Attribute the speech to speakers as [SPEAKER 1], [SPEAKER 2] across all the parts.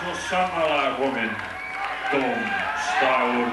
[SPEAKER 1] svo sannarlega kominn Dómstagur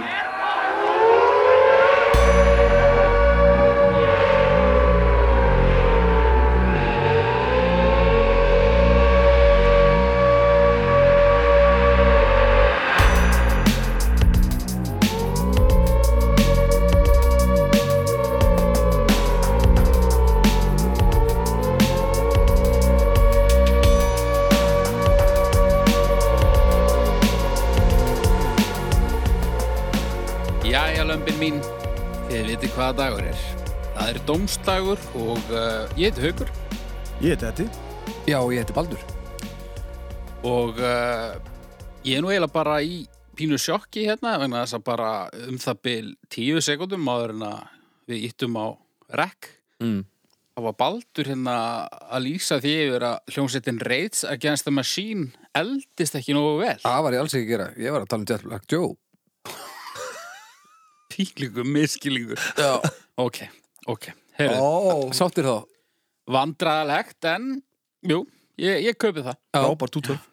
[SPEAKER 2] Jæja, lömbin mín, þið vitið hvaða dagur er. Það er domstagur og uh, ég heiti Haugur
[SPEAKER 3] Ég heiti Eddi.
[SPEAKER 4] Já, ég heiti Baldur.
[SPEAKER 2] og uh, ég er nú eiginlega bara í pínu sjokki hérna vegna þess að bara um það byl tíu sekundum áður en að við íttum á rekk.
[SPEAKER 4] Mm.
[SPEAKER 2] Það var Baldur hérna að lýsa því yfir að hljómsettin Raids Against the Machine eldist ekki nógu vel.
[SPEAKER 4] Það var ég alls ekki að gera. Ég var að tala um Jet Black Joe.
[SPEAKER 2] Píklingur, miskillingur.
[SPEAKER 4] Já.
[SPEAKER 2] Ok, ok. Heyrðu,
[SPEAKER 4] Ó. Sáttir þá.
[SPEAKER 2] vandræðalegt en, jú, ég, ég kaupi það.
[SPEAKER 4] Já.
[SPEAKER 3] Frábært útvörf.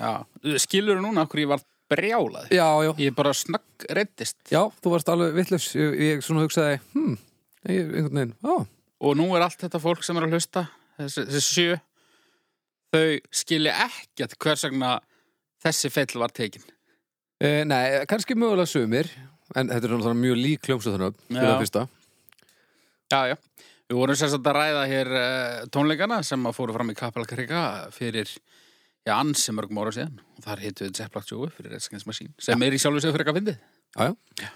[SPEAKER 4] Já,
[SPEAKER 2] Já, skilur þú núna okkur ég var brjálað
[SPEAKER 4] já. Já,
[SPEAKER 2] Ég bara snögg reyndist
[SPEAKER 4] já þú varst alveg vittlaus. Ég, ég svona hugsaði, hmm, ég, einhvern veginn, já.
[SPEAKER 2] Og nú er allt þetta fólk sem er að hlusta Þessi, þessi sjö Þau skilja ekkert hvers vegna þessi fell var tekin
[SPEAKER 4] E, nei, kannski mögulega sumir, en þetta er náttúrulega mjög lík hljómsöðunum fyrir
[SPEAKER 2] Já.
[SPEAKER 4] það fyrsta.
[SPEAKER 2] Já, já Við vorum sérst að ræða hér uh, tónleikana sem að fóru fram í Kapelkrika fyrir já, ansi mörgum ára síðan og þar hittu við Zeppelagt sjóu fyrir reynskensmasín sem er í sjálfu sig fyrir eitthvað fyndið
[SPEAKER 4] Já, já.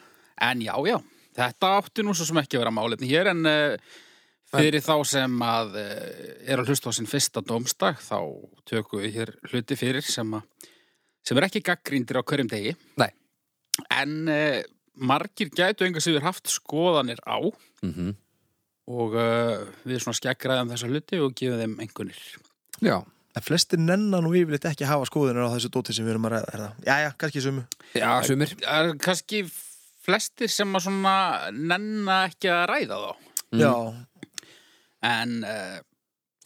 [SPEAKER 2] En já, já, þetta átti nú svo sem ekki að vera málefni hér en uh, fyrir þá sem að uh, er að hlusta á sinn fyrsta domstag þá tökum við hér hluti fyrir sem, að, sem er ekki gaggríndir á hverjum degi.
[SPEAKER 4] Nei.
[SPEAKER 2] En uh, margir gætu enga sem við haft skoðanir á
[SPEAKER 4] Mm
[SPEAKER 2] og uh, við svona skeggræðum þessa hluti og gefum þeim engunir.
[SPEAKER 4] Já.
[SPEAKER 3] En flestir nennan nú yfirleitt ekki hafa skoðunar á þessu dóti sem við erum að ræða hérna. Jæja, kannski sumu.
[SPEAKER 4] Já, sumir.
[SPEAKER 2] Það er kannski flestir sem að svona nenna ekki að ræða þá.
[SPEAKER 3] Já,
[SPEAKER 2] En uh,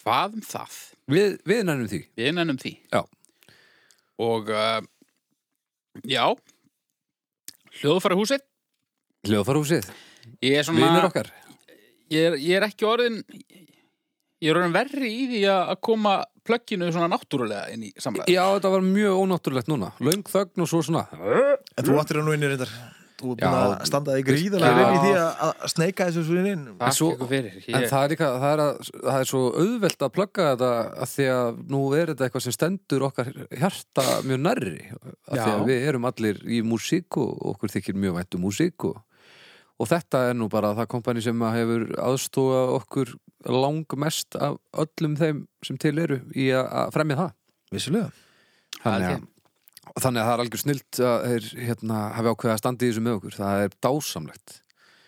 [SPEAKER 2] hvað um það?
[SPEAKER 4] Við, við nennum því.
[SPEAKER 2] Við nennum því.
[SPEAKER 4] Já.
[SPEAKER 2] Og, uh, já, hljóðfæra húsið.
[SPEAKER 4] Hljóðfarhúsið.
[SPEAKER 2] Ég er
[SPEAKER 4] Vinir
[SPEAKER 2] svona,
[SPEAKER 4] okkar.
[SPEAKER 2] ég er, ég er ekki orðin, ég er orðin verri í því að að koma plögginu svona náttúrulega inn í samræði.
[SPEAKER 4] Já, þetta var mjög ónáttúrulegt núna. Löng þögn og svo svona.
[SPEAKER 3] en þú áttir að nú inni reyndar. Þú er
[SPEAKER 4] Já.
[SPEAKER 3] búin að standa þig gríðarlega
[SPEAKER 4] Já.
[SPEAKER 3] vel í því að- að sneika þessu svo inn inn.
[SPEAKER 2] Það er
[SPEAKER 4] svo-
[SPEAKER 2] ekki fyrir.
[SPEAKER 4] En
[SPEAKER 2] Ég,
[SPEAKER 4] það er líka, það er, að, það er svo auðvelt að plugga þetta að því að nú er þetta eitthvað sem stendur okkar hjarta mjög nærri að því
[SPEAKER 2] Já.
[SPEAKER 4] að við erum allir í músík og okkur þykir mjög vænt um músík og, og þetta er nú bara það kompani sem að hefur aðstóða okkur langmest af öllum þeim sem til eru í að, að fremja það
[SPEAKER 3] Vissulega.
[SPEAKER 4] þannig
[SPEAKER 2] Held
[SPEAKER 4] að, þannig að það er algjör snilt að þeir hérna, hafi ákveðið að standa í þessu með okkur það er dásamlegt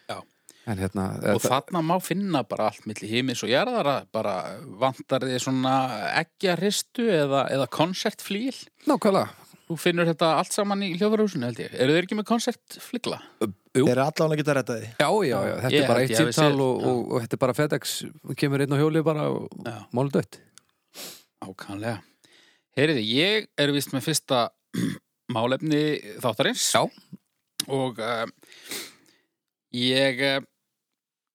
[SPEAKER 2] Já.
[SPEAKER 4] en hérna
[SPEAKER 2] og þarna má finna bara allt milli heimis og jarðara, bara vantar þið svona eggjarristu eða, eða konsertflíl.
[SPEAKER 4] nákvæmlega
[SPEAKER 2] Þú finnur þetta allt saman í hljóðvarhúsinu held ég. Eru þið ekki með konsertflíla?
[SPEAKER 4] Jú.
[SPEAKER 3] Þeir eru allan að geta að þetta því.
[SPEAKER 4] Já, já, já, þetta
[SPEAKER 2] Ég
[SPEAKER 4] er bara
[SPEAKER 2] held
[SPEAKER 4] eitt
[SPEAKER 2] ég hafi
[SPEAKER 4] símtal
[SPEAKER 2] séð,
[SPEAKER 4] og,
[SPEAKER 2] já.
[SPEAKER 4] og, og þetta er bara FedEx kemur einn á hjóli bara og
[SPEAKER 2] Já.
[SPEAKER 4] máli dött
[SPEAKER 2] Ákvæmlega. Heyriði, ég er vist með fyrsta málefni þáttarins. Já. Og uh, ég, uh,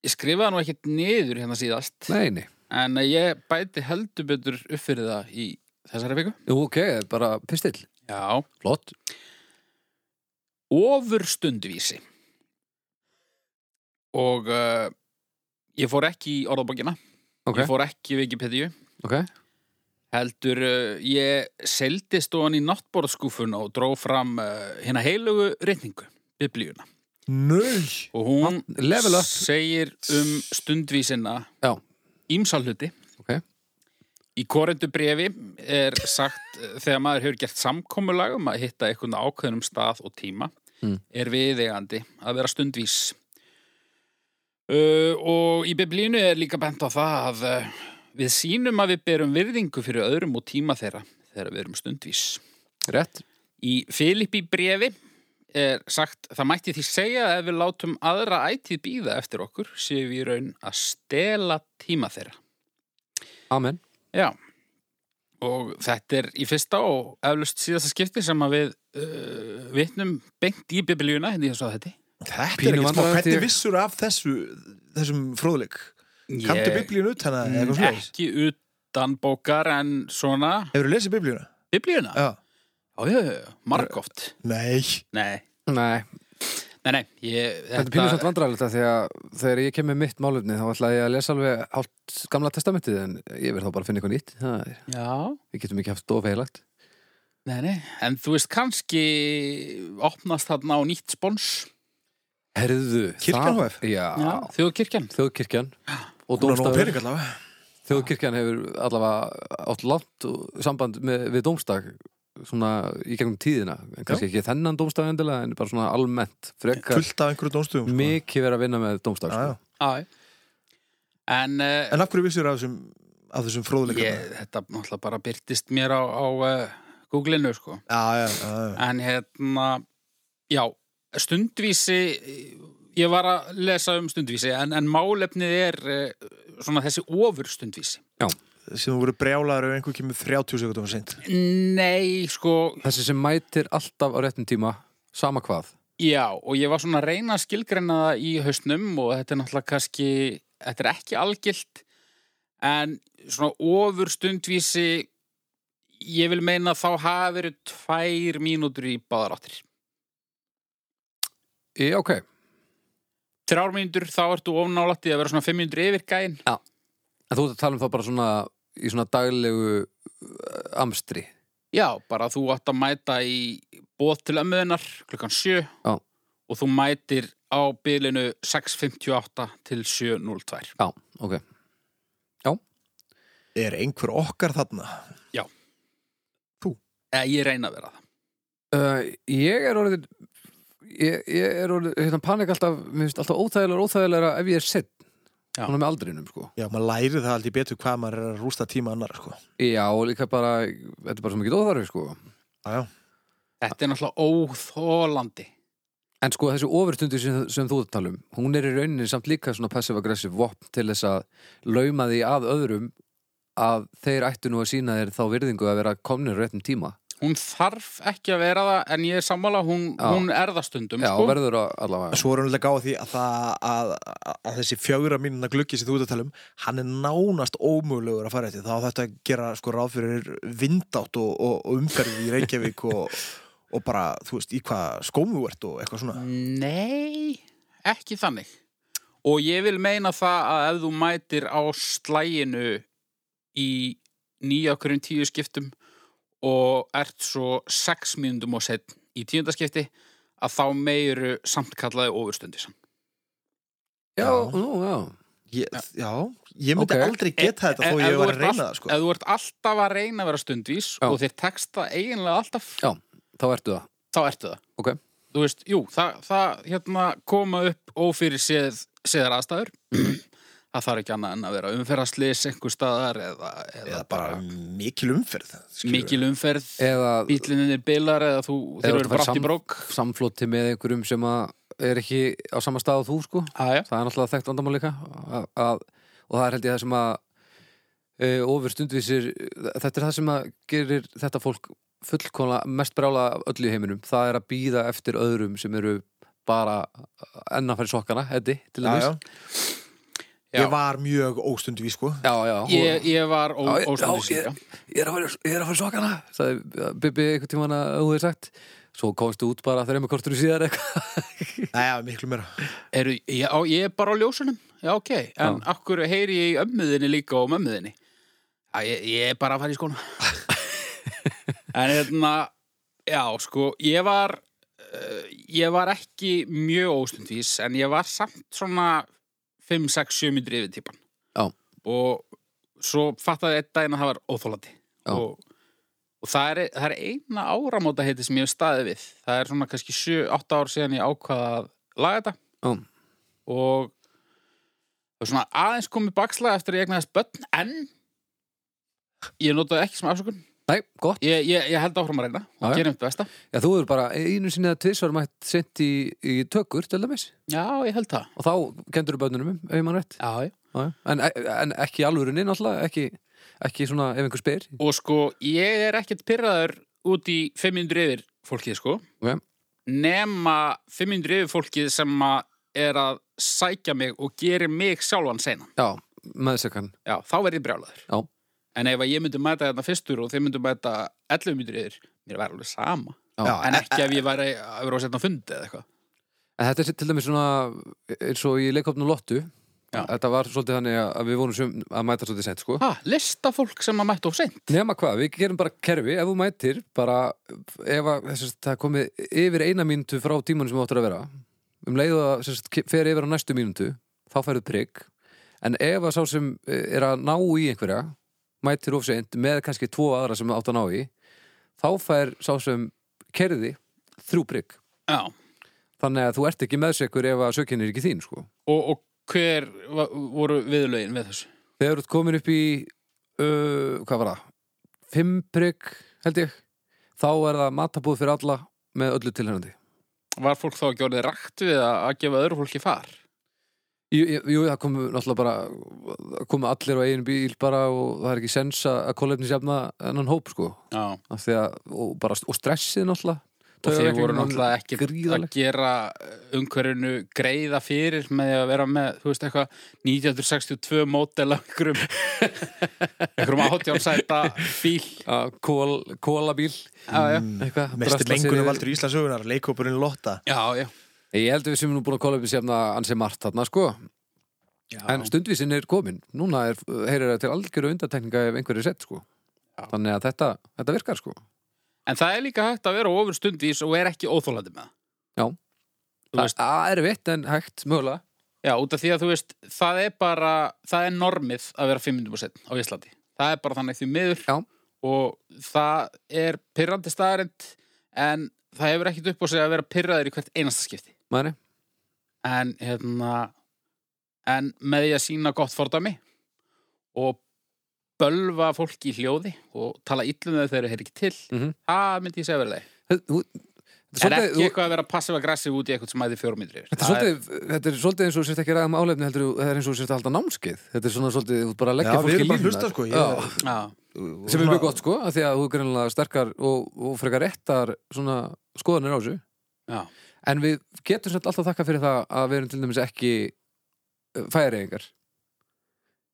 [SPEAKER 2] ég skrifaði nú ekkert niður hérna síðast,
[SPEAKER 4] Nei, nei,
[SPEAKER 2] en uh, ég bæti heldur betur upp fyrir það í þessari viku.
[SPEAKER 4] Jú, ok, bara pistill
[SPEAKER 2] Já.
[SPEAKER 4] Flott
[SPEAKER 2] Ofur stundvísi. Og uh, ég fór ekki í orðabókina,
[SPEAKER 4] Ok,
[SPEAKER 2] ég fór ekki í Wikipedia.
[SPEAKER 4] ok
[SPEAKER 2] Heldur, uh, ég seldi stóðan í náttborðskúfuna og dró fram uh, hérna heilugu reyningu, biblíuna.
[SPEAKER 3] Nöll.
[SPEAKER 2] Og hún
[SPEAKER 4] Level up
[SPEAKER 2] segir um stundvísina
[SPEAKER 4] Já.
[SPEAKER 2] ímsalhuti.
[SPEAKER 4] Ok.
[SPEAKER 2] Í korendu brefi er sagt uh, þegar maður hefur gert samkomulag um að hitta einhvern á ákveðnum stað og tíma
[SPEAKER 4] Mm.
[SPEAKER 2] er viðegandi að vera stundvís. Uh, og í biblínu er líka bent á það að uh, við sýnum að við berum virðingu fyrir öðrum og tíma þeirra þegar við erum stundvís.
[SPEAKER 4] Rétt
[SPEAKER 2] Í Filippi brefi er sagt það mætti því segja að ef við látum aðra ætið býða eftir okkur séu við í raun að stela tíma þeirra.
[SPEAKER 4] Amen
[SPEAKER 2] Já. og þetta er í fyrsta og eflust síðasta skipti sem að við uh, vitnum beint í biblíuna hérna í þessu að þetta.
[SPEAKER 3] Þetta er
[SPEAKER 4] Pínu
[SPEAKER 3] ekki smá,
[SPEAKER 4] vandræðalegt, ég-
[SPEAKER 3] hvernig vissur af þessu, þessum fróðleik? Kanntu biblíun ut hana? eða eitthvað svoleiðis?
[SPEAKER 2] Ekki utan bókar en svona
[SPEAKER 3] Hefurðu lesið biblíuna?
[SPEAKER 2] biblíuna.
[SPEAKER 3] Já.
[SPEAKER 2] Já, já, já, margóft.
[SPEAKER 3] Nei.
[SPEAKER 2] Nei,
[SPEAKER 4] Nei,
[SPEAKER 2] nei, nei, ég...
[SPEAKER 4] þetta er pínu samt vandræðilegt að því að þegar ég kem með mitt málefni þá ætlaði ég að lesa alveg hálft gamla testamentið en ég verð þá bara að finna eitthvað nýtt það er,
[SPEAKER 2] Já,
[SPEAKER 4] við getum ekki haft dofa heilagt
[SPEAKER 2] nei, nei, en þú veist kannski opnast þarna á nýtt spons.
[SPEAKER 4] Herðu,
[SPEAKER 3] Kirkjan
[SPEAKER 4] það-
[SPEAKER 3] HF?
[SPEAKER 4] Já,
[SPEAKER 2] Þjóðkirkjan.
[SPEAKER 4] þjóðkirkjan og
[SPEAKER 3] Hún er nóg
[SPEAKER 4] dómstafur
[SPEAKER 3] pening allavega.
[SPEAKER 4] Þjóðkirkjan hefur allavega átt langt og- samband með, við dómstag svona í gegnum tíðina en kannski ekki þennan dómstag endilega en bara svona almennt frekar
[SPEAKER 3] Fullt af einhverju dómstugum. sko.
[SPEAKER 4] mikið verið að vinna með dómstag
[SPEAKER 3] Já, já.
[SPEAKER 4] sko.
[SPEAKER 2] Já, já. En... Uh,
[SPEAKER 3] En af hverju vissur af þessum, af þessum fróðleikum?
[SPEAKER 2] Ég, þetta náttúrulega bara byrtist mér á, á uh, Google-inu, sko.
[SPEAKER 3] Já, já, já, já.
[SPEAKER 2] En hérna, já, stundvísi, ég var að lesa um stundvísi, en, en málefnið er uh, svona þessi ofur stundvísi.
[SPEAKER 3] Sem þú voru brjálaður ef einhver kemur 30 sekundum seint.
[SPEAKER 2] Nei, sko,
[SPEAKER 4] Þessi sem mætir alltaf á réttum tíma sama hvað
[SPEAKER 2] já, og ég var svona að reyna að skilgreina það í hausnum og þetta er náttúrulega kannski, þetta er ekki algilt, en svona ofur stundvísi, ég vil meina að þá hafi verið tvær mínútur í báðaráttir.
[SPEAKER 4] Í, ok,
[SPEAKER 2] þrjár mínútur þá ertu ofnálætti að vera svona fimm mínútur yfir gæinn
[SPEAKER 4] en þú ert að tala um þá bara svona í svona daglegu uh, amstri
[SPEAKER 2] já, bara þú átt að mæta í bóð til ömmuðunar klukkan sjö
[SPEAKER 4] Já.
[SPEAKER 2] og þú mætir á bylinu 6.58 til 7.02
[SPEAKER 4] Já, ok
[SPEAKER 3] Er einhver okkar þarna?
[SPEAKER 2] eða ég reyna að vera það
[SPEAKER 4] Uh, ég er orðin ég, ég er orðin, hérna panik alltaf mér finnst alltaf óþægilega óþægilega ef ég er sinn
[SPEAKER 2] Já.
[SPEAKER 4] svona með aldrinum sko
[SPEAKER 3] Já, maður læri það aldrei betur hvað maður er að rústa tíma annar, sko.
[SPEAKER 4] já og líka bara, þetta er bara svo mikið óþarfi sko
[SPEAKER 3] Já, já.
[SPEAKER 2] þetta er náttúrulega óþólandi
[SPEAKER 4] en sko þessi ofurstundi sem, sem þú ert að tala um hún er í rauninni samt líka svona passive-aggressive vopn til þess að lauma því að öðrum að þeir ættu nú að sína þér þá virðingu að vera komnir á réttum tíma
[SPEAKER 2] hún þarf ekki að vera það en ég er sammála, hún,
[SPEAKER 4] Já.
[SPEAKER 2] hún er það stundum
[SPEAKER 4] já,
[SPEAKER 2] sko.
[SPEAKER 4] verður að allavega
[SPEAKER 3] Svo er hann gáð því að, það, að, að, að þessi fjögra mínuna gluggi sem þú ert að tala um, hann er nánast ómögulegur að fara eftir. Þá á þetta að gera sko ráð fyrir vindátt og, og, og umferði í Reykjavík og, og bara, þú veist, í hvað skómu þú ert og eitthvað svona.
[SPEAKER 2] Nei, ekki þannig. Og ég vil meina það að ef þú mætir á slæginu í nýja hverjum tíu skiptum og ert svo sex mínundum og sett í tíundaskipti að þá meiru samt kallaði ofurstundis.
[SPEAKER 4] já, nú, já,
[SPEAKER 3] Ég, já, ég myndi
[SPEAKER 4] Ok.
[SPEAKER 3] aldrey geta þetta
[SPEAKER 2] e,
[SPEAKER 3] þó
[SPEAKER 2] Ef- ef
[SPEAKER 3] ég
[SPEAKER 2] þú
[SPEAKER 3] var
[SPEAKER 2] ert
[SPEAKER 3] að reyna
[SPEAKER 2] allt-
[SPEAKER 3] það, sko.
[SPEAKER 2] Ef þú ert alltaf að reyna að vera stundvís
[SPEAKER 4] Já.
[SPEAKER 2] og þér texta eiginlega alltaf,
[SPEAKER 4] Já. þá ertu það
[SPEAKER 2] þá ertu það.
[SPEAKER 4] Ok.
[SPEAKER 2] Þú veist, jú, það, það hérna, koma upp ófyrir séð, séðar aðstæður. það þarf ekki annað en að vera umferðaslis einhver staðar eða, eða,
[SPEAKER 3] Eða bara mikil umferð. skilurðu.
[SPEAKER 2] mikil umferð,
[SPEAKER 4] eða
[SPEAKER 2] bílinn er bilar eða þú
[SPEAKER 4] Eða
[SPEAKER 2] þeir
[SPEAKER 4] þú
[SPEAKER 2] eru
[SPEAKER 4] færð
[SPEAKER 2] brátt í
[SPEAKER 4] sam-
[SPEAKER 2] brók.
[SPEAKER 4] samflóti með einhverjum sem að er ekki á sama stað og þú sko
[SPEAKER 2] Aðja,
[SPEAKER 4] það er náttúrulega þekkt vandamál líka að, að, og það er held ég það sem að e, ofur stundvísir þetta er það sem að gerir þetta fólk fullkona mest brála af öllu í heiminum það er að býða eftir öðrum sem eru bara enn að fara í sokkana Eddi, til
[SPEAKER 3] Já,
[SPEAKER 4] dæmis
[SPEAKER 3] já.
[SPEAKER 2] Já.
[SPEAKER 3] Ég var mjög óstundvís, sko.
[SPEAKER 4] já, já, hún-
[SPEAKER 2] ég, ég var ó-
[SPEAKER 4] Já, ég-
[SPEAKER 2] óstundvís
[SPEAKER 4] já,
[SPEAKER 2] líka.
[SPEAKER 4] ég er að fara, ég er að fara í sokkana sagði Bibi einhvern tímann að þú hefði sagt svo komstu út bara þreymur kortur í síðar eitthvað
[SPEAKER 3] Nei, já, miklu meira.
[SPEAKER 2] Eru, já, ég er bara á ljósunum, já ok, en já. akkur heyri ég í ömmuðinni líka og mömmuðinni? Já, ég, ég er bara að fara í skóna. en hérna, já, sko, ég var, uh, ég var ekki mjög óstundvís, en ég var samt svona 5, 6, 7 myndir yfir típan.
[SPEAKER 4] Já.
[SPEAKER 2] Og svo fattaði einn daginn að það var óþólandi.
[SPEAKER 4] Já.
[SPEAKER 2] Og, og það, er, það er eina áramóta heiti sem ég hef staðið við. Það er svona kannski 7, 8 ár síðan ég ákvaða að laga þetta
[SPEAKER 4] Já.
[SPEAKER 2] og það er svona aðeins komið bakslag eftir að ég egnaðist börn en ég notaði ekki sem afsökun
[SPEAKER 4] nei, gott
[SPEAKER 2] ég, ég, ég held áfram að reyna
[SPEAKER 4] Já,
[SPEAKER 2] og
[SPEAKER 4] já.
[SPEAKER 2] gerum þetta besta
[SPEAKER 4] Já, þú eru bara einu sinni að tvisvar mætt sent í, í tökur, til dæmis
[SPEAKER 2] já, ég held það
[SPEAKER 4] og þá kendur þú bönnunum um, ef ég mann rétt
[SPEAKER 2] já, já.
[SPEAKER 4] Já, já. en, en ekki í alvörunni, náttúrulega ekki, ekki svona ef einhver spyr
[SPEAKER 2] Og sko, ég er ekkert pyrraður út í 500 yfir fólkið, sko.
[SPEAKER 4] Ok.
[SPEAKER 2] Nema 500 yfir fólkið sem að er að sækja mig og gerir mig sjálfan seinan.
[SPEAKER 4] Já, meðsökan
[SPEAKER 2] Já, þá verð ég brjálaður.
[SPEAKER 4] Já.
[SPEAKER 2] En ef að ég myndi mæta þarna fyrstur og þeir myndi mæta 11 myndir yfir, mér væri alveg sama.
[SPEAKER 4] Já.
[SPEAKER 2] En ekki ef ég væri að vera á setna fundi eða eitthvað.
[SPEAKER 4] En þetta er til dæmis svona eins og í leikopnum Lottu
[SPEAKER 2] Já.
[SPEAKER 4] Þetta var svolítið þannig að- að við vonum sem að mæta svolítið sent sko
[SPEAKER 2] Ha, lista fólk sem að mæta of seint.
[SPEAKER 4] Nema hvað, við gerum bara kerfi ef þú mætir bara ef að, sem sagt, það er komið yfir eina mínútu frá tímanum sem þú áttur að vera um leið og það sem sagt, ke- fer yfir á næstu mínútu þá færðu prigg en ef að sá sem eh, er að ná í einhverja mætir ofseint með kannski tvo aðra sem átt að ná í þá fær sá sem kerði þrjú prigg
[SPEAKER 2] Já.
[SPEAKER 4] þannig að þú ert ekki meðsekur ef að sökin er ekki þín sko.
[SPEAKER 2] Og, og hver va- voru viðlaugin við þessu?
[SPEAKER 4] þegar þú ert komin upp í uh, hvað var það? fimm prigg held ég þá er það matabúð fyrir alla með öllu tilhengandi
[SPEAKER 2] Var fólk þá ekki orðið rakt við að að gefa öðru fólki far?
[SPEAKER 4] Jú, jú, það komu náttúrulega bara það komu allir á eigin bíl bara og það er ekki sens að að kólefnisjafna ennan hóp sko
[SPEAKER 2] Já.
[SPEAKER 4] Af því að, og, bara, og stressið náttúrulega
[SPEAKER 2] og þeir
[SPEAKER 4] Taugaveiklunin
[SPEAKER 2] voru
[SPEAKER 4] var
[SPEAKER 2] náttúrulega ekki
[SPEAKER 4] gríðarleg.
[SPEAKER 2] að gera umhverjunu greiða fyrir með því að vera með, þú veist eitthvað 1962 mótel af einhverjum einhverjum átjánsæta bíl
[SPEAKER 4] að kól, kólabíl
[SPEAKER 2] já, já.
[SPEAKER 4] eitthvað
[SPEAKER 3] Mestir
[SPEAKER 4] drasla sér
[SPEAKER 3] mengunum
[SPEAKER 4] yfir.
[SPEAKER 3] valdur í Íslandsugunar, leikópurinn Lotta
[SPEAKER 2] já, já,
[SPEAKER 4] Ég held að við sem nú búin að kólefnisjafna ansi margt þarna sko
[SPEAKER 2] já.
[SPEAKER 4] en stundvísin er komin núna er, heyrir það til algjöru undartekninga ef einhverju sett sko
[SPEAKER 2] Já.
[SPEAKER 4] þannig að þetta, þetta virkar sko
[SPEAKER 2] en það er líka hægt að vera ofur stundís og er ekki óþólandi með
[SPEAKER 4] Já.
[SPEAKER 2] það Þú
[SPEAKER 4] það
[SPEAKER 2] veist,
[SPEAKER 4] það er vitt en hægt mögulega
[SPEAKER 2] já, út af því að þú veist það er bara, það er normið að vera 500% á Íslandi, það er bara þannig því miður
[SPEAKER 4] Já.
[SPEAKER 2] og það er pyrrandi staðarind en það hefur ekkit upp á sig að vera pyrraður í hvert einasta skipti
[SPEAKER 4] Mæni?
[SPEAKER 2] en hérna en með því að sína gott fordami og bölva fólk í hljóði og tala illum þegar þeir eru ekki til
[SPEAKER 4] Mhm.
[SPEAKER 2] það myndi ég segja verið leið
[SPEAKER 4] Þetta
[SPEAKER 2] en
[SPEAKER 4] er
[SPEAKER 2] ekki
[SPEAKER 4] svolítið
[SPEAKER 2] eitthvað að vera passiv aggressiv út í eitthvað sem æði fjórum yndri
[SPEAKER 4] Þetta er, svolítið, þetta er svolítið eins og þú sért ekki að ræða um álefni heldur, þú- það er eins og þú sért að halda námskeið Þetta er svona svolítið, þú ert bara að leggja
[SPEAKER 3] Já, við
[SPEAKER 4] fólki
[SPEAKER 3] erum bara að
[SPEAKER 4] línurnar.
[SPEAKER 3] hlusta, sko, ég-
[SPEAKER 4] Já,
[SPEAKER 2] já,
[SPEAKER 4] Sem er mjög gott sko, af því að þú er greinlega sterkar og, og frekar réttar svona skoðanir á þessu
[SPEAKER 2] já,
[SPEAKER 4] En við getum svolítið alltaf þakka fyrir það að við erum til dæmis ekki færiðingar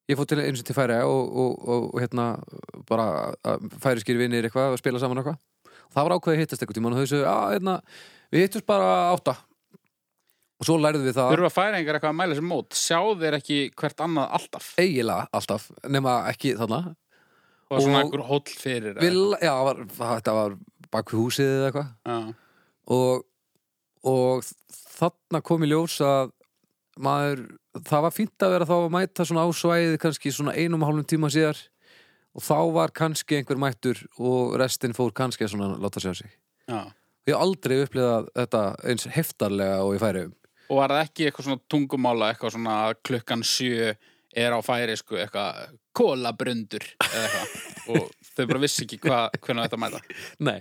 [SPEAKER 4] Ég fór til eins og til færiða og, og, og, og hérna bara færiskir vinir eitthvað og spila saman eitthvað og það var ákveðið að hittast eitthvað tíma og þau sögðu, að hérna, við hittumst bara átta og svo lærðum við það
[SPEAKER 2] þurfa að færa einhver eitthvað að mæla sem mót sjá þeir ekki hvert annað alltaf
[SPEAKER 4] eiginlega alltaf, nema ekki þarna
[SPEAKER 2] og svona
[SPEAKER 4] Og-
[SPEAKER 2] einhver hóll fyrir eða
[SPEAKER 4] við, já, var, þetta var bak við húsið eða eitthvað
[SPEAKER 2] eitthvað. já,
[SPEAKER 4] og, og þarna kom í ljós að maður, það var fínt að vera þá að mæta svona á svæðið kannski svona einum og hálfum tíma síðar og þá var kannski einhver mættur og restin fór kannski að svona láta sjá sig
[SPEAKER 2] já.
[SPEAKER 4] ég hef aldrei upplifað þetta eins heftarlega og ég færi um
[SPEAKER 2] og var það ekki eitthvað svona tungumála eitthvað svona að klukkan sjö er á færi sko eitthvað kólabrundur eða eitthvað og þau bara vissi ekki hvað, hvernig þetta mæta
[SPEAKER 4] Nei,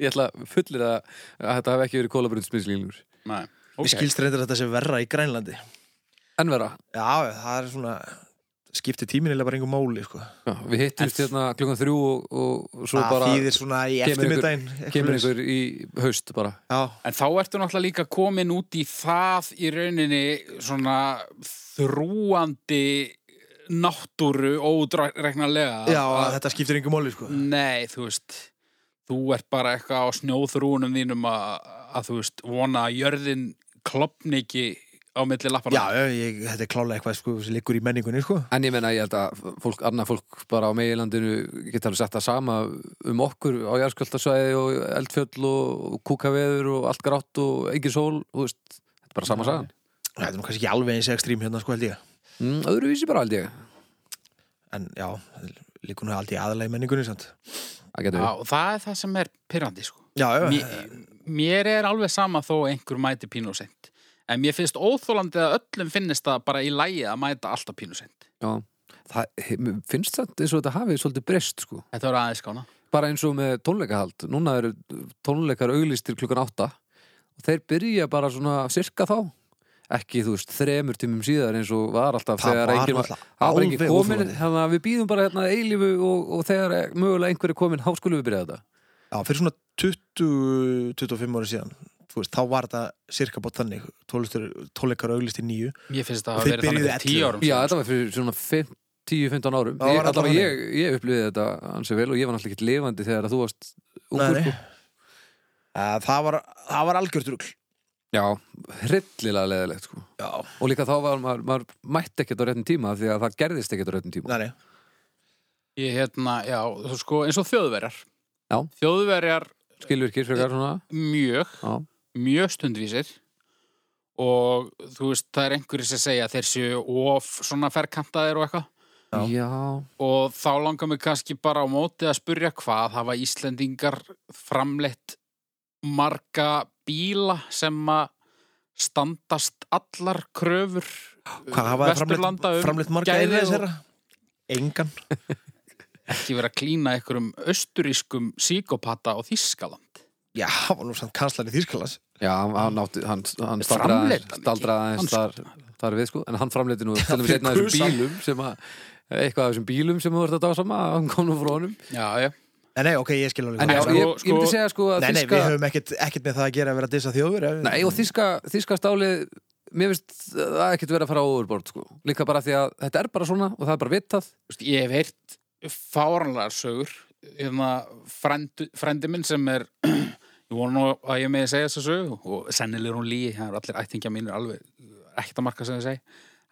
[SPEAKER 4] ég ætla fullir að, að þetta hafi ekki verið kólabrunnsmislílingur
[SPEAKER 2] Nei,
[SPEAKER 3] Mér
[SPEAKER 2] ok,
[SPEAKER 3] skilst reyndir að þetta sé verra í Grænlandi
[SPEAKER 4] En vera,
[SPEAKER 3] Já, það er svona skipti tíminilega bara einhver máli sko.
[SPEAKER 4] já, við hittumst hérna klukkan þrjú og, og svo
[SPEAKER 3] Það
[SPEAKER 4] bara
[SPEAKER 3] þýðir svona í
[SPEAKER 4] kemur
[SPEAKER 3] eftirmiddaginn
[SPEAKER 4] kemur
[SPEAKER 3] eitthvað
[SPEAKER 4] einhver í haust bara
[SPEAKER 3] Já,
[SPEAKER 2] en þá ertu náttúrulega líka komin út í það í rauninni svona þrúandi náttúru ódreknarlega
[SPEAKER 3] já að þetta skiptir einhver máli sko.
[SPEAKER 4] Mm,
[SPEAKER 2] Nei, þú veist þú ert bara eitthvað á snjóþrúnum þínum að, að þú veist vona að jörðin klopni ekki á milli
[SPEAKER 3] Já,
[SPEAKER 2] lapparna
[SPEAKER 3] já, ég, þetta er klálega eitthvað sko, sem liggur í menningunni sko.
[SPEAKER 4] En ég menna, ég held að fólk, annað fólk bara á megilandinu geta alveg sett það sama um okkur á jarðskjöltasvæði og eldfjöll og kúkaveður og allt grátt og engin sól, þú veist, þetta er bara sama sagan.
[SPEAKER 3] Þetta er nú kannski ekki alveg eins ekstrím hérna sko held ég
[SPEAKER 4] Mm, öðruvísi bara held ég.
[SPEAKER 3] En já, það liggur nú aldrei aðalega í menningunni sant?
[SPEAKER 4] Það getur
[SPEAKER 2] Já,
[SPEAKER 4] við.
[SPEAKER 2] og það er það sem er pyrrandi sko.
[SPEAKER 3] Já, já,
[SPEAKER 2] mér, mér er alveg sama þó einhver mæti pínu sent en mér finnst óþólandi að öllum finnist það bara í lægi að mæta alltaf pínu sent
[SPEAKER 4] Já. Það he- mér finnst þetta eins og þetta hafið svolítið breyst, sko.
[SPEAKER 2] Þetta var aðeins skána
[SPEAKER 4] Bara eins og með tónleikahald. Núna eru tónleikar auglistir klukkan átta og þeir byrja bara svona cirka þá. ekki, þú veist, þremur tímum síðar eins og var alltaf
[SPEAKER 3] það
[SPEAKER 4] þegar
[SPEAKER 3] var
[SPEAKER 4] enginn var, það var enginn
[SPEAKER 3] alveg
[SPEAKER 4] komin
[SPEAKER 3] óþólandi.
[SPEAKER 4] þannig að við býðum bara hérna eilífu og, og þegar eh, mögulega einhver er komin, þá skulum við byrja þetta
[SPEAKER 3] Já, fyrir svona 20-25 ára síðan þú veist, þá var þetta cirka bótt þannig Tónlistur- tónleikar auglist í nýju
[SPEAKER 2] Ég finnst að það
[SPEAKER 3] Og
[SPEAKER 2] hafa
[SPEAKER 3] þeir
[SPEAKER 2] verið þannig
[SPEAKER 3] byrjuðu
[SPEAKER 2] fyrir tíu
[SPEAKER 3] 11.
[SPEAKER 2] árum
[SPEAKER 4] Já,
[SPEAKER 2] síðan, sko.
[SPEAKER 4] þetta var fyrir svona fimm- 10-15 árum
[SPEAKER 3] Það
[SPEAKER 4] ég,
[SPEAKER 3] var
[SPEAKER 4] allavega
[SPEAKER 3] allavega
[SPEAKER 4] ég, ég upplýði þetta ansi vel og ég var náttúrulega ekki lifandi þegar að þú varst ungur
[SPEAKER 3] Nei, nei.
[SPEAKER 4] sko.
[SPEAKER 3] Eh, það var, það var algjört rugl
[SPEAKER 4] Já, hryllilega leðilegt sko.
[SPEAKER 3] Já,
[SPEAKER 4] og líka þá var maður, maður mætti ekkert á réttum tíma því að það gerðist ekkert á réttum tíma
[SPEAKER 3] Nei, nei.
[SPEAKER 2] Ég hérna, já, þú sko, eins og þjóðverjar
[SPEAKER 4] Já.
[SPEAKER 2] Þjóðverjar
[SPEAKER 4] skilvirkir frekar svona
[SPEAKER 2] mjög,
[SPEAKER 4] Já.
[SPEAKER 2] mjög stundvísir og þú veist, það er einhverjir sem segja að þeir séu of svona ferkantaðir og eitthvað
[SPEAKER 3] Já.
[SPEAKER 4] Já,
[SPEAKER 2] og þá langar mig kannski bara á móti að spurja hvað hafa Íslendingar framleitt marga bíla sem að standast allar kröfur uh,
[SPEAKER 3] Hvað hafa það framleitt,
[SPEAKER 2] Vesturlanda um
[SPEAKER 3] framleitt marga
[SPEAKER 2] gæði
[SPEAKER 3] einlega
[SPEAKER 2] og-
[SPEAKER 3] þeirra? Engan
[SPEAKER 2] ekki verið að klína einhverjum austurískum síkopata á Þískaland
[SPEAKER 3] Já, það var nú samt kanslan í Þýrskalas
[SPEAKER 4] já hann, hann, átti, hann, hann staldraði
[SPEAKER 2] Framleiddi
[SPEAKER 4] aðeins-
[SPEAKER 2] hann
[SPEAKER 4] staldraði
[SPEAKER 2] ekki?
[SPEAKER 4] aðeins þar, þar við sko en hann framleiti nú til dæmis
[SPEAKER 3] þeir
[SPEAKER 4] einn af þessum
[SPEAKER 3] kusa.
[SPEAKER 4] bílum sem að eitthvað af þessum bílum sem þú ert að dásama hann kom nú frá honum
[SPEAKER 2] Já, já,
[SPEAKER 3] Nei, nei, ok, ég skil alveg
[SPEAKER 4] en
[SPEAKER 3] hvað
[SPEAKER 4] já,
[SPEAKER 2] sko-
[SPEAKER 3] þú segir.
[SPEAKER 4] ég, ég myndi
[SPEAKER 2] sko-
[SPEAKER 4] segja sko að
[SPEAKER 3] Nei, nei,
[SPEAKER 4] þýska-
[SPEAKER 3] við höfum ekkert, ekkert með það að gera að vera að dissa þjóður ef-
[SPEAKER 4] Nei, og þíska, þíska stálið Mér finnst það ekkert vera að fara á overbord sko. Líka bara því að þetta er bara svona og það er bara vitað
[SPEAKER 2] Þú veist, ég hef heyrt fáranlegar sögur hérna frendi, frendi minn sem er ég vona nú að ég meði segja þessa sögu og sennilega er hún líi, það eru allir ættingja mínir alveg ekkert að marka sem þið segi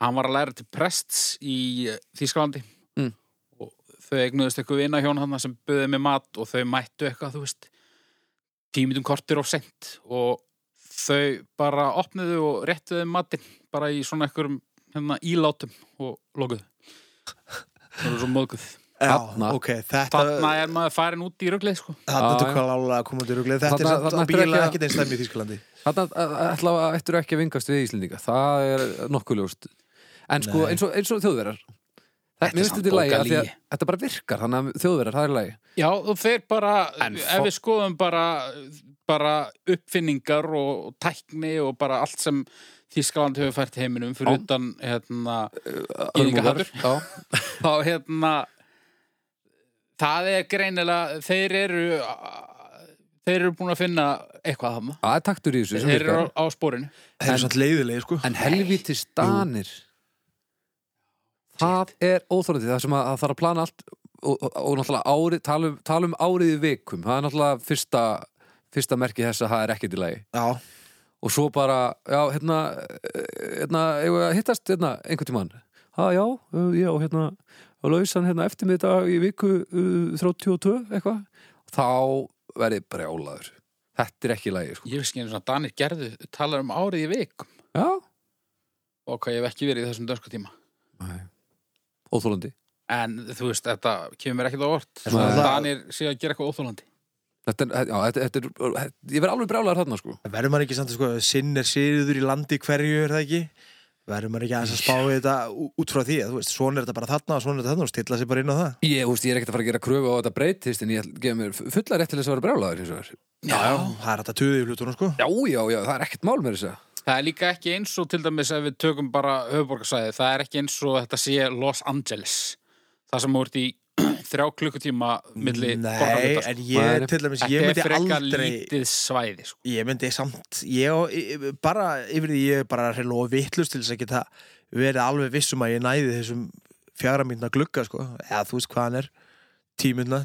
[SPEAKER 2] hann var að læra til prests í eh, Þýskalandi
[SPEAKER 4] Mm.
[SPEAKER 2] og þau eignuðust eitthvað vina hjón hann sem böðið með mat og þau mættu eitthvað, þú veist tímitum kortir og sent og þau bara opnuðu og réttuðu matinn bara í svona einhverjum hérna, ílátum og lokuðu Það eru svo móðguð.
[SPEAKER 3] Já,
[SPEAKER 4] Þarna-
[SPEAKER 3] ok, þetta
[SPEAKER 2] Þarna er maður farin út í ruglið, sko.
[SPEAKER 3] Þetta
[SPEAKER 4] Já,
[SPEAKER 3] tök
[SPEAKER 4] já.
[SPEAKER 3] hvað lála að koma út í ruglið Þetta
[SPEAKER 4] Þarna-
[SPEAKER 3] er samt
[SPEAKER 4] þarna
[SPEAKER 3] að
[SPEAKER 4] ættir
[SPEAKER 3] bíla
[SPEAKER 4] ekki að-
[SPEAKER 3] ekkert einn stæmi í Þýskalandi
[SPEAKER 4] Þannig að ætla að ættur ekki að vingast við Íslendinga Það er nokkuð ljóst En sko,
[SPEAKER 3] Nei.
[SPEAKER 4] eins og, eins og þjóðverjar
[SPEAKER 2] Þetta er
[SPEAKER 4] Mér finnst
[SPEAKER 2] samt
[SPEAKER 4] þetta í lagi
[SPEAKER 2] bókað
[SPEAKER 4] af því að
[SPEAKER 2] lygi.
[SPEAKER 4] Þetta bara virkar, þannig að þjóðverjar, það er lagi
[SPEAKER 2] Já, og þeir bara,
[SPEAKER 4] En
[SPEAKER 2] ef við skoðum bara, bara uppfinningar og tækni og bara allt sem Þískaland hefur fært heiminum fyrir
[SPEAKER 4] Já.
[SPEAKER 2] utan, hérna, Gyðingahatur.
[SPEAKER 4] Já,
[SPEAKER 2] þá, hérna, það er greinilega, þeir eru, a- þeir eru búin að finna eitthvað að hama.
[SPEAKER 4] það er taktur í þessu sem
[SPEAKER 2] Þeir eru
[SPEAKER 4] virkar
[SPEAKER 2] á, á spórinu.
[SPEAKER 3] Þeir eru svona leiðilegi, sko
[SPEAKER 4] En helviti stanir Það er óþórandi Það sem að það þarf að plana allt og, og, og náttúrulega árið, tala um, tala um árið í vikum Það er náttúrulega fyrsta fyrsta merki þess að það er ekkert í lagi
[SPEAKER 3] Já,
[SPEAKER 4] og svo bara, já, hérna eh, hérna, eigum við að hittast hérna einhvern tímann, að já, eh, já, hérna á lausan hérna eftirmiddag í viku eh, 32, eitthvað þá verði brjálaður Þetta er ekki í lagi, sko
[SPEAKER 2] Ég veist ekki einu svona, Danir gerðu, talar um árið í vikum.
[SPEAKER 4] Já,
[SPEAKER 2] Og hvað ég hef ekki verið í þessum dönsku tíma.
[SPEAKER 4] óþólandi
[SPEAKER 2] En þú veist, þetta kemur mér ekkert á orð.
[SPEAKER 3] En svona-
[SPEAKER 2] Danir séu að gera eitthvað óþólandi.
[SPEAKER 4] Þetta er, já, þetta, þetta er, þetta, ég verð alveg brjálaður þarna sko
[SPEAKER 3] verður maður ekki samt sko Sinn er sýður í landi hverju, er það ekki? Verður maður ekki aðeins að spá í þetta ú- út frá því að, Þú veist, svona er þetta bara þarna og svona er þetta þarna og stilla sig bara inn á það
[SPEAKER 4] Ég, þú veist, ég er ekkert að fara að gera kröfu á að þetta breytist en ég ætla- gef mér fulla rétt til þess að vera brjálaður hins vegar
[SPEAKER 3] Það er þetta tuðið í hlutunum, sko
[SPEAKER 4] Já, já, já, það er ekkert mál með þess að
[SPEAKER 2] Það er líka ekki eins og til dæmis ef við tökum bara höfuborgarsæði, það er ekki eins og þetta sé Los Angeles það sem þú ert í þrjá klukkutíma milli
[SPEAKER 3] Nei,
[SPEAKER 2] borgarhluta, sko.
[SPEAKER 3] en ég,
[SPEAKER 4] Maður-
[SPEAKER 3] til dæmis,
[SPEAKER 2] Þetta
[SPEAKER 3] ég
[SPEAKER 2] er
[SPEAKER 3] myndi
[SPEAKER 2] frekar
[SPEAKER 3] aldrei
[SPEAKER 2] lítið svæði sko.
[SPEAKER 3] Ég myndi samt, ég á- ég- bara yfir því ég er bara hreil og vitlust til þess að geta verið alveg vissum að ég næði þessum fjara mínna glugga sko, eða þú veist hvað hann er tímunna,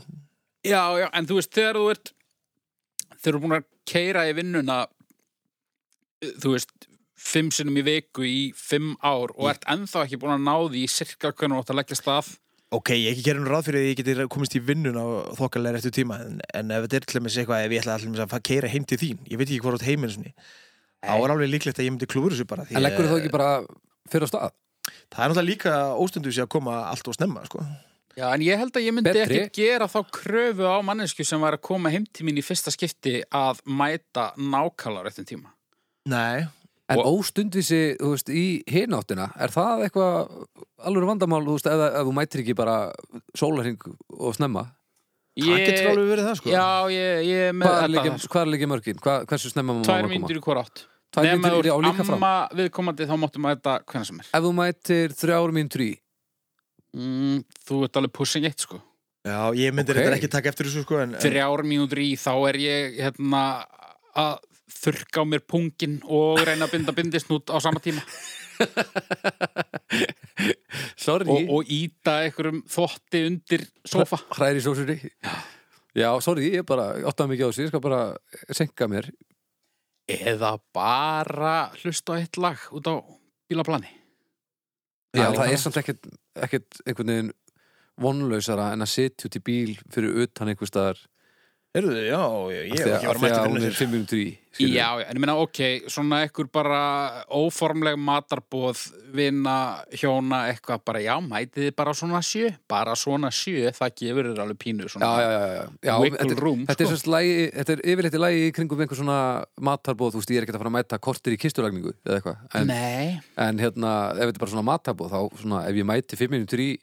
[SPEAKER 2] Já, já, en þú veist, þegar þú ert þegar þú ert búin að keira í vinnuna þú veist, fimm sinnum í viku í fimm ár og ert ennþá ekki búin að ná því í sirka hvernig þú átt að leggja stað
[SPEAKER 3] ok, ég ekki gerum ráð fyrir því að ég geti komist í vinnuna og þokkalega réttu tíma, en, en ef þetta er til dæmis eitthvað, ef ég ætla allir að keira heim til þín ég veit ekki hvað átt heiminn svona þá er alveg líklegt að ég myndi klúður þessu bara því,
[SPEAKER 4] En leggur þú þá ekki bara fyrir á stað?
[SPEAKER 3] það er náttúrulega líka óstundu sér að koma allt og snemma sko.
[SPEAKER 2] Já, en ég held að ég myndi
[SPEAKER 4] Betri.
[SPEAKER 2] ekki gera þá kröfu á mannesku sem var að koma heim til mín í fyrsta skipti að mæta nákvæmlega á réttum tíma.
[SPEAKER 3] Nei,
[SPEAKER 4] En
[SPEAKER 2] Og-
[SPEAKER 4] óstundvísi, þú veist, í hináttina er það eitthvað alveg vandamál, þú veist, ef, ef þú mætir ekki bara sólarhing og snemma
[SPEAKER 3] það getur alveg verið það sko.
[SPEAKER 2] Já, ég, ég er með
[SPEAKER 4] Hvað er
[SPEAKER 2] þetta.
[SPEAKER 4] líka, hvar er líka mörgin? Hvað, hversu snemma má
[SPEAKER 2] Tvær
[SPEAKER 4] maður koma?
[SPEAKER 2] mínútur í hver átt.
[SPEAKER 4] tvær
[SPEAKER 2] Nefn að
[SPEAKER 4] mínútur
[SPEAKER 2] þú
[SPEAKER 4] já, líka fram
[SPEAKER 2] amma viðkomandi þá máttum að þetta hvernig sem er
[SPEAKER 4] ef þú mætir þrjár mínútur í
[SPEAKER 2] mm, Þú ert alveg pushing eitt sko
[SPEAKER 3] Já, ég myndi
[SPEAKER 4] Ok.
[SPEAKER 3] okay. ekki taka eftir þessu sko en, en
[SPEAKER 2] Þrjár mínútur í þá er ég hérna að þurrka á mér pungin og reyna að binda bindisnút á sama tíma
[SPEAKER 4] sorry
[SPEAKER 2] og, og íta einhverjum þvotti undir sofa
[SPEAKER 4] hræri sósunni já, sorry, ég bara áttaði mikið á þessu ég skal bara senka mér
[SPEAKER 2] eða bara hlusta á eitt lag út á bílaplani
[SPEAKER 4] já,
[SPEAKER 2] Já,
[SPEAKER 4] það
[SPEAKER 2] það-
[SPEAKER 4] er samt ekkert, ekkert einhvern veginn vonlausara en að sitja út í bíl fyrir utan einhver staðar
[SPEAKER 3] Heyrðu, já, ég ég hef
[SPEAKER 4] Af
[SPEAKER 3] ekki
[SPEAKER 4] því að- af
[SPEAKER 3] verið
[SPEAKER 4] því
[SPEAKER 3] mætti
[SPEAKER 4] að
[SPEAKER 3] fyrir
[SPEAKER 4] hún er
[SPEAKER 3] nýttir
[SPEAKER 4] 5 minútur í skilurðu.
[SPEAKER 2] Já, já, en ég meina, ok, svona ekkur bara óformleg matarbóð vinna, hjóna, eitthvað bara, já, mætið þið bara svona sjö bara svona sjö, það gefur þér alveg pínu svona,
[SPEAKER 4] já, já, já, já. já
[SPEAKER 2] Wiggle
[SPEAKER 4] þetta,
[SPEAKER 2] room,
[SPEAKER 4] þetta, er
[SPEAKER 2] sko.
[SPEAKER 4] semst lagi, þetta er yfirleitt í lagi í kringum einhver svona matarbóð, þú veist, ég er ekkert að fara að mæta kortir í kistulagningu eða eitthvað en,
[SPEAKER 2] Nei,
[SPEAKER 4] en hérna, ef þetta er bara svona matarbóð þá, svona, ef ég mæti 5 minútur í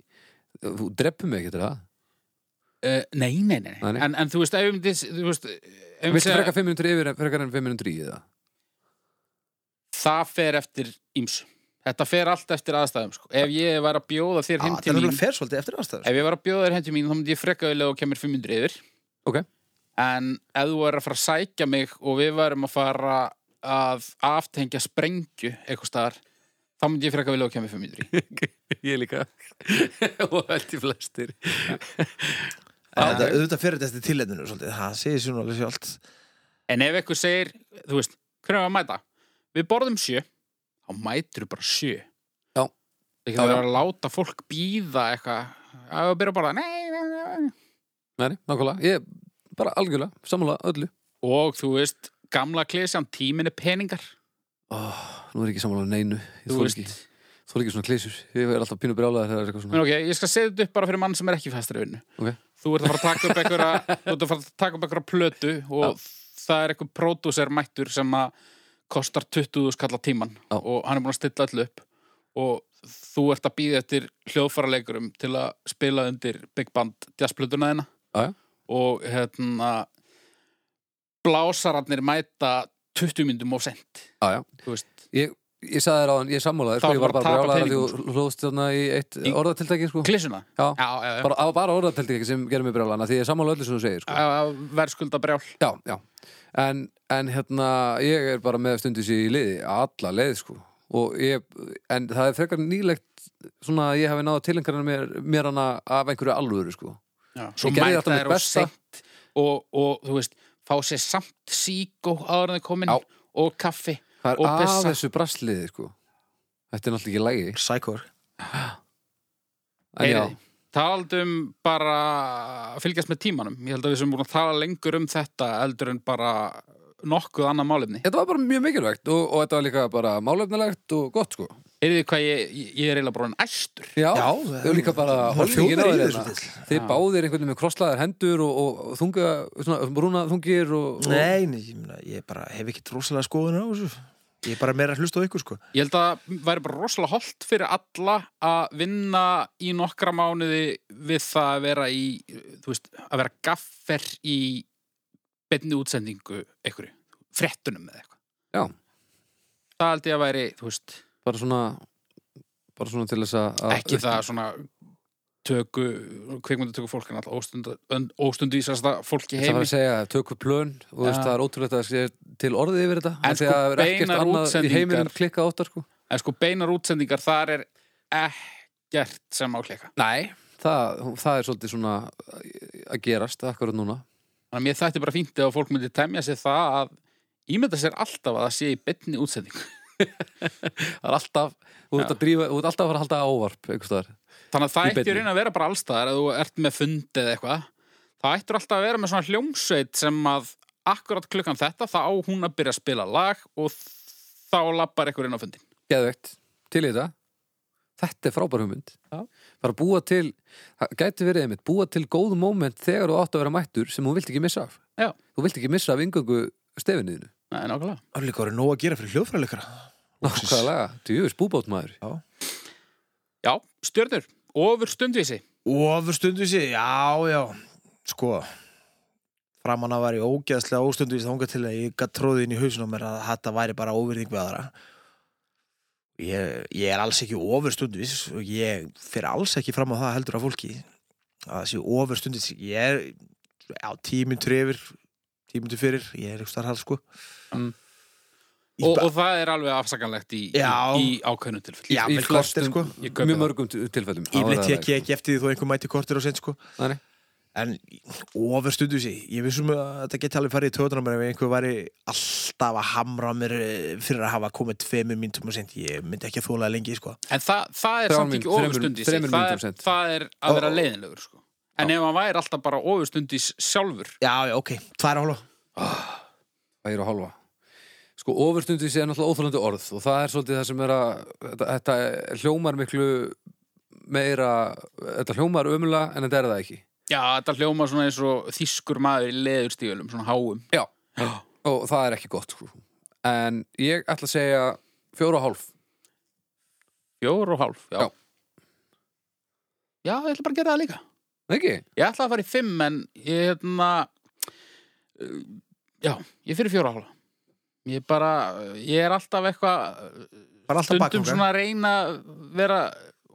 [SPEAKER 4] þú dreppum mig ekkert er það
[SPEAKER 2] uh, nei, nei, nei,
[SPEAKER 4] Nei, nei.
[SPEAKER 2] En, en þú veist, ef við myndið þú veist, ef við
[SPEAKER 4] Viltu
[SPEAKER 2] segja-
[SPEAKER 4] freka 5 minútur yfir en frekar en 5 minútur í eða?
[SPEAKER 2] það fer eftir ímsu Þetta fer allt eftir aðstæðum, sko Ef ég var að bjóða þér heim
[SPEAKER 3] Það
[SPEAKER 2] til
[SPEAKER 3] er
[SPEAKER 2] mín
[SPEAKER 3] alveg fer svolítið eftir aðstæður
[SPEAKER 2] Ef ég var að bjóða þér heim til mín, þá myndi ég frekaðilega og kemur 500 yfir.
[SPEAKER 4] Ok.
[SPEAKER 2] En ef þú er að fara að sækja mig og við varum að fara að aftengja sprengju eitthvað staðar, þá myndi ég frekaðilega og kemur 500 í.
[SPEAKER 4] Ég líka og held í flestir
[SPEAKER 3] En
[SPEAKER 2] Já,
[SPEAKER 3] þetta,
[SPEAKER 2] ok.
[SPEAKER 3] auðvitað fer þetta eftir tilefninu svolítið Það segir sér nú alveg sjálft
[SPEAKER 2] En ef eitthvað segir, þú veist, hvernig að mæta? Við borðum sjö, þá mætur bara sjö.
[SPEAKER 4] Já.
[SPEAKER 2] Ekki
[SPEAKER 4] Já,
[SPEAKER 2] það
[SPEAKER 4] já.
[SPEAKER 2] er að láta fólk býða eitthvað, að við byrja bara, nei, nei, nei, nei.
[SPEAKER 4] Nei, nákvæmlega, ég bara algjörlega, sammála öllu
[SPEAKER 2] Og þú veist, gamla klesjan, tímin er peningar.
[SPEAKER 4] oh, Nú er ég ekki sammála neinu Ég
[SPEAKER 2] Þú
[SPEAKER 4] þóla
[SPEAKER 2] veist.
[SPEAKER 4] ekki, þoli ekki svona klísur Ég er alltaf pínu brjálaðar þegar það er eitthvað
[SPEAKER 2] Men
[SPEAKER 4] svona
[SPEAKER 2] ok, ég skal setja þetta upp bara fyrir mann sem er ekki fæstur í vinnu.
[SPEAKER 4] Ok.
[SPEAKER 2] Þú ert að fara að taka upp einhverja, þú ert að fara að taka upp einhverja plötu og það er einhver pródúser mættur sem að kostar 20 skalla tíman
[SPEAKER 4] Já.
[SPEAKER 2] og hann er búin að stilla allu upp og þú ert að býða eftir hljóðfaraleikurum til að spila undir Big Band jazzplötuna þina
[SPEAKER 4] Já, já.
[SPEAKER 2] og hérna blásararnir mæta 20 myndum of sent,
[SPEAKER 4] Já, já.
[SPEAKER 2] þú veist.
[SPEAKER 4] Ég, ég saði þér á hann, ég er sammálaður
[SPEAKER 2] Þá
[SPEAKER 4] sko, Ég var
[SPEAKER 2] bara
[SPEAKER 4] bara
[SPEAKER 2] tapa
[SPEAKER 4] brjálaðar því
[SPEAKER 2] peningum, sko.
[SPEAKER 4] þú hlóðst þarna í eitt
[SPEAKER 2] Í-
[SPEAKER 4] orðatiltæki sko.
[SPEAKER 2] Klissuna?
[SPEAKER 4] Já,
[SPEAKER 2] Já, já, já.
[SPEAKER 4] bara, á- bara orðatiltæki sem gerir mig brjálaðan af Því ég er sammála öllu sem þú segir sko.
[SPEAKER 2] Bara... Verðskulda brjál.
[SPEAKER 4] Já, já En, en hérna, ég er bara með stundis í liði Alla leið, sko Og ég, en það er frekar nýlegt svona að ég hafi náða tilengarinn mér, mér hana af einhverju alvöru sko.
[SPEAKER 2] Já, svo
[SPEAKER 4] Ég gerði
[SPEAKER 2] mæta
[SPEAKER 4] þetta mitt
[SPEAKER 2] þær og
[SPEAKER 4] besta.
[SPEAKER 2] sent og, og þú veist, fá sér samt síkó áður en þau komin
[SPEAKER 4] Já.
[SPEAKER 2] og kaffi
[SPEAKER 4] Það er
[SPEAKER 2] Og
[SPEAKER 4] að
[SPEAKER 2] pissa.
[SPEAKER 4] þessu brasliði sko. Þetta er náttúrulega ekki lægi
[SPEAKER 3] Sækor
[SPEAKER 4] En já,
[SPEAKER 2] Heyriði, Taldum um bara að fylgjast með tímanum Ég held að við sem búin að tala lengur um þetta eldur en bara nokkuð annað málefni
[SPEAKER 4] þetta var bara mjög mikilvægt og, og þetta var líka bara málefnilegt og gott sko.
[SPEAKER 2] Heyrðu hvað ég, ég er eiginlega bróðin æstur
[SPEAKER 4] Já,
[SPEAKER 3] Já,
[SPEAKER 4] þau eru líka bara
[SPEAKER 3] það
[SPEAKER 4] holningin á
[SPEAKER 3] hljómar í
[SPEAKER 4] þér
[SPEAKER 3] þessu
[SPEAKER 4] hérna.
[SPEAKER 3] svolítið.
[SPEAKER 4] Þið
[SPEAKER 2] Já.
[SPEAKER 4] báðir einhvern veginn með krosslaðar hendur og, og, og þunga, svona, brúna þungir og, og
[SPEAKER 3] Nei, nei, ég, meina, ég bara hef ekki rosalega skoðunar á þessu Ég er bara meira að hlusta á ykkur sko
[SPEAKER 2] Ég held að væri bara rosalega holdt fyrir alla að vinna í nokkra mánuði við það að vera í, þú veist, að vera gaffer í beinni útsendingu einhverju, frettunum eða eitthvað.
[SPEAKER 4] Já.
[SPEAKER 2] Það held ég að væri, þú veist,
[SPEAKER 4] bara svona bara svona til þess að að-
[SPEAKER 2] ekki það svona töku, kvikmyndu töku fólk en alltaf óstundu, óstundvísasta fólk í
[SPEAKER 4] Það var
[SPEAKER 2] heimi.
[SPEAKER 4] að segja, tökum plön og þú veist,
[SPEAKER 2] Já.
[SPEAKER 4] það er ótrúlegt að það sé til orðið yfir þetta
[SPEAKER 2] En
[SPEAKER 4] af því
[SPEAKER 2] sko,
[SPEAKER 4] að það er ekkert
[SPEAKER 2] beinar
[SPEAKER 4] annað í
[SPEAKER 2] útsendingar-
[SPEAKER 4] heiminum klikka óttar sko.
[SPEAKER 2] En sko beinar útsendingar, þar er ekkert sem á klika.
[SPEAKER 4] Nei það, það er svolítið svona að gerast akkurat núna
[SPEAKER 2] Þannig að mér þætti bara fínt ef að fólk myndi temja sér það að ímynda sér alltaf að það sé í beinni útsendingu.
[SPEAKER 4] Það er alltaf, þú ert
[SPEAKER 2] Já.
[SPEAKER 4] að drífa þú ert alltaf að fara að halda ávarp einhvers staðar.
[SPEAKER 2] Þannig að það
[SPEAKER 4] Í
[SPEAKER 2] ætti
[SPEAKER 4] beinni.
[SPEAKER 2] reyna að vera bara allstaðar ef þú ert með fundi eða eitthvað. Það ættir alltaf að vera með svona hljómsveit sem að akkurat klukkan þetta þá á hún að byrja að spila lag og þá lappar einhver inn á fundin.
[SPEAKER 4] Geðveikt, til í þetta Þetta er frábær hugmynd
[SPEAKER 2] Já.
[SPEAKER 4] Bara búa til, það gæti verið einmitt búa til góð moment þegar þú átt að vera mættur sem þú vilt ekki missa af
[SPEAKER 2] Já.
[SPEAKER 4] Þú vilt ekki missa af yngöngu stefinniðinu
[SPEAKER 2] Nei, nákvæmlega.
[SPEAKER 3] Það er líka orðið nóg að gera fyrir hljóðfræðleikara Loksins.
[SPEAKER 4] Nákvæmlega, djúfis búbót maður
[SPEAKER 2] Já, stjörnur, ofur stundvísi.
[SPEAKER 3] Ofur stundu sér, já, já Sko, framan að var ég ógeðslega óstundvís þangað til að ég gat tróðið inn í hausinn á mér að þetta væri bara óvirðing við aðra ég, ég er alls ekki ofurstundvís og ég fer alls ekki fram á það heldur af fólki að það sé ofurstundvís ég er á tímintur yfir tímintur fyrir, ég er ekki starf sko
[SPEAKER 4] Mm.
[SPEAKER 3] Ég
[SPEAKER 2] og,
[SPEAKER 3] bara-
[SPEAKER 2] og það er alveg afsakanlegt í, í,
[SPEAKER 3] Já.
[SPEAKER 2] í ákveðnum tilfell
[SPEAKER 3] Í- Já, vel korter, sko.
[SPEAKER 2] Ég kaupi
[SPEAKER 4] mjög
[SPEAKER 2] það.
[SPEAKER 4] mörgum til- tilfellum
[SPEAKER 3] Yfirleitt tek ég ekki eftir því þó einhver mæti kortir og sent sko
[SPEAKER 4] Nei, nei.
[SPEAKER 3] En ofur stundu sér Ég vissum að þetta geti alveg farið í tóðunar mér ef einhver væri alltaf að hamra á mér eh, fyrir að hafa komið tveimur mínútum og sent Ég myndi ekki að þóla það lengi sko
[SPEAKER 2] En það, það er
[SPEAKER 4] Þrjár
[SPEAKER 2] samt ekki
[SPEAKER 4] mín- þremur-
[SPEAKER 2] ofurstundis
[SPEAKER 4] þremur
[SPEAKER 2] það,
[SPEAKER 4] mínútum
[SPEAKER 2] er-
[SPEAKER 4] sent.
[SPEAKER 2] það er að vera
[SPEAKER 3] Ó.
[SPEAKER 2] leiðinlegur sko. En ef hann væri alltaf bara ofurstundis sjálfur
[SPEAKER 3] Já, já, ok, tvær og hálfa
[SPEAKER 4] Það eru að hálfa Sko, ofurstundis er náttúrulega óþólandi orð og það er svolítið það sem er að þetta, þetta hljómar miklu meira, þetta hljómar ömulega en þetta er það ekki
[SPEAKER 2] Já, þetta hljóma svona eins og þýskur maður í leðurstígulum, svona háum
[SPEAKER 4] Já. og það er ekki gott sko. En ég ætla að segja fjóra og hálf
[SPEAKER 2] Fjór og hálf, já
[SPEAKER 4] Já.
[SPEAKER 2] Já, ég ætla bara að gera það líka
[SPEAKER 4] Nei, ekki?
[SPEAKER 2] Ég ætla að fara í fimm en ég hérna uh, Já, ég fyrir fjóra hálfa Ég bara, ég er alltaf eitthvað uh,
[SPEAKER 3] Bara alltaf
[SPEAKER 2] Stundum
[SPEAKER 3] bakvanga
[SPEAKER 2] svona að reyna að vera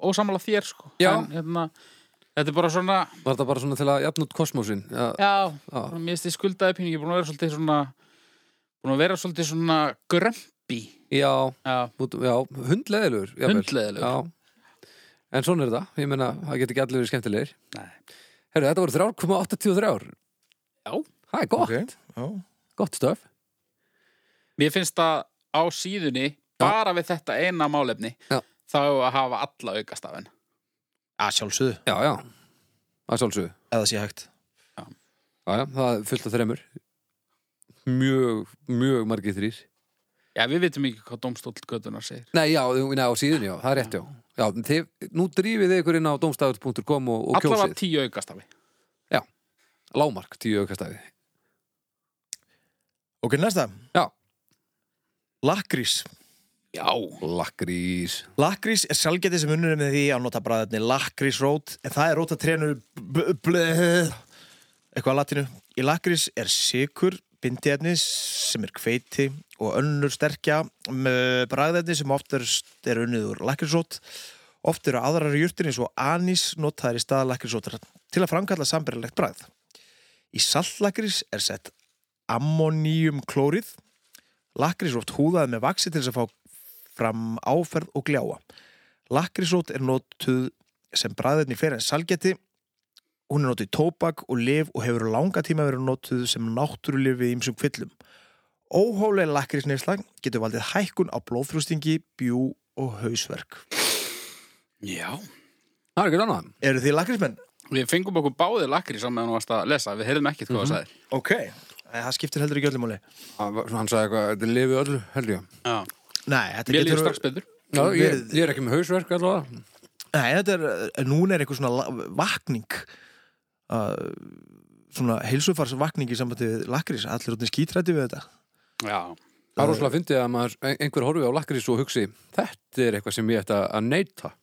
[SPEAKER 2] ósamála þér sko
[SPEAKER 4] Já.
[SPEAKER 2] en, hérna, Þetta er bara svona
[SPEAKER 4] Var þetta bara svona til að jafn út kosmósin? Já,
[SPEAKER 2] Já,
[SPEAKER 4] já.
[SPEAKER 2] svona, mér finnst ég skuldaði pínu Ég er búin að vera svolítið svona Búin að vera svolítið svona grömpi
[SPEAKER 4] já,
[SPEAKER 2] Já,
[SPEAKER 4] út- já hundleðilegur jafnvel.
[SPEAKER 2] Hundleiðilegur.
[SPEAKER 4] Já En svona er þetta, ég meina, það getur ekki allir verið skemmtilegir
[SPEAKER 2] Nei.
[SPEAKER 4] Herru, þetta voru 3,83
[SPEAKER 2] Já.
[SPEAKER 4] Það er gott,
[SPEAKER 3] já.
[SPEAKER 4] gott stöf
[SPEAKER 2] mér finnst að á síðunni Bara við þetta eina málefni
[SPEAKER 4] Já.
[SPEAKER 2] Þá á að hafa alla aukastafin
[SPEAKER 3] Já, sjálfsögðu,
[SPEAKER 4] Já, já, að sjálfsögðu
[SPEAKER 3] ef það sé hægt
[SPEAKER 4] Já, já, það er fullt af þremur Mjög, mjög margir þrýr
[SPEAKER 2] Já, við vitum ekki hvað dómstóll göttunar segir
[SPEAKER 4] Nei, já, nei, á síðunni, já, það er rétt, já Já, þið, nú drífið þið ykkur inn á domstafur.com og, og
[SPEAKER 2] Allavega
[SPEAKER 4] kjósið
[SPEAKER 2] tíu aukastafi
[SPEAKER 4] Lámark, tíu aukastæði
[SPEAKER 3] Ok, næsta
[SPEAKER 4] Já.
[SPEAKER 3] Lakrís
[SPEAKER 2] Já
[SPEAKER 4] Lakrís
[SPEAKER 3] Lakrís er sjálfgetið sem unnur með því að nota bræðinni lakrísrót en það er rótatrénu eitthvað á latinu Í lakrís er sikur bindiðni sem er hveiti og önnur sterkja bræðinni sem oftast er unnið úr lakrísrót Oft eru aðrar jurtinni svo anís notaðir í stað lakrísrótar til að framkalla samberlegt bræð Í saltlakrís er sett ammoniumklórið Lakrísrót húðaði með vaksi til þess að fá fram áferð og gljáa. Lakrísót er notuð sem bræðirni fyrir en salgeti. Hún er notuð í tóbak og lif og hefur langa tíma verið notuð sem náttúrulif við ýmsum kvillum. Óhólega lakrísneisla getur valdið hækkun á blóðfrústingi, bjú og hausverk.
[SPEAKER 2] Já
[SPEAKER 4] Það er ekkert annað
[SPEAKER 3] Eru þið lakrísmenn?
[SPEAKER 2] Við fengum okkur báðir lakrís á meðan þú varst að lesa Við heyrðum ekkert hvað það sagðir
[SPEAKER 3] Ok. Það skiptir heldur ekki öllum áli.
[SPEAKER 4] Hann hann sagði eitthvað, þetta lifið öllu, held ég
[SPEAKER 2] Já.
[SPEAKER 3] Nei,
[SPEAKER 2] Mér
[SPEAKER 3] þetta
[SPEAKER 2] líður
[SPEAKER 3] getur...
[SPEAKER 2] strax betur
[SPEAKER 4] Já, ég,
[SPEAKER 3] Verið-
[SPEAKER 4] ég er ekki með hausverk allavega
[SPEAKER 3] Nei, þetta er... eh, Núna er eitthvað svona la- vakning... Uh, svona heilsufarsvakning í sambandi við lakrís. Allir rótni skítrætti við þetta.
[SPEAKER 2] Já
[SPEAKER 4] Það er rosalega fyndið að maður, ein- einhver horfið á lakrís og hugsi Þetta er eitthvað sem ég ætti að- að neyta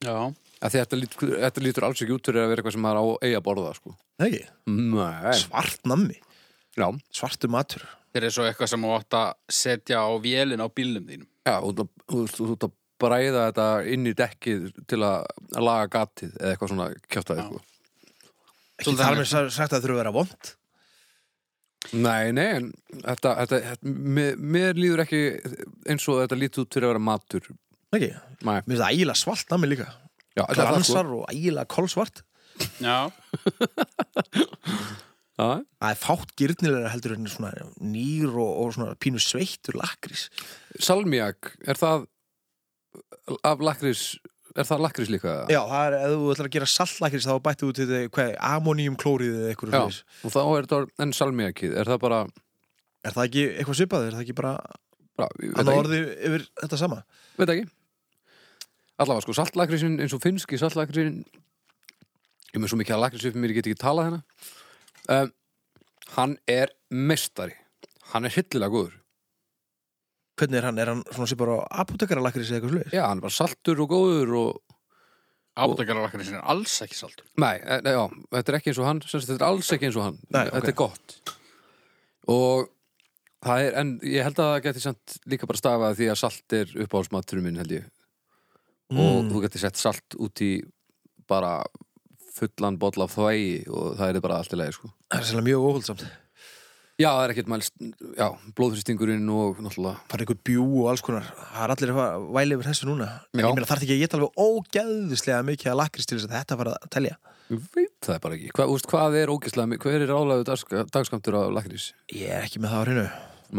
[SPEAKER 2] Já
[SPEAKER 4] Af því Þetta lítur, þetta lítur alls ekki út fyrir að vera eitthvað sem maður á eiga að borða sko.
[SPEAKER 3] Nei, ekki?
[SPEAKER 4] Nei,
[SPEAKER 3] svart nammi,
[SPEAKER 4] já,
[SPEAKER 3] svartu matur
[SPEAKER 2] Þeir eru svo eitthvað sem þú átt að setja á vélin á bílnum þínum
[SPEAKER 4] já þú ert að- þú ert- þú ert að bræða þetta inn í dekkið til að að laga gatið eða eitthvað svona kjátaði sko.
[SPEAKER 3] ekki
[SPEAKER 2] Svolítið
[SPEAKER 3] þar
[SPEAKER 2] þannig.
[SPEAKER 3] með sa- sagt að það þurfa að vera vond
[SPEAKER 4] Nei, nei, en þetta, þetta, þetta mér, mér líður ekki eins og þetta lítur út fyrir að vera matur
[SPEAKER 3] ekki,
[SPEAKER 4] Nei,
[SPEAKER 3] mér finnst það ægilega svart nammi líka
[SPEAKER 4] já, þetta er það sko
[SPEAKER 3] glansar og ægilega kolsvart
[SPEAKER 2] Já
[SPEAKER 4] Já,
[SPEAKER 3] það er fátt gyrnilega heldur en svona nýr og, og svona pínu sveittur lakrís
[SPEAKER 4] Salmiak, er það af lakrís er það lakrís líka?
[SPEAKER 3] já, það er, ef þú ætlar að gera saltlakrís þá bætti út í þetta, hvað, ammoniumklórið eða eitthvað
[SPEAKER 4] Já,
[SPEAKER 3] svoleiðis.
[SPEAKER 4] og þá er þetta en salmiakið, er það bara,
[SPEAKER 3] er það ekki eitthvað svipað, er það ekki bara
[SPEAKER 4] bara ég veit,
[SPEAKER 3] annað
[SPEAKER 4] ekki,
[SPEAKER 3] orði yfir þetta sama
[SPEAKER 4] veit ekki Allavega sko, saltlakrísin eins og finnski saltlakrísin ég er með svo mikið að lakrís upp mér, ég get ekki talað hérna um, Hann er mestari Hann er hillilega góður
[SPEAKER 3] hvernig er hann, er hann svona svipar á apotekara lakrís eða eitthvað sluðis
[SPEAKER 4] Já, hann er bara saltur og góður og
[SPEAKER 2] Ábyrgararlakarinn sinni er alls ekki saltur.
[SPEAKER 4] Nei, e- nei, já, þetta er ekki eins og hann sem sagt, Þetta er alls ekki eins og hann
[SPEAKER 3] Nei, ok.
[SPEAKER 4] Þetta er gott Og það er, en ég held að það geti samt líka bara stafað því að salt er uppáhaldsmaturinn minn held ég
[SPEAKER 3] Mm.
[SPEAKER 4] Og þú geti sett salt út í bara fullan bolla af þvægi og það er bara allt í lagi sko
[SPEAKER 3] Það er sérlega mjög óhaldsamt
[SPEAKER 4] Já, það er ekkert mælst, já, blóðfristingurinn og náttúrulega
[SPEAKER 3] Bara einhver bjú og alls konar Það er allir að fara að væli yfir þessu núna En
[SPEAKER 4] Já.
[SPEAKER 3] ég meina þarf ekki að geta alveg ógeðislega mikið að lakris til þess að þetta fara að telja
[SPEAKER 4] Ég veit það er bara ekki Hva, úst, Hvað er ógeðslega, mi- hver er álæðu dagska, dagskamtur af lakrís?
[SPEAKER 3] Ég er ekki með það á hreinu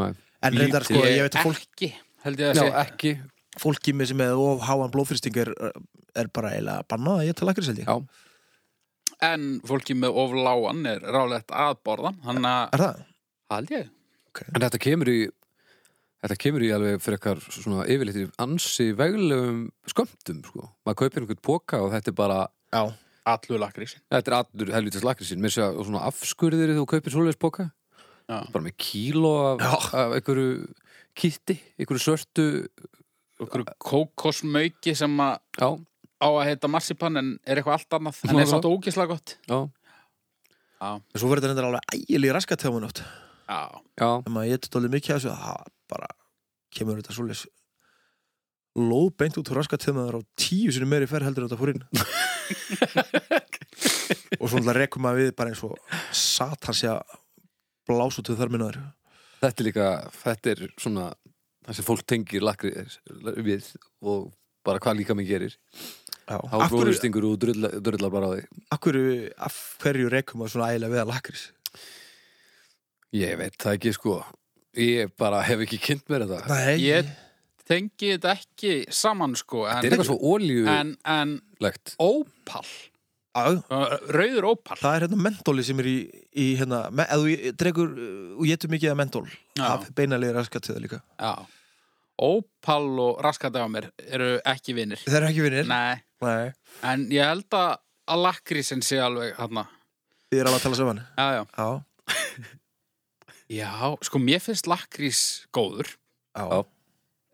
[SPEAKER 4] Nei,
[SPEAKER 3] En reyndar sko, ég veit að fólk,
[SPEAKER 2] Ekki, held ég að
[SPEAKER 4] já,
[SPEAKER 2] segja.
[SPEAKER 4] ekki
[SPEAKER 3] fólki með sem með of háan blóðfyrsting er, er bara eiginlega bannað að geta lakris held ég
[SPEAKER 4] Já,
[SPEAKER 2] En fólki með ofláan er rálegt að borða, hann að
[SPEAKER 3] Er það?
[SPEAKER 2] held ég.
[SPEAKER 4] En þetta kemur í Þetta kemur í alveg fyrir eitthvað svona yfirleitt í ansi veglegum skömmtum sko. Maður kaupir einhvern póka og þetta er bara
[SPEAKER 3] Já
[SPEAKER 2] Allur lakrísin.
[SPEAKER 4] Þetta er allur helvítið slakrisinn Mér sé að og svona afskurðir þú kaupir svoleiðis póka
[SPEAKER 2] Já.
[SPEAKER 4] Bara með kíló af,
[SPEAKER 3] Já.
[SPEAKER 4] af einhverju kitti Einhverju svörtu
[SPEAKER 2] Okkur kókosmauki sem að
[SPEAKER 4] Já,
[SPEAKER 2] á að heita marsipan en er eitthvað allt annað. En er samt ógislega gott.
[SPEAKER 4] já,
[SPEAKER 3] En Svo verður þetta reyndar alveg ægilega raskat þegar maður nátt
[SPEAKER 2] Já.
[SPEAKER 4] já
[SPEAKER 3] Ef maður geta dólið mikið af þessu Það bara kemur þetta svoleiðis Lóð beint út raskat þegar maður á tíu sinni meiri fer heldur en þetta fór inn Og svo náttúrulega rekum maður við bara eins og Satans ég að blása út við þar minnaður
[SPEAKER 4] Þetta er líka, þetta er svona Það sem fólk tengir lakri við og bara hvað líka mig gerir Há
[SPEAKER 3] Af hverju,
[SPEAKER 4] blóðustingur og drullar drulla bara á því
[SPEAKER 3] af hverju, af hverju rekum maður svona ægilega við að lakris
[SPEAKER 4] Ég veit það ekki sko Ég bara hef ekki kynnt mér þetta
[SPEAKER 3] Nei,
[SPEAKER 2] Ég tengi þetta ekki saman sko.
[SPEAKER 4] Þetta
[SPEAKER 2] En,
[SPEAKER 4] er eitthvað svo oljulegt
[SPEAKER 2] en, en ópall,
[SPEAKER 3] á,
[SPEAKER 2] rauður ópall.
[SPEAKER 3] Það er hérna mentólið sem er í, í hérna, me- eða þú dregur uh, og getur mikið að mentól
[SPEAKER 2] Já.
[SPEAKER 3] af beinalegi raskat til það líka
[SPEAKER 2] Já. Ópall og raskat af mér eru ekki vinnir.
[SPEAKER 3] Það er ekki vinnir
[SPEAKER 2] Nei.
[SPEAKER 3] Nei.
[SPEAKER 2] En ég held að, að lakrísin sé alveg hann að.
[SPEAKER 3] Þið er alveg að tala saman
[SPEAKER 2] Já, já.
[SPEAKER 3] Já,
[SPEAKER 2] Já, sko, mér finnst lakrís góður.
[SPEAKER 3] já,
[SPEAKER 4] Já.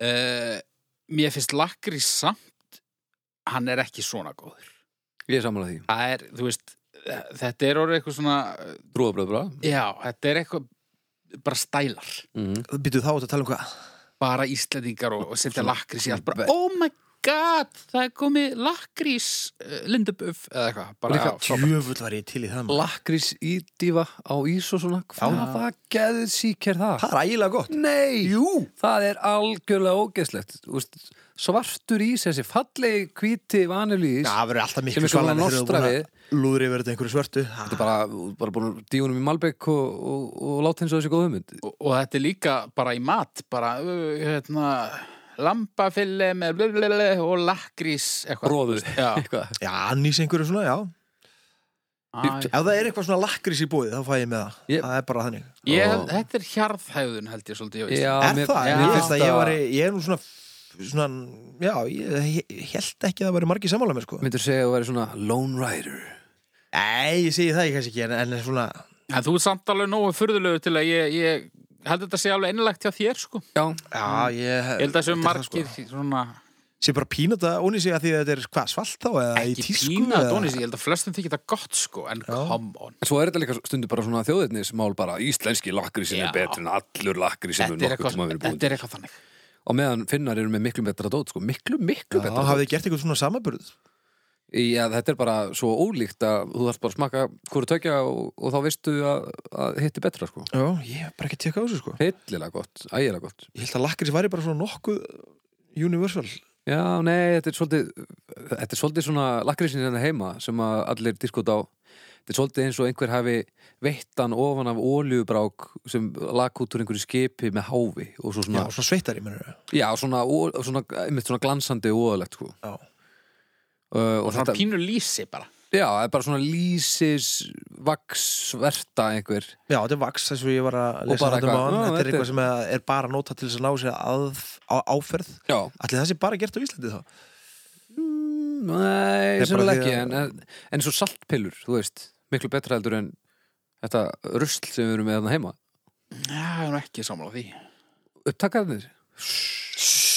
[SPEAKER 2] Uh, mér finnst lakrís samt, hann er ekki svona góður.
[SPEAKER 4] Ég er samanlega því
[SPEAKER 2] Það er, þú veist, eh, þetta er orðið eitthvað svona, eh,
[SPEAKER 4] Brúðabröð bra
[SPEAKER 2] já, þetta er eitthvað bara stælar.
[SPEAKER 4] mm.
[SPEAKER 3] Býtu þá út að tala um hvað
[SPEAKER 2] Bara Íslandingar og, og setja
[SPEAKER 4] Svona-
[SPEAKER 2] lakrís í allt.
[SPEAKER 4] svona
[SPEAKER 2] Bara,
[SPEAKER 4] ve-
[SPEAKER 2] oh my god, það er komið lakrís, uh, linduböf, eða eitthvað. Bara,
[SPEAKER 4] Líka
[SPEAKER 2] já, frábært.
[SPEAKER 3] Djöfull var ég til í það maður.
[SPEAKER 4] Lakrís í dífa á ís og svona Hvað
[SPEAKER 3] Já.
[SPEAKER 4] það geðið síkir það?
[SPEAKER 3] Það er ægilega gott
[SPEAKER 4] Nei,
[SPEAKER 3] Jú
[SPEAKER 4] það er algjörlega ógeðslegt Þú veist, Svartur ís, þessi fallegi hvíti vanilís
[SPEAKER 3] Já, það verður alltaf
[SPEAKER 4] Sem
[SPEAKER 3] miklu
[SPEAKER 4] er svona
[SPEAKER 3] svalan þegar þú
[SPEAKER 4] nostra
[SPEAKER 3] búin að lúðri verður einhverju svörtu
[SPEAKER 4] Þetta er bara, bara búin að díunum í Malbek og, og, og láta eins og þessi góð hugmynd
[SPEAKER 2] og, og þetta er líka bara í mat bara, uh, hérna lambafille með blöblöblö og lakrís eitthvað
[SPEAKER 4] Róður
[SPEAKER 2] Já.
[SPEAKER 4] Eitthvað
[SPEAKER 3] Já, nýs einhverju svona, já
[SPEAKER 2] Æ,
[SPEAKER 3] Ef það er eitthvað svona lakris í búið, þá fæ ég með það
[SPEAKER 4] Ég-
[SPEAKER 3] Það er bara þannig
[SPEAKER 2] ég, hef- þetta er hjarðhæðun held ég svolítið á Íslandi.
[SPEAKER 4] Já,
[SPEAKER 3] Er
[SPEAKER 4] mér-
[SPEAKER 3] það?
[SPEAKER 4] mér
[SPEAKER 3] Ég
[SPEAKER 4] finnst
[SPEAKER 3] finnst að ég
[SPEAKER 4] að-
[SPEAKER 3] var, ég er nú svona Svona, já, ég, ég held ekki að það væri margir sammála mér sko
[SPEAKER 4] Myndur segja að þú væri svona Lone Rider
[SPEAKER 3] Nei, ég segi það ég kannski ekki en, en svona,
[SPEAKER 2] en þú er samt alveg nógu furðulegu til að ég, ég held þetta sé alveg einlægt hjá þér sko ég
[SPEAKER 4] Já,
[SPEAKER 3] já, ég
[SPEAKER 4] Eh,
[SPEAKER 2] held að þessu
[SPEAKER 3] þetta er það,
[SPEAKER 4] sko.
[SPEAKER 2] margir svona
[SPEAKER 3] sko. Sé bara pínata óni sig að því að þetta er hvað, svalt þá eða í
[SPEAKER 2] ekki
[SPEAKER 3] tísku
[SPEAKER 2] pína
[SPEAKER 3] eða-
[SPEAKER 2] dónis, ég held að flestum þykir þetta gott sko en come on,
[SPEAKER 4] en svo er þetta líka stundu bara svona þjóðirnismál bara Íslenski lakrísin
[SPEAKER 2] Já.
[SPEAKER 4] er betri en allur lakrísin
[SPEAKER 2] þetta er, eitthvað, þetta er eitthvað þannig
[SPEAKER 4] og meðan finnar eru með miklu betra dót sko, miklu, miklu
[SPEAKER 3] Já,
[SPEAKER 4] betra
[SPEAKER 3] hafið þið gert eitthvað svona samaburð
[SPEAKER 4] dót Já, þetta er bara svo ólíkt að þú þarfst bara að smaka hverju tökja og, og þá veistu að, að hitt er betra sko
[SPEAKER 3] Já, ég hef bara ekki tekað á þessu sko
[SPEAKER 4] heillilega gott, ægilega gott
[SPEAKER 3] Ég held að lakrís væri bara svona nokkuð uh, universal
[SPEAKER 4] Já, nei, þetta er svolítið þetta er svolítið svona lakrísin hérna heima sem að allir diskot á þetta er svolítið eins og einhver hafi veittan ofan af óljubrák sem lak út úr einhverju skipi með háfi og svo
[SPEAKER 3] Já,
[SPEAKER 4] svona,
[SPEAKER 3] svona sveitari, mennur
[SPEAKER 4] já, svona, ó- svona, einmitt svona glansandi og óðalegt sko.
[SPEAKER 3] Já,
[SPEAKER 4] uh, og
[SPEAKER 2] svona
[SPEAKER 4] þetta,
[SPEAKER 2] pínu lýsi bara
[SPEAKER 4] já, það er bara svona lýsis vaksverta einhver
[SPEAKER 3] já þetta er vaks eins og ég var að lesa
[SPEAKER 4] bara
[SPEAKER 3] þetta um
[SPEAKER 4] eitthvað,
[SPEAKER 3] án
[SPEAKER 4] já,
[SPEAKER 3] Þetta
[SPEAKER 4] þetta
[SPEAKER 3] er
[SPEAKER 4] er-
[SPEAKER 3] eitthvað sem að er bara nota til þess að ná sér að, á, áferð
[SPEAKER 4] já,
[SPEAKER 3] Ætli það sé bara gert á Íslandi þá
[SPEAKER 4] Mm,
[SPEAKER 3] Þetta
[SPEAKER 4] Nei,
[SPEAKER 3] er bara
[SPEAKER 4] sannlega
[SPEAKER 3] því
[SPEAKER 4] ekki
[SPEAKER 3] að-
[SPEAKER 4] en, en, en svo saltpillur, þú veist miklu betra heldur en þetta rusl sem við erum með þarna heima
[SPEAKER 2] já, ég er nú ekki sammála því
[SPEAKER 4] upptakaðnir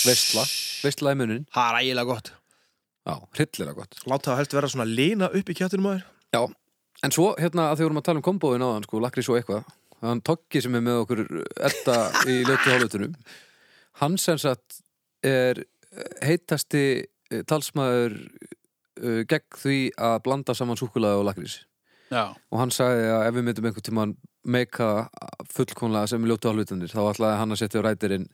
[SPEAKER 4] veistla, veistla í munin
[SPEAKER 3] Það er ægilega gott
[SPEAKER 4] Já, hryllilega gott
[SPEAKER 3] Láta það helst vera svona lina upp í kjættinum aður
[SPEAKER 4] Já, en svo hérna að því vorum að tala um kombóin áðan, sko, lakrís og eitthvað hann Toggi sem er með okkur Edda í ljóttu hálfutunum hann sem sagt er heitasti eh, talsmaður eh, gegn því að blanda saman súkulaði og lakrís
[SPEAKER 2] já,
[SPEAKER 4] og hann sagði að ef við myndum einhvern tímann meika fullkonlega sem ljóttu hálfutunir þá ætlaði hann að setja á rætirinn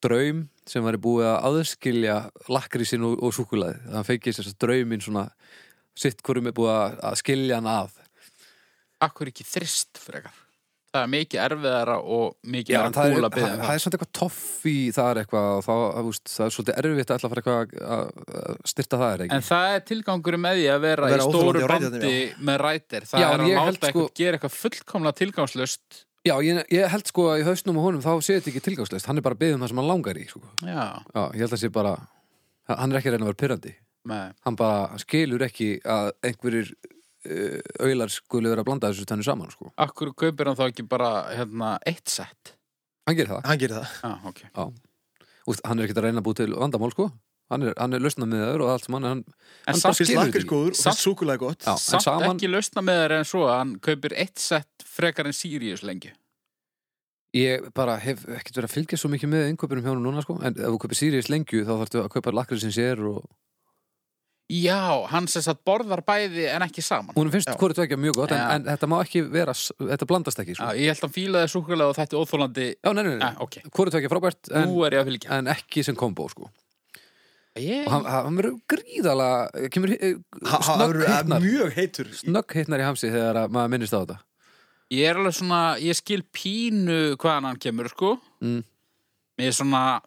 [SPEAKER 4] draum sem væri búið að aðskilja lakrísin og, og súkulaði hann feikið þess að drauminn svona sitt hverjum er búið að, að skilja hann að
[SPEAKER 2] akkur ekki þrist frekar það er mikið erfiðara og mikið
[SPEAKER 4] Já,
[SPEAKER 2] meira
[SPEAKER 4] en það, er,
[SPEAKER 2] kúla að
[SPEAKER 4] það,
[SPEAKER 2] beða um
[SPEAKER 4] það er samt eitthvað toff í það er eitthvað og þá, það, úst, það er svolítið erfitt að ætla að fara eitthvað að- að- að styrta það er ekki
[SPEAKER 2] En það er tilgangur með því að vera,
[SPEAKER 3] Vera
[SPEAKER 2] í stóru
[SPEAKER 3] óþolandi á
[SPEAKER 2] bandi
[SPEAKER 3] rætinu,
[SPEAKER 2] með rætir. Það
[SPEAKER 4] Já, en
[SPEAKER 2] er að
[SPEAKER 4] ég
[SPEAKER 2] láta
[SPEAKER 4] held, sko-
[SPEAKER 2] eitthvað gera eitthvað fullkomlega tilgangslust.
[SPEAKER 4] Já, ég, ég held sko að í hausnum á honum þá sé þetta ekki tilgangslegt, hann er bara að byggja um það sem hann langar í sko.
[SPEAKER 2] Já,
[SPEAKER 4] Já, ég held að sé bara hann er ekki að reyna að vera pyrrandi
[SPEAKER 2] með,
[SPEAKER 4] hann bara skilur ekki að einhverjir uh, auðlar skuli vera að blanda þessu tennu saman sko.
[SPEAKER 2] akkur kaupir hann þá ekki bara hérna, eitt sett?
[SPEAKER 4] hann gerir það,
[SPEAKER 3] Hann gerir það
[SPEAKER 2] Já, Ah, ok.
[SPEAKER 4] Úst, hann er ekki að reyna að búi til vandamál sko. hann er, hann er lausna með og allt sem hann, hann
[SPEAKER 2] En
[SPEAKER 4] Hann bara
[SPEAKER 2] samt,
[SPEAKER 4] skil-
[SPEAKER 3] Fyrst
[SPEAKER 4] Skilur
[SPEAKER 3] lakrís
[SPEAKER 4] þetta
[SPEAKER 3] góður og
[SPEAKER 2] Samt-
[SPEAKER 3] fyrst súkulega gott
[SPEAKER 4] já, en
[SPEAKER 2] samt
[SPEAKER 4] saman-
[SPEAKER 2] ekki lausna með þeir en svo að hann kaupir eitt sett frekar en Sirius lengi.
[SPEAKER 4] Ég bara hef ekkert verið að fylgja svo mikið með innkaupunum hjá hún núna sko En ef þú kaupir Sirius lengju þá þarftu að kaupa lakrið sem sér og
[SPEAKER 2] Já, hann sem sagt borðar bæði en ekki saman.
[SPEAKER 4] Hún finnst
[SPEAKER 3] Já.
[SPEAKER 4] hvort tvekja mjög gott en,
[SPEAKER 2] Já.
[SPEAKER 4] en þetta má ekki vera, s- þetta blandast
[SPEAKER 2] Já,
[SPEAKER 4] ekki sko. Já,
[SPEAKER 2] ég held að hann fílaði súkulega og þetta óþólandi.
[SPEAKER 4] nei, nei, nei,
[SPEAKER 2] Já, ok.
[SPEAKER 4] hvort tvekja frábært en,
[SPEAKER 2] Nú er ég að fylgja.
[SPEAKER 4] en ekki sem kombo sko
[SPEAKER 2] Ég,
[SPEAKER 4] Og hann, hann verður gríðalega, kemur eh,
[SPEAKER 3] Ha- ha- hann
[SPEAKER 4] snögg
[SPEAKER 3] er
[SPEAKER 4] hittnar
[SPEAKER 3] Mjög heitur í-
[SPEAKER 4] Snögg hittnar í hamsi þegar að maður minnist á þetta
[SPEAKER 2] ég er alveg svona, ég skil pínu hvaðan hann kemur, sko.
[SPEAKER 4] mm.
[SPEAKER 2] með svona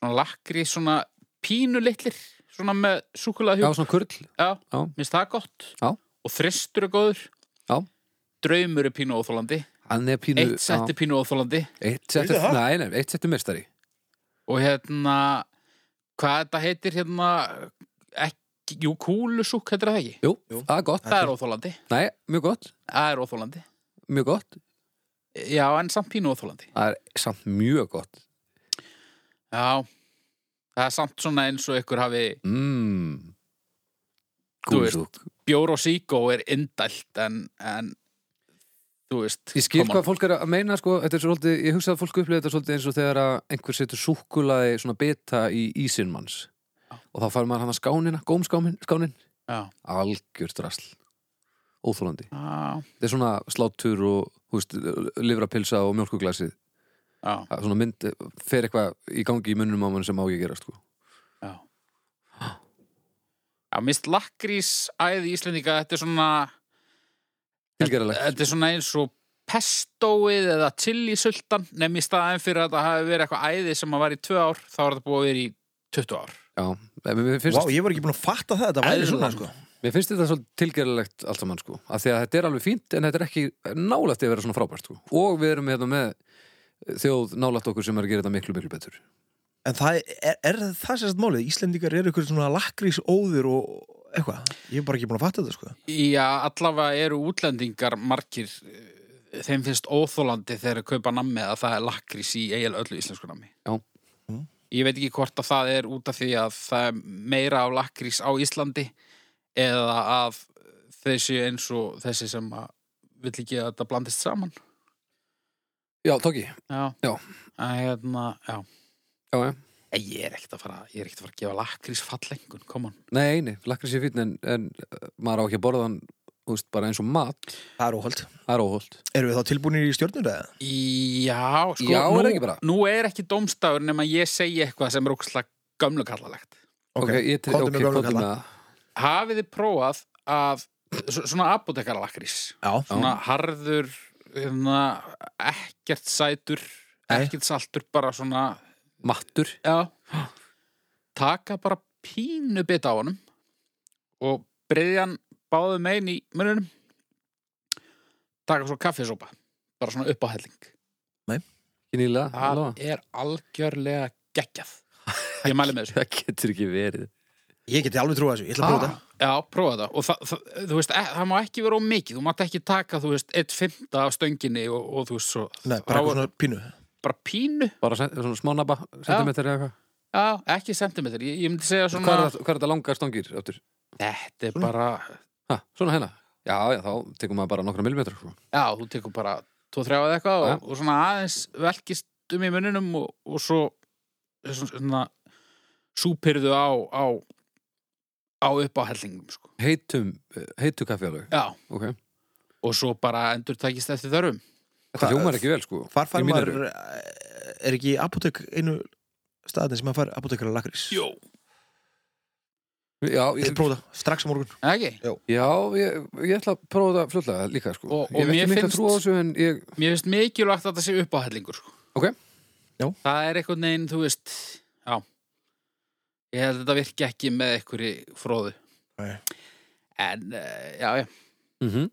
[SPEAKER 2] svona lakri, svona pínu litlir, svona með súkulega
[SPEAKER 4] Já,
[SPEAKER 2] hjúk,
[SPEAKER 4] svona kurl
[SPEAKER 2] já,
[SPEAKER 4] já.
[SPEAKER 2] minnst það gott
[SPEAKER 4] Já.
[SPEAKER 2] og þristur er góður
[SPEAKER 4] Já.
[SPEAKER 2] draumur er pínu óþólandi
[SPEAKER 4] Hann er pínu
[SPEAKER 2] eitt sett er pínu óþólandi
[SPEAKER 4] já, Eitt sett
[SPEAKER 3] Veitu
[SPEAKER 4] er,
[SPEAKER 3] það?
[SPEAKER 4] nei, nei, eitt sett er mestari
[SPEAKER 2] og hérna hvað þetta heitir hérna ekki, jú, kúlusúk heitir það ekki,
[SPEAKER 4] Jú,
[SPEAKER 3] Jú.
[SPEAKER 4] það er gott,
[SPEAKER 2] það er óþólandi
[SPEAKER 4] nei, mjög gott,
[SPEAKER 2] það er óþólandi,
[SPEAKER 4] mjög gott
[SPEAKER 2] já, en samt pínu óþólandi
[SPEAKER 4] Það er samt mjög gott
[SPEAKER 2] já, það er samt svona eins og ykkur hafi
[SPEAKER 4] Mmm
[SPEAKER 2] Mm. Þú veist.
[SPEAKER 4] Gúsúk
[SPEAKER 2] bjór og síkó er indælt en, en þú veist
[SPEAKER 4] Ég skil
[SPEAKER 2] come on.
[SPEAKER 4] hvað fólk er að meina sko, þetta er svolítið, ég hugsa að fólk upplifir þetta svolítið eins og þegar að einhver setur súkkulaði svona beta í ísinn manns
[SPEAKER 2] Já.
[SPEAKER 4] og þá fær maður hann að skánina, gómskánin skánin,
[SPEAKER 2] já
[SPEAKER 4] algjör drasl óþólandi,
[SPEAKER 2] Já,
[SPEAKER 4] þetta er svona slátur og húst, livrapilsa og mjólkuglasið
[SPEAKER 2] já,
[SPEAKER 4] Að svona mynd, eh, fer eitthvað í gangi í munnum á mann sem á ég gera sko.
[SPEAKER 2] já. Já, mist lakkrís æði Íslendinga, þetta er svona
[SPEAKER 4] tilgerðalegt,
[SPEAKER 2] þetta er svona eins og pestóið eða chilisultan, nefn í staðan fyrir að þetta hafi verið eitthvað æði sem að var í tvö ár, þá var þetta búið að vera í 20 ár.
[SPEAKER 4] já, En mér finnst,
[SPEAKER 3] Vá, ég var ekki búin að fatta það, þetta væri
[SPEAKER 2] Eðlan.
[SPEAKER 3] svona sko.
[SPEAKER 4] mér finnst þetta svolítið tilgerðalegt allt saman sko, af því að þetta er alveg fínt en þetta er ekki nálægt í að vera svona frábært sko. og við erum hérna með þjóð nálægt okkur sem er að gera þetta miklu, miklu betur
[SPEAKER 3] En það er, er það sérst málið Íslendingar eru ykkur svona lakrís óður og eitthvað, ég er bara ekki búin að fatta þetta sko.
[SPEAKER 2] Já, allavega eru útlendingar margir, eh, þeim finnst óþólandi þegar að kaupa nammi að það er lakkrís í eiginlega öllu íslensku nammi.
[SPEAKER 4] Já.
[SPEAKER 3] Mm.
[SPEAKER 2] Ég veit ekki hvort að það er út af því að það er meira af lakkrís á Íslandi eða að þau séu eins og þessi sem að vill ekki að þetta blandist saman.
[SPEAKER 4] Já, Tóki,
[SPEAKER 2] Já.
[SPEAKER 4] Já.
[SPEAKER 2] Að, hérna, já.
[SPEAKER 4] já, já
[SPEAKER 2] En Ég er ekkert að fara, ég er ekkert að fara að gefa lakkrís fallengun, come on.
[SPEAKER 4] Nei, eini, lakrís er fín en, en uh, maður á ekki að borða hann úst, bara eins og mat,
[SPEAKER 3] Það er óholt.
[SPEAKER 4] það er óholt
[SPEAKER 3] Erum við þá tilbúinir í stjórnur eða?
[SPEAKER 2] Já, sko,
[SPEAKER 4] Já, er
[SPEAKER 2] nú,
[SPEAKER 4] það ekki bara?
[SPEAKER 2] nú er ekki dómstafur nema ég segi eitthvað sem er ókslega gömlukallalegt.
[SPEAKER 4] Ok, ég til,
[SPEAKER 3] komdu
[SPEAKER 4] ok,
[SPEAKER 3] með hérna. gömlu
[SPEAKER 4] komdu með
[SPEAKER 3] kalla.
[SPEAKER 4] það
[SPEAKER 2] hafið þið prófað að s- svona apotekaralakrís
[SPEAKER 3] Já,
[SPEAKER 2] svona harður hérna, ekkert sætur
[SPEAKER 3] Nei.
[SPEAKER 2] ekkert saltur, bara svona
[SPEAKER 4] Mattur,
[SPEAKER 2] já, taka bara pínu bita á honum og breyðjan báðu megin í mununum taka svo kaffisópa bara svona uppáhelling
[SPEAKER 4] kynilega
[SPEAKER 2] það
[SPEAKER 4] allavega.
[SPEAKER 2] er algjörlega geggjað ég mæli með þessu
[SPEAKER 4] Það getur ekki verið
[SPEAKER 3] ég geti alveg trúið þessu, ég ætla að prófa þetta.
[SPEAKER 4] Ah,
[SPEAKER 2] Já, prófa þetta og það, það, þú veist, e, það má ekki vera of mikið, þú mátt ekki taka, þú veist, eitt fymta af stönginni og, og þú veist, svo
[SPEAKER 3] Nei, bara eitthvað svona pínu.
[SPEAKER 2] bara pínu,
[SPEAKER 4] Bara sen- svona smá nabba, sentimetri eða eitthvað
[SPEAKER 2] já, Já, ekki sentimeter, ég, ég myndi segja svona
[SPEAKER 4] Hvað er, það- hvað er þetta langar stangir? Aftur?
[SPEAKER 2] Þetta er bara
[SPEAKER 4] Ha, svona hérna? Já, já, þá tekum maður bara nokkra millimetrar sko.
[SPEAKER 2] Já, þú tekur bara 2-3 eða eitthvað
[SPEAKER 4] Já.
[SPEAKER 2] og, og svona aðeins velkist um í munninum og, og svo svona, svona súpyrðu á, á, á upp á hellingum sko.
[SPEAKER 4] Heitum, eh, heitu kaffi alveg
[SPEAKER 2] Já,
[SPEAKER 4] okay.
[SPEAKER 2] og svo bara endur takist eftir þörfum
[SPEAKER 4] Þetta
[SPEAKER 3] Hvað-
[SPEAKER 4] hljómar ekki vel sko
[SPEAKER 3] Hvar
[SPEAKER 4] Í
[SPEAKER 3] fær
[SPEAKER 4] mínu
[SPEAKER 3] maður, eh, er ekki apotek einu staðin sem maður fær apotekar að lakrís?
[SPEAKER 2] Jó
[SPEAKER 4] Já,
[SPEAKER 3] Ég
[SPEAKER 4] ég,
[SPEAKER 3] prófa það, strax á morgun.
[SPEAKER 2] Ekki,
[SPEAKER 4] já ég, ég ætla að prófa þetta fljótlega líka sko
[SPEAKER 2] Og- og
[SPEAKER 4] Ég hef
[SPEAKER 2] mér
[SPEAKER 4] ekki mikla
[SPEAKER 2] finnst-
[SPEAKER 4] trú á þessu en ég
[SPEAKER 2] mér finnst mikilvægt að þetta sé upp á hellingur sko.
[SPEAKER 4] Ok.
[SPEAKER 3] Já.
[SPEAKER 2] Það er eitthvað neginn, þú veist Já Ég held að þetta virki ekki með einhverju fróðu
[SPEAKER 3] Nei.
[SPEAKER 2] En, uh, já, já
[SPEAKER 4] mm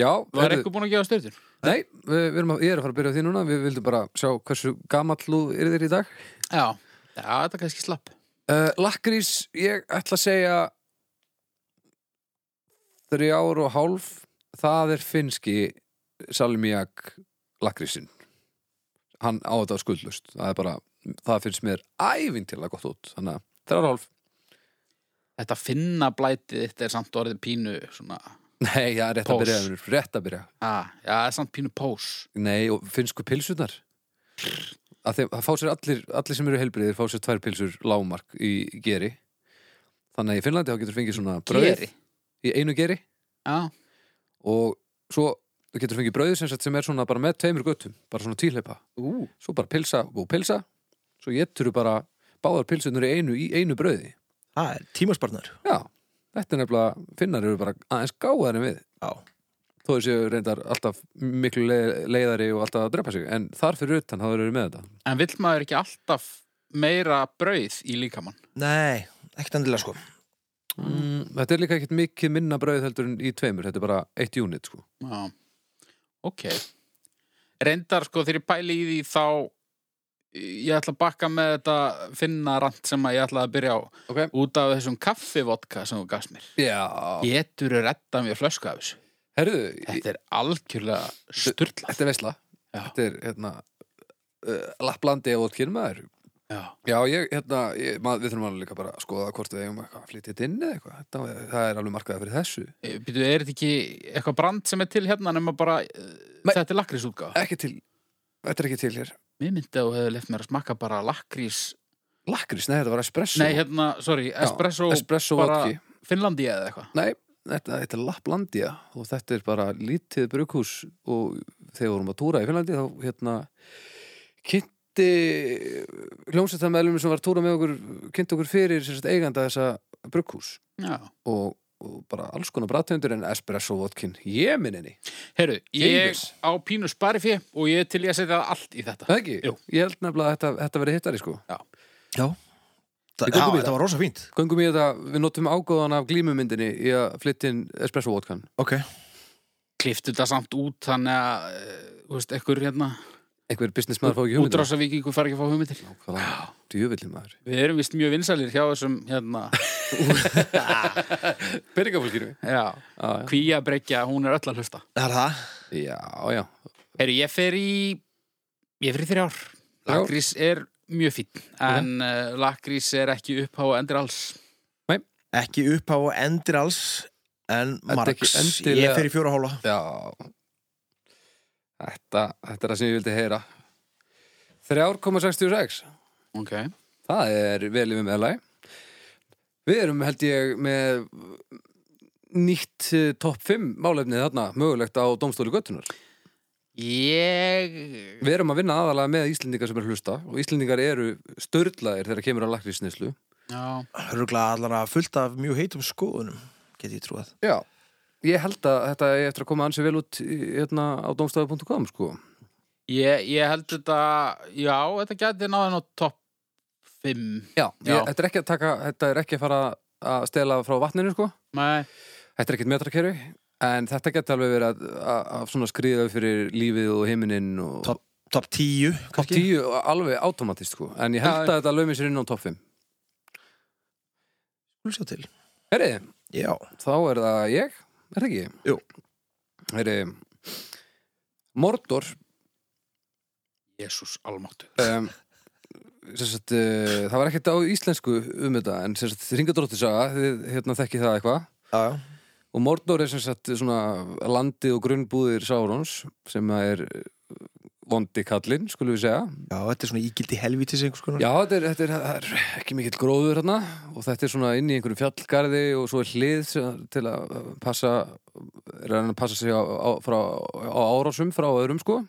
[SPEAKER 4] Já,
[SPEAKER 2] Mhm. Var
[SPEAKER 4] heyrðu-
[SPEAKER 2] eitthvað búin að gefa styrtun?
[SPEAKER 4] Nei, við, við erum að, ég er að fara að byrja á því núna Við vildum bara sjá hversu gamall þú er þér í dag
[SPEAKER 2] Já, já, þetta kannski slapp
[SPEAKER 4] uh, Lakrís, ég ætla að segja Þrjár og hálf Það er finski Salmiak lakrísin Hann á þetta skuldlust Það er bara, það finnst mér ævintilega gott út Þannig að þrjár og hálf
[SPEAKER 2] Þetta finna blætið þitt er samt orðið pínu svona,
[SPEAKER 4] Nei, það er rétt
[SPEAKER 2] Pós.
[SPEAKER 4] að byrja, vinur, rétt að byrja
[SPEAKER 2] að, já, það er samt pínu pós
[SPEAKER 4] Nei, og finnsku pilsunar að þeim, það fá sér allir, allir sem eru helbriðir fá sér tvær pilsur lágmark í geri þannig að í Finnlandi þá getur fengið svona brauð
[SPEAKER 2] Geri,
[SPEAKER 4] í einu geri
[SPEAKER 2] já,
[SPEAKER 4] og svo þú getur fengið brauð sem, sagt sem er svona bara með tveimur göttum bara svona tíhleipa,
[SPEAKER 2] ú,
[SPEAKER 4] svo bara pilsa og pilsa, svo getur þú bara báðar pilsunar í einu, í einu brauði
[SPEAKER 3] Það er tímaspartner.
[SPEAKER 4] Já, þetta er nefnilega, finnar eru bara aðeins gáðar en við
[SPEAKER 3] Já.
[SPEAKER 4] þó þessi reyndar alltaf miklu leið- leiðari og alltaf að drepa sig en þar fyrir utan þá eru við með þetta
[SPEAKER 2] en vill maður ekki alltaf meira brauð í líkamann
[SPEAKER 3] Nei, ekkert endilega sko.
[SPEAKER 4] Mm, þetta er líka ekkert mikið minna brauð heldur en í tveimur, þetta er bara eitt unit sko.
[SPEAKER 2] Já, ok Reyndar, sko, þegar ég pæli í því þá ég ætla að bakka með þetta finna rand sem að ég ætla að byrja á
[SPEAKER 4] okay.
[SPEAKER 2] út af þessum kaffivodka sem þú gafst mér
[SPEAKER 4] Já,
[SPEAKER 2] Getur að redda mér flösku af þessu
[SPEAKER 4] herðu
[SPEAKER 2] Þetta er algjörlega sturla
[SPEAKER 4] Þetta er veisla
[SPEAKER 2] Já.
[SPEAKER 4] Þetta er hérna uh, Lapplandi og vodkin maður
[SPEAKER 2] Já,
[SPEAKER 4] Já, ég, hérna, ég, maður, við þurfum alveg líka bara að skoða hvort við eigum eitthvað að flytja þetta inn eða eitthvað þetta, það er alveg markaði fyrir þessu
[SPEAKER 2] Býtu, Eh, er þetta ekki eitthvað brand sem er til hérna nema bara uh,
[SPEAKER 4] Nei. Eh.
[SPEAKER 2] þetta er lakrísútgáfa?
[SPEAKER 4] Ekki til, þetta er ekki til hér
[SPEAKER 2] Mér myndi að þú hefði left mér að smakka bara lakrís
[SPEAKER 4] Lakrís, nei, þetta var espresso
[SPEAKER 2] Nei, hérna, sorry, espresso,
[SPEAKER 4] espresso
[SPEAKER 2] bara
[SPEAKER 4] vodki.
[SPEAKER 2] Finnlandi eða eitthvað
[SPEAKER 4] Nei, þetta, þetta er Lapplandia og þetta er bara lítið brukhús og þegar við vorum að túra í Finnlandi þá hérna kynnti hljómsættamæðlum sem var að túra með okkur kynnti okkur fyrir sem sagt, eiganda þessa brukhús
[SPEAKER 2] Já
[SPEAKER 4] og, og bara alls konar brættöndur en espresso vodkin ég minni
[SPEAKER 2] Herru, ég
[SPEAKER 4] Ylfus.
[SPEAKER 2] á pínu sparifé og ég er til ég að setja allt í þetta
[SPEAKER 4] Það ekki?
[SPEAKER 2] Jú.
[SPEAKER 4] Ég held nefnilega að þetta, þetta verið hittari sko
[SPEAKER 3] Já. Þa,
[SPEAKER 4] Við
[SPEAKER 3] já,
[SPEAKER 4] göngum í
[SPEAKER 3] þetta var rosa fínt.
[SPEAKER 4] Göngum í þetta, við notum ágóðan af glímumyndinni í að flytta inn espresso vodkan
[SPEAKER 3] Ok.
[SPEAKER 2] Kliftu þetta samt út þannig að uh, þú veist, ekkur hérna
[SPEAKER 4] Einhver business maður fá ekki hugmyndir
[SPEAKER 2] útrásavíkingur fær ekki að fá hugmyndir
[SPEAKER 4] Nákvæmlega. Djöfullinn maður
[SPEAKER 2] Við erum vist mjög vinsælir hjá þessum hérna,
[SPEAKER 4] Bergafólkinu
[SPEAKER 2] já,
[SPEAKER 4] Já,
[SPEAKER 2] kvíabrekja, hún er öll að hlusta
[SPEAKER 3] Það er það.
[SPEAKER 4] já, já, já.
[SPEAKER 2] Herru, ég fer í ég fer í þrjár
[SPEAKER 4] Já.
[SPEAKER 2] Lakrís er mjög fín en uh, lakrís er ekki upphá og endur alls
[SPEAKER 3] Ekki upphá og endir alls, en
[SPEAKER 4] er
[SPEAKER 3] margs.
[SPEAKER 4] ekki endilega-
[SPEAKER 3] Ég fer í fjóra hóla.
[SPEAKER 4] Já Þetta, þetta er það sem ég vildi heyra 3,66
[SPEAKER 2] Ok
[SPEAKER 4] Það er vel yfir meðlæg Við erum held ég með nýtt eh, topp 5 málefnið þarna mögulegt á Dómstóli Götunar
[SPEAKER 2] Ég
[SPEAKER 4] Við erum að vinna aðalega með Íslendingar sem eru að hlusta og Íslendingar eru störlaðir þegar kemur að lakrísnislu
[SPEAKER 2] Já,
[SPEAKER 3] Rugla allara fullt af mjög heitum skoðunum, get ég trúið.
[SPEAKER 4] Já Ég held að þetta er eftir að koma ansi vel út í- hérna á domstafi.com sko
[SPEAKER 2] ég, ég held þetta Já, þetta gæti náðan á topp 5
[SPEAKER 4] Já,
[SPEAKER 2] Já.
[SPEAKER 4] Ég, þetta, er ekki að taka, þetta er ekki að fara að stela frá vatninu sko
[SPEAKER 2] Nei,
[SPEAKER 4] Þetta er ekkert metrakerfi En þetta geti alveg verið að, að, að svona skrýða fyrir lífið og heiminin og
[SPEAKER 3] Topp Top 10,
[SPEAKER 4] Topp
[SPEAKER 3] kannski.
[SPEAKER 4] 10 og alveg automatist sko En ég
[SPEAKER 2] Já.
[SPEAKER 4] held að þetta laumi sér inn á topp 5
[SPEAKER 3] Top 10. Sjá til.
[SPEAKER 4] Herri,
[SPEAKER 3] Já.
[SPEAKER 4] þá er það ég Er það ekki?
[SPEAKER 3] Jú.
[SPEAKER 4] Herri Mordor
[SPEAKER 2] Jésús almáttu
[SPEAKER 4] um, sem sagt, uh, það var ekkert á íslensku um þetta en sem sagt, ringadróttisaga, þið hérna þekki það eitthvað
[SPEAKER 3] já, já.
[SPEAKER 4] og Mordor er sem sagt svona landi og grunnbúðir Saurons sem að er eh, vondi kallinn, skulum við segja
[SPEAKER 3] já, þetta er svona ígildi helvítis einhvers konar
[SPEAKER 4] Já, þetta er, þetta er, það er ekki mikill gróður hérna og þetta er svona inn í einhverju fjallgarði og svo er hlið sem- til að uh, passa reyna að passa sig á, á, frá, á árásum frá öðrum sko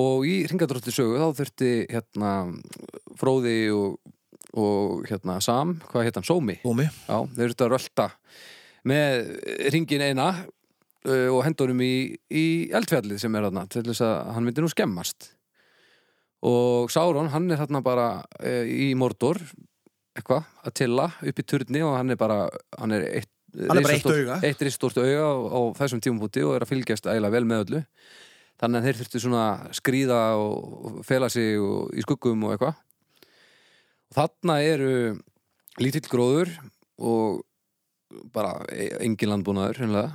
[SPEAKER 4] og í ringadrótti sögu þá þurfti hérna Fróði og, og hérna Sam, hvað hérna, Sómi
[SPEAKER 3] Gómi,
[SPEAKER 4] Já, þeir eru þetta að rölda með ringin eina uh, og hendunum í, í eldfjallið sem er þarna til þess að hann myndi nú skemmast og Sauron, hann er þarna bara uh, í Mordor eitthvað, að tilla upp í turni og hann er bara hann er eitt,
[SPEAKER 3] Hann er bara eitt
[SPEAKER 4] risastórt-
[SPEAKER 3] auga.
[SPEAKER 4] eitt ristort auga á, á þessum tímupúti og er að fylgjast ægilega vel með öllu þannig að þeir þurftu svona skríða og og fela sig og, í skuggum og eitthvað og þarna eru lítill gróður og bara e- engin landbúnaður hreinlega.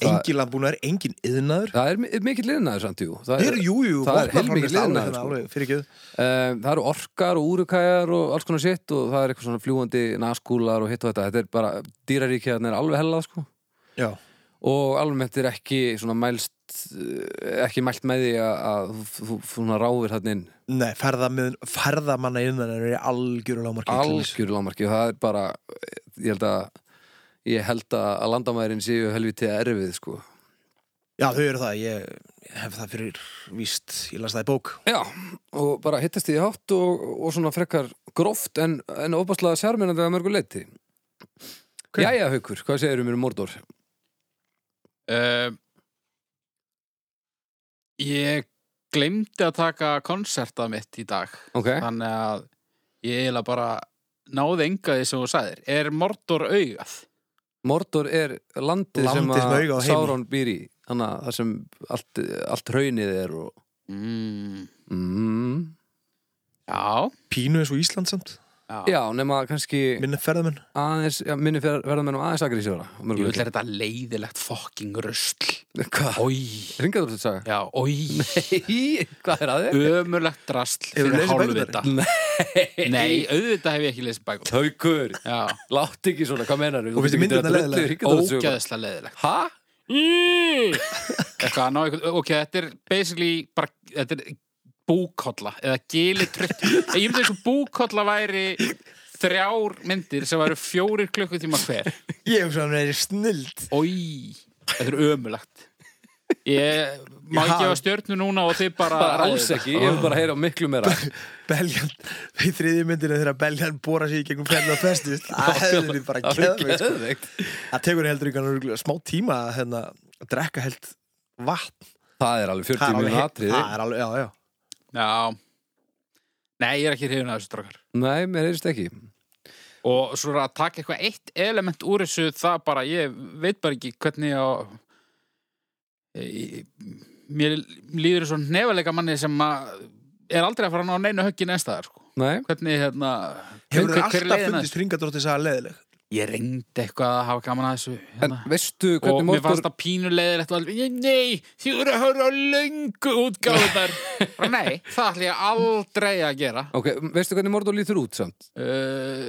[SPEAKER 4] það,
[SPEAKER 3] engin landbúnaður, engin yðnaður
[SPEAKER 4] það er mi- mikill liðnaður samt jú það,
[SPEAKER 3] Þeir eru, jú, jú,
[SPEAKER 4] það er
[SPEAKER 3] vopnaframleiðsla,
[SPEAKER 4] heilmikið
[SPEAKER 3] alveg
[SPEAKER 4] iðnaður,
[SPEAKER 3] þannig,
[SPEAKER 4] sko.
[SPEAKER 3] alveg, fyrir
[SPEAKER 4] Eh, það eru orkar og úrukæjar og alls konar sitt og það er eitthvað svona fljúandi naskúlar og hitt og þetta þetta er bara dýraríkja þannig er alveg hellað sko
[SPEAKER 3] Já,
[SPEAKER 4] og almennt er ekki svona mælst eh, ekki mælt með því að, að þú- þú þú svona ráðir hann inn
[SPEAKER 3] nei, ferðamið, ferðamanna yðnaður er algjöru lámarki
[SPEAKER 4] algjör lámarki og það er bara ég held að ég held að, að landamærin séu helviti erfið sko
[SPEAKER 3] Já, þau eru það, ég hef það fyrir víst, ég las það í bók
[SPEAKER 4] Já, og bara hittast því hátt og, og svona frekar gróft en, en opaslega sjármennandi að mörgu leiti.
[SPEAKER 3] Ok.
[SPEAKER 4] Jæja, Haukur, hvað segirðu mér um Mordor?
[SPEAKER 2] Uh, ég glemdi að taka konserta mitt í dag
[SPEAKER 4] Ok,
[SPEAKER 2] þannig að ég eiginlega bara náði enga því sem þú sagðir er Mordor augað
[SPEAKER 4] Mordor er landið,
[SPEAKER 3] Landið sem
[SPEAKER 4] sem
[SPEAKER 3] auga á
[SPEAKER 4] að
[SPEAKER 3] heimi.
[SPEAKER 4] Sauron býr í, þannig að það sem allt, allt hraunið er og...
[SPEAKER 2] mm,
[SPEAKER 4] Mm.
[SPEAKER 2] já,
[SPEAKER 3] Pínu eins og Ísland samt,
[SPEAKER 2] já,
[SPEAKER 4] Já, nema kannski
[SPEAKER 3] minna ferðamenn
[SPEAKER 4] aðeins, já, minni fer- verða mennum aðeins agrísjóra.
[SPEAKER 2] ég vil þetta leiðilegt fokking rusl
[SPEAKER 4] Hvað?
[SPEAKER 2] Ói,
[SPEAKER 4] Ringaður þetta saga?
[SPEAKER 2] já, ói
[SPEAKER 4] Nei, hvað er að þér?
[SPEAKER 2] ömurlegt drasl
[SPEAKER 3] Hefurðu
[SPEAKER 2] fyrir
[SPEAKER 3] lesið
[SPEAKER 2] hálfvita Nei, auðvitað hef ég ekki lesið bækur
[SPEAKER 4] Haukur,
[SPEAKER 2] Já,
[SPEAKER 4] látt ekki svona, hvað menar
[SPEAKER 3] Og finnst þér myndirnar leiðilegar?
[SPEAKER 2] ógeðslega leiðilegt
[SPEAKER 4] Hæ?
[SPEAKER 2] eitthvað að ná eitthvað ok, þetta er basically bara, þetta er búkolla eða gilitrutt ég myndi að búkolla væri þrjár myndir sem væri fjórir klukkutíma hver
[SPEAKER 3] Ég hef svona verið snild
[SPEAKER 2] Ói, þetta er ömulagt ég má
[SPEAKER 3] Já.
[SPEAKER 2] ekki hafa stjörnu núna og þið bara
[SPEAKER 4] bara
[SPEAKER 2] ráðið
[SPEAKER 4] alls
[SPEAKER 2] þetta.
[SPEAKER 4] ekki, ég vil bara heyra miklu meira
[SPEAKER 3] Beljan, í þriðju myndinu þegar Beljan bóra sig í gegnum fjallið að festist Það hefði við bara keðvig sko.
[SPEAKER 4] geðveikt
[SPEAKER 3] Það tekur heldur ykkur smá tíma að hérna, að drekka held vatn
[SPEAKER 4] það er alveg 40
[SPEAKER 3] alveg-
[SPEAKER 4] mínúna atriði
[SPEAKER 3] það er alveg, já, já
[SPEAKER 2] já nei, ég er ekki hrifin að þessu drakkar
[SPEAKER 4] nei, mér heyrist ekki
[SPEAKER 2] og svo að taka eitthvað eitt element úr þessu það bara, ég veit bara ekki hvernig ég, ég, mér líður svo nefalega manni sem að er aldrei að fara að ná neina höggi næstaðar sko.
[SPEAKER 4] nei,
[SPEAKER 2] hvernig hérna
[SPEAKER 3] Hefur
[SPEAKER 2] hver-
[SPEAKER 3] þið
[SPEAKER 2] hver
[SPEAKER 3] alltaf
[SPEAKER 2] leiðin að þessu?
[SPEAKER 3] fundist ringadrótti saga leðileg?
[SPEAKER 2] ég reyndi eitthvað að hafa gaman að þessu
[SPEAKER 4] en
[SPEAKER 2] hérna.
[SPEAKER 4] veistu
[SPEAKER 2] og
[SPEAKER 4] hvernig
[SPEAKER 2] mér fannst
[SPEAKER 4] Mordor
[SPEAKER 2] það pínulegilegt og alveg, nei, þið eru að höra á löngu útgáðunar nei, það ætla ég aldrei að gera
[SPEAKER 4] ok, veistu hvernig Mordor lítur út samt
[SPEAKER 2] uh,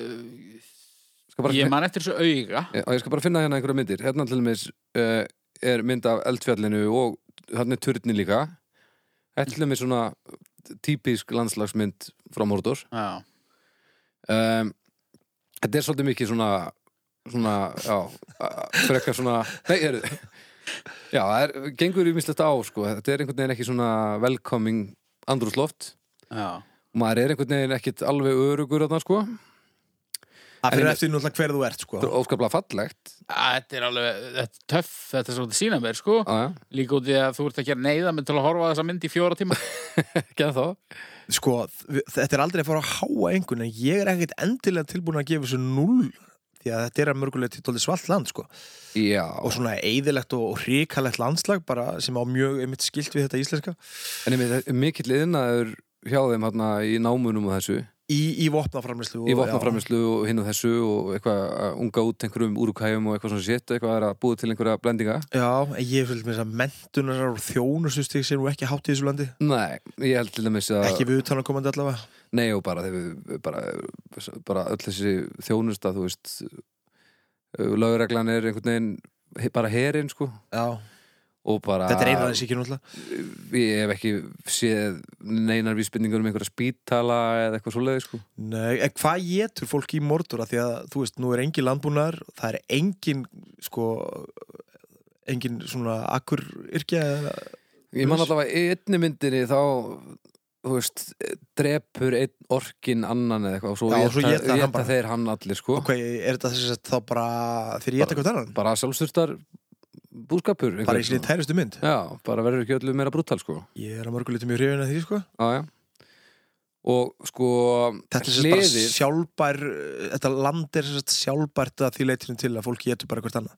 [SPEAKER 4] skal bara,
[SPEAKER 2] ég
[SPEAKER 4] ég,
[SPEAKER 2] man eftir þessu auga
[SPEAKER 4] ég skal bara finna hérna einhverja myndir hérna til dæmis uh, er mynd af eldfjallinu og hann er turni líka þetta er til dæmis svona típisk landslagsmynd frá Mordor
[SPEAKER 2] já
[SPEAKER 4] um, Þetta er svolítið mikið svona svona, já a- frekar svona, nei, heyrðu já, það er, gengur í mislegt á sko, þetta er einhvern veginn ekki svona velkoming andrúsloft,
[SPEAKER 2] Já.
[SPEAKER 4] maður er einhvern veginn ekkit alveg örugur þarna sko
[SPEAKER 3] Það
[SPEAKER 4] En
[SPEAKER 3] fyrir
[SPEAKER 4] ég-
[SPEAKER 3] eftir náttúrulega hver þú ert sko.
[SPEAKER 4] þetta er óskaplega fallegt
[SPEAKER 2] Þetta er alveg, þetta er töff, þetta er svolítið sína mér, sko.
[SPEAKER 4] á, já,
[SPEAKER 2] Líka út í að þú ert ekki að neyða mig til að horfa á þessa mynd í fjóra tíma.
[SPEAKER 4] ekki að þá
[SPEAKER 3] sko, þ- þetta er aldrei að fara að háa einhvern en ég er ekkert endilega tilbúin að gefa þessu null því að þetta er að mörgulega til svalt land sko.
[SPEAKER 4] já,
[SPEAKER 3] og svona eðilegt og hrikalegt landslag bara sem á mjög einmitt skilt við þetta íslenska
[SPEAKER 4] en ég með mikill yðnaður hjá þeim hérna í námunum og þessu
[SPEAKER 3] í, í vopnaframlislu
[SPEAKER 4] í vopnaframislu og hinn og þessu og eitthvað að unga út einhverjum úrukæjum og eitthvað svona sétt, eitthvað er að búa til einhverja blendinga
[SPEAKER 3] Já, en ég fyrir með þess að mentunar og þjónustustig sem nú ekki hátt í þessu landi
[SPEAKER 4] Nei, ég held til dæmis að
[SPEAKER 3] ekki við utanum komandi allavega
[SPEAKER 4] Nei og bara, þegar- bara, bara öll þessi þjónusta, þú veist eh, lögreglan er einhvern veginn he- bara herinn sko
[SPEAKER 3] Já,
[SPEAKER 4] og bara
[SPEAKER 3] þetta er eina þessi ekki náttúrulega
[SPEAKER 4] ég hef ekki séð neinar vísbendingur um einhverja spítala eða eitthvað svoleiði sko
[SPEAKER 3] Nei, en hvað getur fólk í mordura því að þú veist, nú er engin landbúnaðar það er engin sko engin svona akkur yrkja eða
[SPEAKER 4] Ég man allavega í einni myndinni þá þú veist, drepur einn orkin annan eða eitthvað og svo,
[SPEAKER 3] Já, og svo éta hann
[SPEAKER 4] éta
[SPEAKER 3] bara.
[SPEAKER 4] þeir hann allir sko
[SPEAKER 3] Ok, er þetta þess að þá bara þegar ég geta eitthvað annan?
[SPEAKER 4] bara sjálfsturtar búskapur einhver-
[SPEAKER 3] Bara í sinni tærustu mynd?
[SPEAKER 4] Já, bara verður ekki öllu meira brútal sko
[SPEAKER 3] Ég er að mörgu lítið mjög hrifin að því, sko.
[SPEAKER 4] Já, já Og sko
[SPEAKER 3] Þetta er sem sagt bara
[SPEAKER 4] hliðið
[SPEAKER 3] sjálfbær, þetta land er sem sagt sjálfbært að því leitinu til að fólk getur bara hvert annað.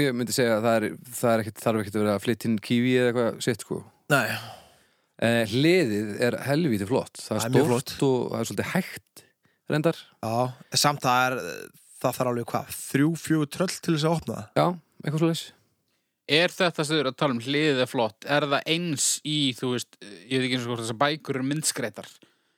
[SPEAKER 4] Ég myndi segja að það, er, það er ekkit, þarf ekkit að vera að flytta inn kífi eða eitthvað sitt sko
[SPEAKER 3] Nei,
[SPEAKER 4] eh, Hliðið er helvíti flott Það
[SPEAKER 3] Það
[SPEAKER 4] er
[SPEAKER 3] er mjög
[SPEAKER 4] stórt og það er svolítið hægt reyndar
[SPEAKER 3] já, samt það er, það þarf alveg hvað, þrjú, fjögur tröll til þess að opna það?
[SPEAKER 4] Já, eitthvað svoleiðis
[SPEAKER 2] Er þetta sem þau eru að tala um hliðið er flott? Er það eins í, þú veist, ég veit ekki eins og hvort þessar bækur eru myndskreitar?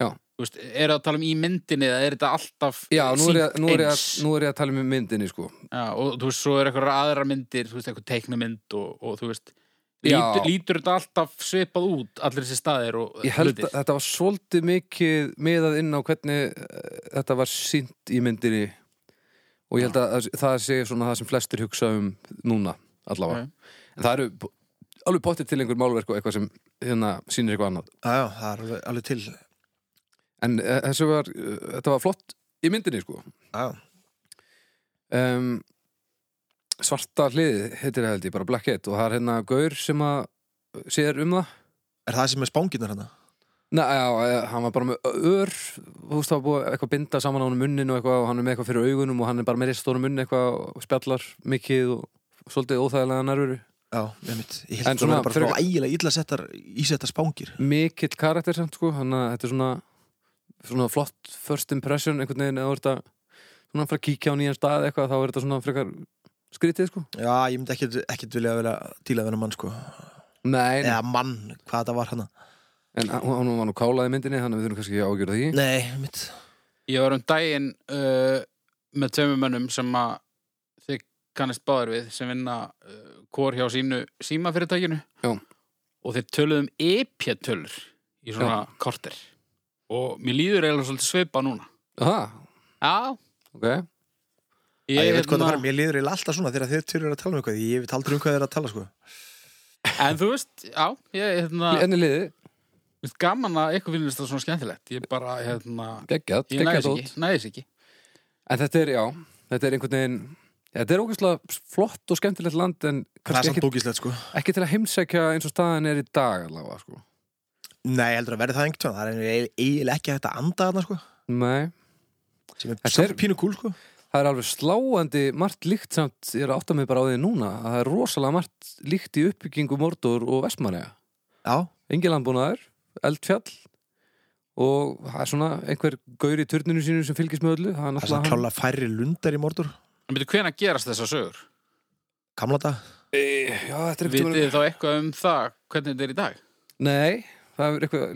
[SPEAKER 4] Já.
[SPEAKER 2] Þú veist, er það að tala um í myndinni eða er þetta alltaf
[SPEAKER 4] Já, nú er, ég,
[SPEAKER 2] sýnt
[SPEAKER 4] nú, er ég að,
[SPEAKER 2] eins?
[SPEAKER 4] nú er ég að tala um myndinni sko
[SPEAKER 2] Já, og þú veist, svo er eitthvað aðra myndir, þú veist, eitthvað teiknumynd og, og þú veist,
[SPEAKER 4] Já.
[SPEAKER 2] lítur, lítur þetta alltaf svipað út, allir þessi staðir og
[SPEAKER 4] Ég held að þetta var svolítið mikið miðað inn á hvernig eh, þetta var sínt í myndinni og ég held að það sé svona það sem flestir hugsa um núna allavega.
[SPEAKER 2] Ok.
[SPEAKER 4] En það eru p- alveg pottir til einhver málverk og eitthvað sem hérna sýnir eitthvað annað.
[SPEAKER 3] Já, já, það er alveg, alveg til. Já,
[SPEAKER 4] En eh, þessu var, eh, þetta var flott í myndinni sko. Um, svarta hliðið heitir það held ég bara Blackhead og það er hérna Gaur sem að sér um það.
[SPEAKER 3] er það sem er hérna? spánginnar hana?
[SPEAKER 4] Nei, já, eh, hann var bara með ör þú veist, það var búið eitthvað að binda saman á hann munnin og eitthvað og hann er með eitthvað fyrir augunum og hann er bara með ristóra munni eitthvað og spjallar mikið og svolítið óþægilega nærveru
[SPEAKER 3] Já, ég mitt. Ég
[SPEAKER 4] En
[SPEAKER 3] held það
[SPEAKER 4] svona
[SPEAKER 3] væri bara
[SPEAKER 4] fyrir-
[SPEAKER 3] fyrir... ægilega illa settar, ísettar spángir.
[SPEAKER 4] mikill karakter samt sko þannig að þetta er svona, svona flott first impression einhvern veginn eða þú ert að svona fara að kíkja á nýjan stað eitthvað þá er þetta svona frekar skrítið sko
[SPEAKER 3] Já, ég myndi ekkit, ekkit vilja vera díla við hennar mann, sko.
[SPEAKER 4] Nei,
[SPEAKER 3] Eða mann, hvað þetta var hérna. hana?
[SPEAKER 4] en hún hún var nú kálaði myndinni þannig að við þurfum kannski ekki að ágjöra því
[SPEAKER 3] Nei, mitt.
[SPEAKER 2] Ég var um daginn uh, með tveimur mönnum sem að þið kannast báður við sem vinna uh, kór hjá sínu símafyrirtækinu
[SPEAKER 4] Já.
[SPEAKER 2] og þeir töluðu um epjatölur í svona Já. korter og mér líður eiginlega svolítið svipa núna
[SPEAKER 4] Aha,
[SPEAKER 2] Já,
[SPEAKER 4] ok
[SPEAKER 3] Æ, ég veit hvað
[SPEAKER 2] hérna-
[SPEAKER 3] það var, mér liður eiginlega alltaf svona þegar þeir tverju að tala um eitthvað, ég veit aldrei um hvað þeir eru að tala sko.
[SPEAKER 2] En þú veist, já, ég hérna,
[SPEAKER 4] Enni liðið,
[SPEAKER 2] mér finnst gaman að eitthvað finnst það svona skemmtilegt Ég bara, hérna,
[SPEAKER 4] geggjað,
[SPEAKER 2] ég
[SPEAKER 4] geggjað
[SPEAKER 2] næðis
[SPEAKER 4] dót
[SPEAKER 2] ekki, næðis ekki
[SPEAKER 4] En þetta er, já, þetta er einhvern veginn Þetta er ógeðslega flott og skemmtilegt land en
[SPEAKER 3] Það er
[SPEAKER 4] kannski
[SPEAKER 3] samt
[SPEAKER 4] ekki,
[SPEAKER 3] bókislegt sko.
[SPEAKER 4] ekki til að heimsækja eins og staðan er í dag allavega, sko.
[SPEAKER 3] Nei, ég heldur að verði það einhvern tímann, það er eiginlega- eiginlega ekki hægt að anda þarna sko,
[SPEAKER 4] Nei,
[SPEAKER 3] sem er
[SPEAKER 4] Þetta
[SPEAKER 3] samt
[SPEAKER 4] er-
[SPEAKER 3] pínu kúl sko.
[SPEAKER 4] það er alveg sláandi margt líkt samt, ég er að átta mig bara á því núna að það er rosalega margt líkt í uppbyggingu Mordor og Vestmanega.
[SPEAKER 3] Já,
[SPEAKER 4] Engilandbúnaður, eldfjall og það er svona einhver gaur í turninu sínu sem fylgist með öllu.
[SPEAKER 3] það er
[SPEAKER 4] Það er
[SPEAKER 3] samt
[SPEAKER 4] náttúrulega hann.
[SPEAKER 3] klála færri lundar í mordur,
[SPEAKER 2] En byrju, hvenær gerast þessar sögur?
[SPEAKER 3] kamla dag.
[SPEAKER 4] Já, þetta er einhvern
[SPEAKER 2] Vitið þið þá eitthvað um það, hvernig þetta er í dag?
[SPEAKER 4] Nei, það er eitthvað,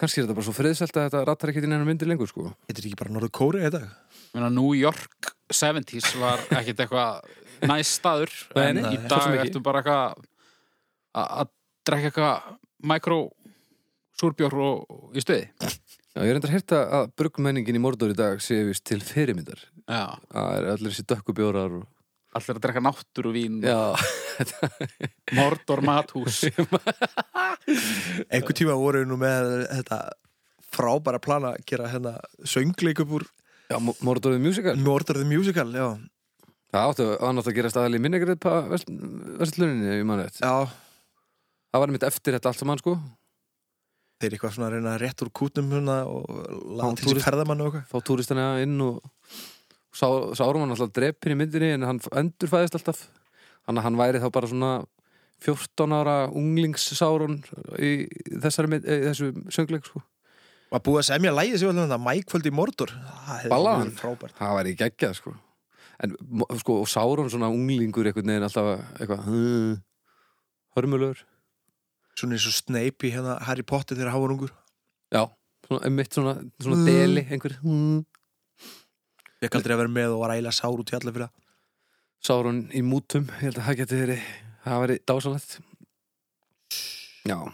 [SPEAKER 4] kannski er þetta bara svo friðselt að þetta rattar ekki til neina myndir lengur, sko.
[SPEAKER 3] Þetta er ekki bara norður kóri í dag.
[SPEAKER 2] Meina, New York 70s var ekkit eitthvað næst staður
[SPEAKER 4] Nei,
[SPEAKER 2] en
[SPEAKER 4] nei,
[SPEAKER 2] í
[SPEAKER 4] svo sem
[SPEAKER 2] dag
[SPEAKER 4] ekki.
[SPEAKER 2] ertu bara eitthvað að- að drekka eitthvað mikro súrbjór og, og í stuði
[SPEAKER 4] Já, ég er reyndar að hérta að bruggmenningin í Mordor í dag sé vist til fyrirmyndar.
[SPEAKER 2] Já,
[SPEAKER 4] Það er allir þessi dökkubjórar og...
[SPEAKER 2] allir að drekka náttúru vín
[SPEAKER 4] Já,
[SPEAKER 2] Mordor mathús
[SPEAKER 3] Einhver tíma voru við nú með þetta frábæra plana að gera hérna söngleik upp úr
[SPEAKER 4] já Mo- Mordor the Musical.
[SPEAKER 3] Mordor the Musical, já.
[SPEAKER 4] Það áttu það átti að gerast aðal í minnegriðpa versluninni, ég mann veit.
[SPEAKER 3] Já,
[SPEAKER 4] Það var mitt eftir þetta allt saman, sko.
[SPEAKER 3] þeir eitthvað svona að reyna rétt úr kútnum hérna og
[SPEAKER 4] Hann
[SPEAKER 3] laða til
[SPEAKER 4] túrist-
[SPEAKER 3] sér ferðamann og eitthvað.
[SPEAKER 4] Fá túristana inn og sá, sárum hann alltaf drepin í myndinni en hann endurfæðist alltaf. Þannig að hann væri þá bara svona 14 ára unglingssárun í, þessari mynd, í þessu söngleik, sko.
[SPEAKER 3] Var búið að semja lægið sem við ætlum þetta Mækvöld í Mordor Það hefði
[SPEAKER 4] Ballaðan.
[SPEAKER 3] verið frábært
[SPEAKER 4] það var í geggjað sko en mo- sko og Sáron svona unglingur einhvern veginn alltaf eitthvað "Hm, hörmulegur
[SPEAKER 3] Svona eins og Snape í hérna Harry Potter þegar hann var ungur
[SPEAKER 4] já svona emitt svona, svona
[SPEAKER 3] Mm.
[SPEAKER 4] deli einhver "Hm."
[SPEAKER 3] Ég aldrei að vera með og var ægilega sár út í alla fyrir það
[SPEAKER 4] Sáron í mútum ég held að það geti verið það væri dásalegt já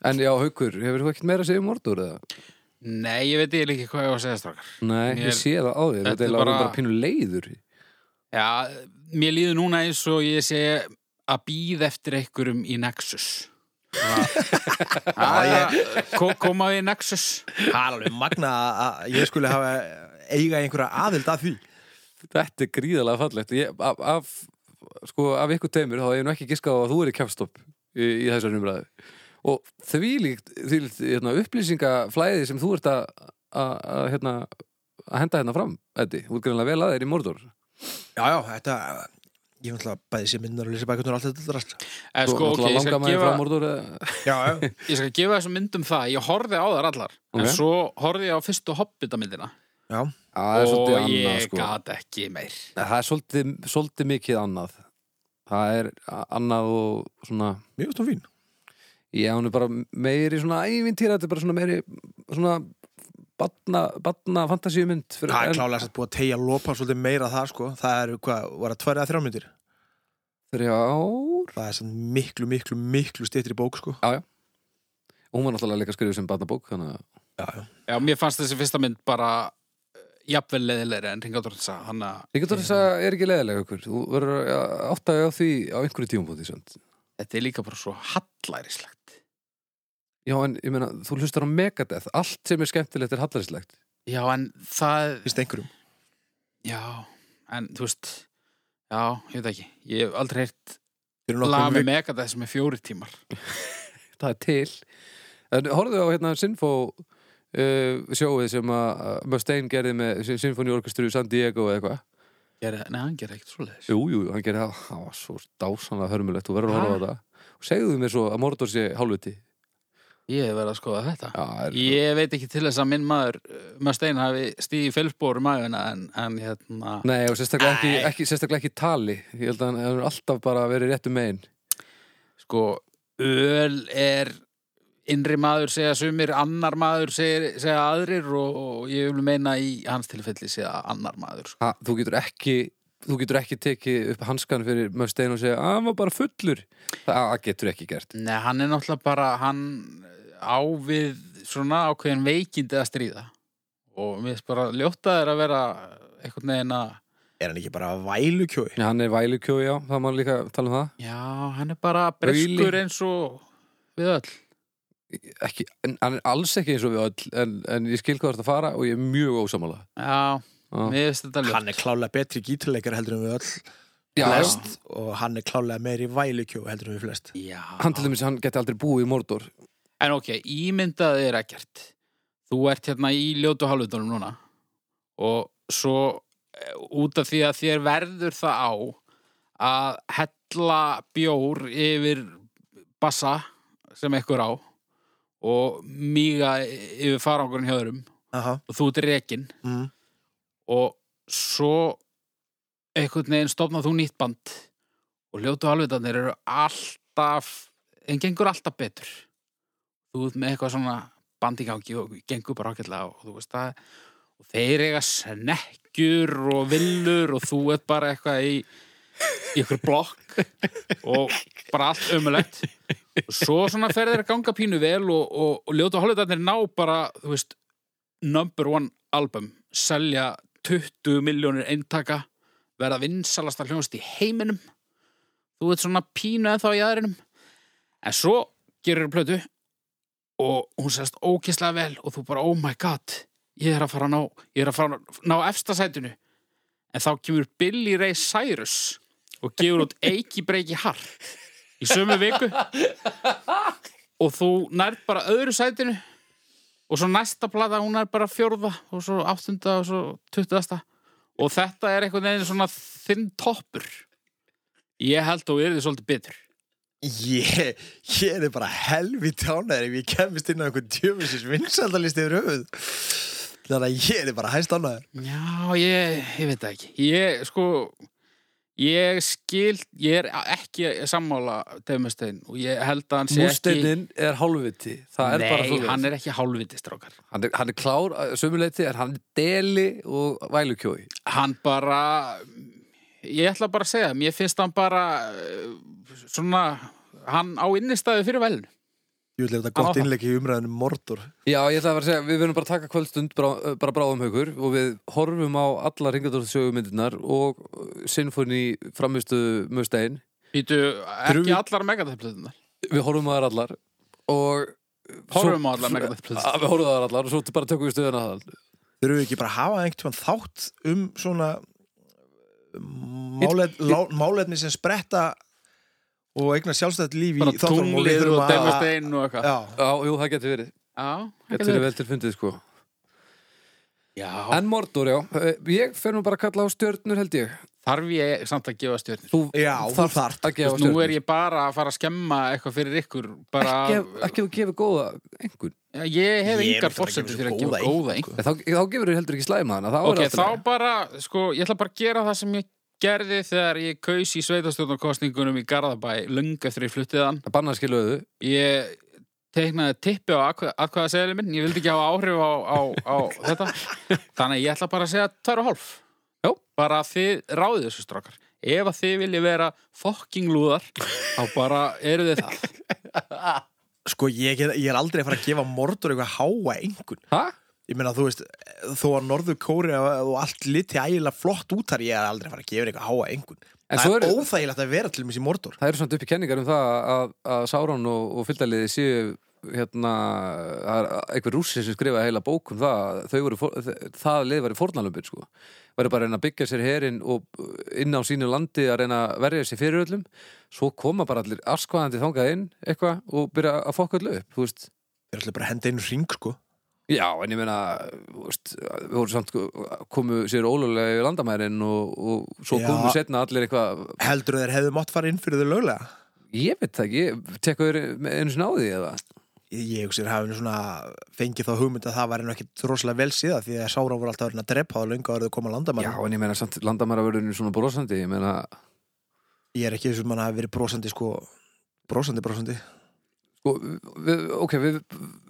[SPEAKER 4] en já haukur hefur þú ekkert meira að segja um mordur eða
[SPEAKER 2] Nei, ég veit eiginlega ekki hvað ég var að segja strákar.
[SPEAKER 4] nei
[SPEAKER 2] Mér-
[SPEAKER 4] ég sé það á þér
[SPEAKER 2] Þetta er
[SPEAKER 4] þetta er bara,
[SPEAKER 2] bara-
[SPEAKER 4] bara pínu leiður
[SPEAKER 2] Já, mér líður núna eins og ég sé að býð eftir einhverjum í Nexus. Já, ég koma við í Nexus.
[SPEAKER 3] Það er alveg magna að- að ég skulle hafa eiga einhverja aðild að því
[SPEAKER 4] þetta er gríðalega fallegt ég, af, af, sko, af ykkur teimur þá hef ég nú ekki giskað á að þú er í kjafstopp í, í þessar umræðu og því líkt hérna, upplýsingaflæði sem þú ert að að- að, hérna, að henda hérna fram Eddi, útgreinlega vel að þér í Mordor
[SPEAKER 3] Já, já, þetta Ég ætla að bæði sér myndar og lýsa bækundar og allt þetta drast
[SPEAKER 2] Eh,
[SPEAKER 4] Þú
[SPEAKER 2] sko, ok,
[SPEAKER 4] náttúrulega
[SPEAKER 2] ég skal,
[SPEAKER 4] langar maður
[SPEAKER 2] gefa,
[SPEAKER 4] frá Mordor eða-
[SPEAKER 3] Já, já
[SPEAKER 2] ég skal gefa þessum myndum það. Ég horfði á þar allar.
[SPEAKER 4] Ok.
[SPEAKER 2] En svo horfði ég á fyrstu Hobbita-myndina.
[SPEAKER 3] Já,
[SPEAKER 4] Já, það er svolítið
[SPEAKER 2] og ég
[SPEAKER 4] annað sko.
[SPEAKER 2] gat ekki meir.
[SPEAKER 4] það er svolítið, svolítið mikið annað það er a- annað og svona
[SPEAKER 3] mjög stóð fín
[SPEAKER 4] Já, hún er bara meiri svona ævintýra, þetta er bara svona meiri svona batna, batna fantasíumynd fyrir-
[SPEAKER 3] Það er
[SPEAKER 4] en
[SPEAKER 3] klálega að búið að tegja lopan svolítið meira það sko Það eru hvað, var það tvær eða þrjá myndir
[SPEAKER 4] Þrjár
[SPEAKER 3] Það er sann miklu, miklu, miklu styttri bók sko
[SPEAKER 4] Og Hún var náttúrulega líka skrifuð sem batnabók þannig að
[SPEAKER 3] Já, já
[SPEAKER 2] Já, mér fannst þessi fyrsta mynd bara eh, jafnvel leðilegri en Ringadorðsa. Hann að
[SPEAKER 4] Ríkjöndur þess að er ekki leðilega ykkur Þú verður að átta þig á því á einhverju tíumbúti send.
[SPEAKER 2] þetta er líka bara svo hallærislegt.
[SPEAKER 4] Já, en ég meina, þú hlustar á Megadeth Allt sem er skemmtilegt er hallarinslegt
[SPEAKER 2] Já, en það...
[SPEAKER 3] Fyrst einhverjum
[SPEAKER 2] Já, en þú veist Já, ég veit ekki Ég hef aldrei heyrt
[SPEAKER 3] Fyrir nokkrum
[SPEAKER 2] lafi
[SPEAKER 3] vikum.
[SPEAKER 2] mega það sem er fjóri tímar
[SPEAKER 4] Það er til En horfðu á hérna Sinfó uh, sjóið sem að að Mustaine gerði með Sinfóniorkestru San Diego eða eitthvað
[SPEAKER 2] Gera, Nei, hann gera ekkert svoleiðis
[SPEAKER 4] Jú, jú, hann gerði það, það var svo dásanlega hörmulegt, þú verður að horfa á það og segðu mér svo að Mordor sé hálfviti
[SPEAKER 2] Ég hef verið að skoða þetta
[SPEAKER 4] Já, það er,
[SPEAKER 2] Ég veit ekki til þess að minn maður Möstein hafi stíði felsbóru maðurna en, en hérna
[SPEAKER 4] Nei, og sérstaklega ekki,
[SPEAKER 2] Æ.
[SPEAKER 4] ekki, sérstaklega ekki tali ég held að hann hann er alltaf bara verið réttu megin
[SPEAKER 2] Sko, öl er innri maður segja sumir annar maður segja, segja aðrir og, og ég vil meina í hans tilfelli segja annar maður sko.
[SPEAKER 4] ha, Þú getur ekki þú getur ekki tekið upp hanskan fyrir Mustaine og segja að hann var bara fullur það það getur ekki gert
[SPEAKER 2] Nei, hann er náttúrulega bara hann á við svona ákveðin veikindi að stríða og mér finnst bara ljóta þér að vera einhvern veginn að
[SPEAKER 3] Er hann ekki bara vælukjói?
[SPEAKER 4] Já, Hann er vælukjói, já, það má líka tala um það
[SPEAKER 2] já, hann er bara breskur
[SPEAKER 4] Auðli.
[SPEAKER 2] eins og við öll
[SPEAKER 4] ekki, en, hann er alls ekki eins og við öll en, en ég skil hvað það að fara og ég er mjög ósamála
[SPEAKER 2] Já,
[SPEAKER 4] Já.
[SPEAKER 2] mér finnst þetta ljótt
[SPEAKER 3] Hann er klálega betri gítarleikar heldur en við öll
[SPEAKER 4] Já,
[SPEAKER 3] flest og hann er klálega meiri vælukjói heldur en við flest
[SPEAKER 2] Já,
[SPEAKER 4] Hann til dæmis, hann geti aldrei búið í Mordor
[SPEAKER 2] en ok, ímyndað er ekkert þú ert hérna í ljótu hálfutunum núna og svo eh, út af því að þér verður það á að hella bjór yfir bassa sem ekkur á og míga yfir farangurinn hjá öðrum
[SPEAKER 3] Aha,
[SPEAKER 2] og þú ert rekin
[SPEAKER 3] mm.
[SPEAKER 2] og svo einhvern veginn stofnað þú nýtt band og ljótu halvutanir eru alltaf en gengur alltaf betur þú ert með eitthvað svona band í gangi og gengur bara ákveðlega og þú veist það og þeir eiga snekkjur og villur og þú ert bara eitthvað í í ykkur blokk og bara allt ömulegt og svo svona fer þeir að ganga pínu vel og, og, og ljótu halvutanir ná bara þú veist number one album selja 20 miljónir eintaka verða vinsalasta hljónst í heiminum þú veit svona pínu eða þá í aðrinum en svo gerur þér plötu og hún sérst ókislega vel og þú bara oh my god ég er að fara að ná ég er að fara að ná efsta sætinu en þá kemur Billy Ray Cyrus og gefur út Eiki Breiki Hart í sömu viku og þú nærð bara öðru sætinu og svo næsta plata, hún er bara fjórða og svo áttunda og svo tuttasta og þetta er einhvern veginn svona þinn toppur ég held og er þið svolítið bitur
[SPEAKER 3] Ég, ég er bara helvít ánæður ef ég kemist inn á einhvern tjöfusins vinsaldalist yfir höfuð. Þannig að ég er bara hæst ánæður.
[SPEAKER 2] Já, ég, ég veit það ekki. Ég, sko, ég skil, ég er ekki sammála Demustein og ég held að hann sé ekki...
[SPEAKER 4] Músteinin er hálfviti Það er bara
[SPEAKER 2] Nei,
[SPEAKER 4] svo
[SPEAKER 2] hann er ekki hálfviti, strákar.
[SPEAKER 4] hann, er, hann er klár sömuleiti en hann er deli og vælukjói
[SPEAKER 2] Hann bara, ég ætla bara að segja, mér finnst hann bara eh, svona, hann á innistæðu fyrir velinu.
[SPEAKER 3] Ég vil lefa þetta
[SPEAKER 2] Á.
[SPEAKER 3] gott innleik í umræðinu Mordor.
[SPEAKER 4] Já, ég ætla að vera að segja, við verðum bara að taka kvöldstund bara, bara bráðum haukur og við horfum á alla ringadóttasögumyndirnar og uh, sinfóni framistu Mustein
[SPEAKER 2] Býtu
[SPEAKER 4] Þurfum
[SPEAKER 2] ekki
[SPEAKER 4] við-
[SPEAKER 2] allar megadöflutunar.
[SPEAKER 4] Við horfum á þær allar og
[SPEAKER 2] Horfum á allar
[SPEAKER 4] Ah,
[SPEAKER 2] megadöflutunar.
[SPEAKER 4] Við horfum á þær allar og svo bara tökum við stöðuna það
[SPEAKER 3] Þurfum við ekki bara að hafa einhvern tímann þátt um svona um, málef, lá, málefni sem spretta og eigna sjálfstætt líf í
[SPEAKER 2] Bara
[SPEAKER 3] þáttunum og við
[SPEAKER 2] tunglið
[SPEAKER 3] þurfum
[SPEAKER 2] og
[SPEAKER 3] að-
[SPEAKER 2] Demustein og eitthvað.
[SPEAKER 3] Já,
[SPEAKER 4] Já, jú, það getur verið
[SPEAKER 2] Já,
[SPEAKER 4] Getur verið vel til fundið, sko
[SPEAKER 2] Já,
[SPEAKER 4] En Mordor, já, Eh, ég fer nú bara að kalla á stjörnur, held ég
[SPEAKER 2] þarf ég samt að gefa stjörnir.
[SPEAKER 4] Þú
[SPEAKER 3] já, þú
[SPEAKER 4] þarft
[SPEAKER 3] þart.
[SPEAKER 4] að gefa
[SPEAKER 2] Þú veist,
[SPEAKER 4] stjörnur
[SPEAKER 2] nú er ég bara að fara að skemma eitthvað fyrir ykkur bara,
[SPEAKER 4] Ekki- Ekki að gefa góða einhvern
[SPEAKER 2] ég hef
[SPEAKER 3] Ég myndi
[SPEAKER 2] engar
[SPEAKER 3] bara gefa
[SPEAKER 2] fórsendur
[SPEAKER 3] þessu
[SPEAKER 2] fyrir að
[SPEAKER 3] góða
[SPEAKER 2] gefa góða einhver
[SPEAKER 3] einkunn.
[SPEAKER 4] En Þá, þá gefur þú heldur ekki slæma hana þá er
[SPEAKER 2] ok,
[SPEAKER 4] allt í
[SPEAKER 2] þá
[SPEAKER 4] lagi.
[SPEAKER 2] bara, sko, ég ætla bara að gera það sem ég gerði þegar ég kaus í sveitastjórnarkostningunum í Garðabæ löngu eftir ég fluttið hann
[SPEAKER 4] Það banna að skilu auðu
[SPEAKER 2] ég teiknaði tippi á atkvæða segli minn, ég vildi ekki hafa áhrif á, á, á þetta þannig að ég ætla bara að segja tvær og hálf
[SPEAKER 4] Já.
[SPEAKER 2] bara að þið ráðið þessu strákar ef að þið vilji vera fokking lúðar þá bara eru þið það
[SPEAKER 3] Sko, ég, get- ég er aldrei að fara að gefa Mordor eitthvað háa einhvern.
[SPEAKER 4] Hæ?
[SPEAKER 3] Ég meina, þú veist, þó að Norður Kóri og allt liti ægilega flott út þar, ég er aldrei að fara að gefa eitthvað háa einhvern.
[SPEAKER 4] En
[SPEAKER 3] það
[SPEAKER 4] svo
[SPEAKER 3] er
[SPEAKER 4] eru-
[SPEAKER 3] óþægilegt að vera til mér í Mordor.
[SPEAKER 4] Það eru samt uppi kenningar um það að, að Sáron og, og fylgdaliði séu hérna, það er einhver rússi sem skrifaði heila bók um það að þau voru, fór- þ- það lið var í fornalömbin sko væri bara að reyna að byggja sér herinn og inn á sínu landi að reyna að verja sér fyrir öllum svo koma bara allir askvaðandi þangað inn eitthvað og byrja að fokka öllu upp þú veist
[SPEAKER 3] Ég er alltaf bara að henda einu ring, sko.
[SPEAKER 4] Já, en ég meina, þú veist, við vorum samt sko, komu sér ólega yfir landamærin og, og svo
[SPEAKER 3] Já.
[SPEAKER 4] komu setna allir eitthvað
[SPEAKER 3] Heldur þeir hefðu mátt fara inn fyrir þau löglega?
[SPEAKER 4] Ég veit það ekki, ég tekka þér einu sinna á því eða
[SPEAKER 3] Ég, ég hugsi þeir hafi nú svona fengið þá hugmynd að það væri nú ekkit rosalega vel síða því að Sára voru alltaf verið að drepa á löngu að verðu að koma
[SPEAKER 4] Já,
[SPEAKER 3] landamæri.
[SPEAKER 4] en ég meina samt landamæravörðinu svona brosandi, ég meina
[SPEAKER 3] Ég er ekki þessum að hafi verið brosandi, sko, brosandi, brosandi.
[SPEAKER 4] sko, við, ok, við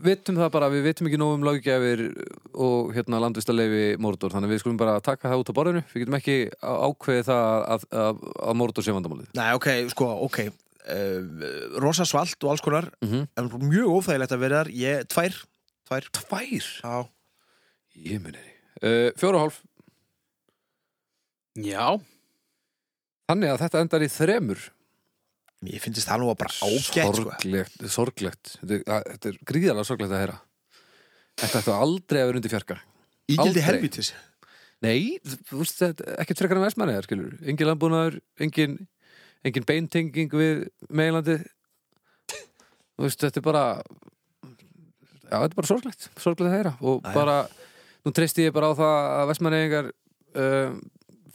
[SPEAKER 4] vitum það bara, við vitum ekki nóg um löggjafir og hérna landvistarleifi Mordor, þannig að við skulum bara taka það út á borðinu við getum ekki á- ákveðið það að, að, að Mordor sé vandamálið
[SPEAKER 3] Nei, ok, sko, ok. Uh, rosa svalt og alls konar,
[SPEAKER 4] mm -hmm.
[SPEAKER 3] en mjög óþægilegt að vera þar. Ég, tvær, tvær.
[SPEAKER 4] Tvær?
[SPEAKER 3] Já.
[SPEAKER 4] Ég meni uh, Fjóra og hálf,
[SPEAKER 2] já,
[SPEAKER 4] þannig að þetta endar í þremur
[SPEAKER 3] Ég finnst það nú bara ágætt, sko.
[SPEAKER 4] Sorglegt, sorglegt Þetta er, að- þetta er gríðarlega sorglegt að heyra Þetta ættu aldrei að vera undir fjarka
[SPEAKER 3] Ígildi
[SPEAKER 4] Aldrei.
[SPEAKER 3] helvítis.
[SPEAKER 4] Nei, þú veist þetta, ekki frekar en vestmanniðar, skilur Engin landbúnaður, engin, engin beintenging við meilandi Þú veist, þetta er bara Já, þetta er bara sorglegt Sorglegt að heyra Og
[SPEAKER 3] Jæja.
[SPEAKER 4] bara, nú treysti ég bara á það að vestmanniðingar uh,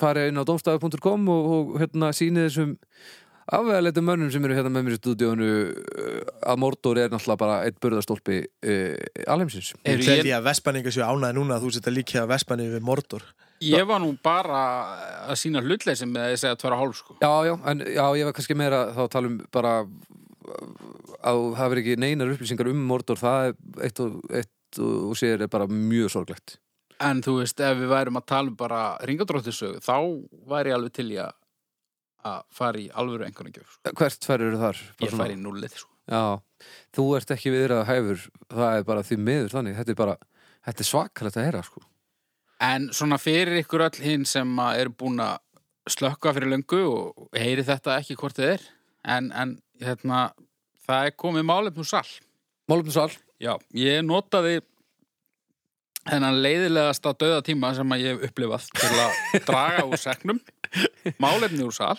[SPEAKER 4] fari inn á domstafu.com og, og hérna síni þessum afvegaleitum mönnum sem eru hérna með mér í stúdíónu uh, að Mordor er náttúrulega bara eitt burðarstólpi uh, alheimsins
[SPEAKER 2] Er
[SPEAKER 3] Ég
[SPEAKER 2] ég-
[SPEAKER 3] held ég að Vespaninga séu ánæði núna að þú setja líka Vespaninga við Mordor.
[SPEAKER 2] ég var nú bara að sína hlutleysi með að ég segja tvær og hálf sko.
[SPEAKER 4] Já, já, en já, ég var kannski meira þá að tala um bara að það verið ekki neinar upplýsingar um Mordor það er eitt og, eitt og sér er bara mjög sorglegt
[SPEAKER 2] en þú veist, ef við værum að tala um bara ringadróttisögu, þá væri ég alveg til í að að fara í alvöru einhvern gjöf sko.
[SPEAKER 4] Hvert fær eru þar? Bara
[SPEAKER 2] ég
[SPEAKER 4] svona-
[SPEAKER 2] færi í núllið sko.
[SPEAKER 4] Já, þú ert ekki viðrað hæfur það er bara því miður þannig þetta er bara, þetta er svakalegt að heyra sko
[SPEAKER 2] en svona fyrir ykkur öll hinn sem að eru búin að slökka fyrir löngu og heyri þetta ekki hvort þið er en, en hérna, það er komið málefnum sall
[SPEAKER 4] Málumsal,
[SPEAKER 2] Já, ég notaði þennan leiðilegasta döða tíma sem að ég hef upplifað til að draga úr seknum, málefni úr sal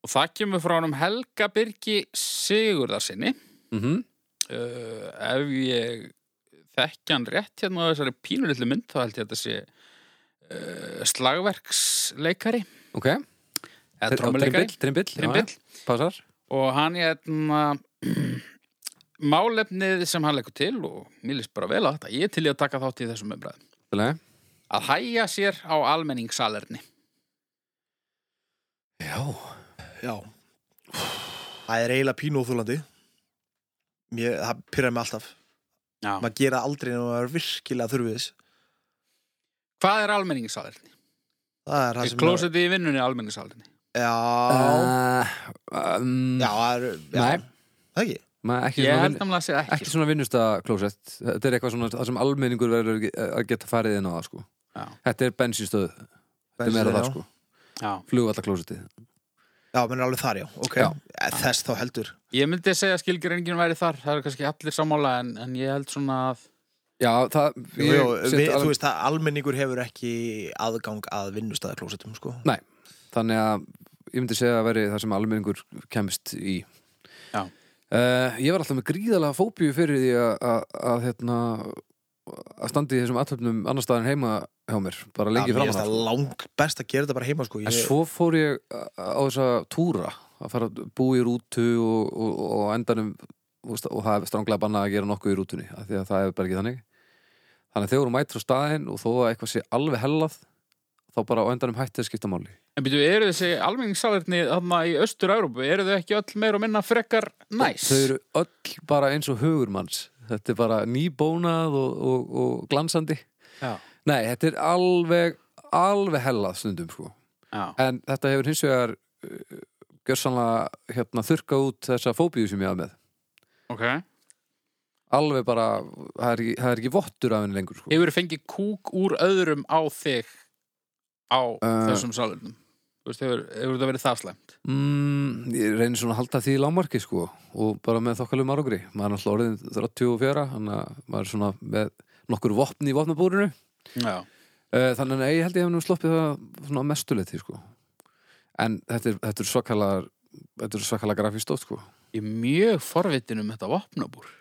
[SPEAKER 2] og það kemur frá honum Helga Birgi Sigurðarsinni
[SPEAKER 4] mm
[SPEAKER 2] uh, ef ég þekki hann rétt hérna á þessari pínulitlu mynd þá held ég að þetta sé uh, slagverksleikari
[SPEAKER 4] ok
[SPEAKER 2] eða trommuleikari,
[SPEAKER 4] Trimbill, trimbill,
[SPEAKER 2] trimbill
[SPEAKER 4] passar
[SPEAKER 2] og hann hérna málefnið sem hann leggur til og mér líst bara vel á þetta, ég er til í að taka þátt í þessum umræðum
[SPEAKER 4] Nei.
[SPEAKER 2] að hæja sér á almenningssalerni
[SPEAKER 4] Já.
[SPEAKER 3] Já Það er eiginlega pínu óþúlandi Mér, það pyrraði mig alltaf
[SPEAKER 2] Já.
[SPEAKER 3] Maður gera aldrei en maður er virkilega þurfið þess
[SPEAKER 2] Hvað er almenningssalerni?
[SPEAKER 3] Það er það sem er,
[SPEAKER 2] Klóseti í vinnunni er almenningssalerni
[SPEAKER 3] Já,
[SPEAKER 4] Uh, um,
[SPEAKER 3] já, það er já,
[SPEAKER 4] Nei.
[SPEAKER 3] Það ekki
[SPEAKER 4] maður ekki
[SPEAKER 2] Ég
[SPEAKER 4] svona
[SPEAKER 2] held
[SPEAKER 4] vinn,
[SPEAKER 2] namlega að segja ekki,
[SPEAKER 4] ekki svona vinnusta klósett þetta er eitthvað svona það sem almenningur verður ekki- eh, að geta farið inn á það sko
[SPEAKER 2] Já.
[SPEAKER 4] þetta er bensinstöð, þetta er meira það sko
[SPEAKER 2] Já.
[SPEAKER 4] flugvallaklósettið
[SPEAKER 3] Já, menn er alveg þar, já, ok
[SPEAKER 4] Já.
[SPEAKER 3] Eh, Þess þá heldur
[SPEAKER 2] Ég myndi segja að skilgreiningin væri þar Það eru kannski allir sammála en, en ég held svona að
[SPEAKER 4] já það
[SPEAKER 3] Jú,
[SPEAKER 4] ég
[SPEAKER 3] jú,
[SPEAKER 4] set
[SPEAKER 3] við,
[SPEAKER 4] alveg-
[SPEAKER 3] Þú veist, það almenningur hefur ekki aðgang að vinnustæðaklósetum, sko
[SPEAKER 4] þannig að ég myndi segja að veri það sem almenningur kemst í
[SPEAKER 2] Já.
[SPEAKER 4] Eh, ég var alltaf með gríðalega fóbíu fyrir því að, að, að hérna að standa í þessum aðtöfnum annar staðar en heima hjá mér, bara lengi
[SPEAKER 3] Já, mér
[SPEAKER 4] sko. fram
[SPEAKER 3] finnst það lang best að gera þetta bara heima, sko
[SPEAKER 4] En
[SPEAKER 3] Ég-
[SPEAKER 4] svo fór ég á þessa túra að fara að búa í rútu og, og, og á endanum þú veist, og það er stranglega bannað að gera nokkuð í rútunni af því að það er bara ekki þannig þannig að þegar hún mætir á staðinn og þó að eitthvað sé alveg hellað þá bara á endanum hætti að skipta máli
[SPEAKER 2] En byrju, eru þessi almenningssalerni þarna í Östur-Európu Eru þau ekki öll meir og minna frekar næs?
[SPEAKER 4] þau eru öll bara eins og hugur manns þetta er bara nýbónað og, og, og glansandi
[SPEAKER 2] Já,
[SPEAKER 4] nei, þetta er alveg alveg hellað stundum sko
[SPEAKER 2] já,
[SPEAKER 4] en þetta hefur hins vegar uh, gjörsanlega hérna, þurka út þessa fóbíu sem ég hafði með
[SPEAKER 2] ok
[SPEAKER 4] alveg bara, það er ekki, það er ekki vottur af henni lengur sko.
[SPEAKER 2] Hefur fengið kúk úr öðrum á þig á
[SPEAKER 4] Eh.
[SPEAKER 2] þessum salernum? Þú veist, hefur, hefur þetta verið það slæmt?
[SPEAKER 4] mm, ég reynir svona að halda því í lámarki sko, og bara með þokkalum árangri maður er alltaf orðin 34 þannig að maður er svona með nokkur vopn í vopnabúrinu
[SPEAKER 2] Já,
[SPEAKER 4] Eh, þannig að ég held ég hef nú sloppið það svona mestuleiti sko. en þetta er, þetta er svakalega þetta er svakalega grafístótt sko.
[SPEAKER 2] ég er mjög forvitin um þetta vopnabúr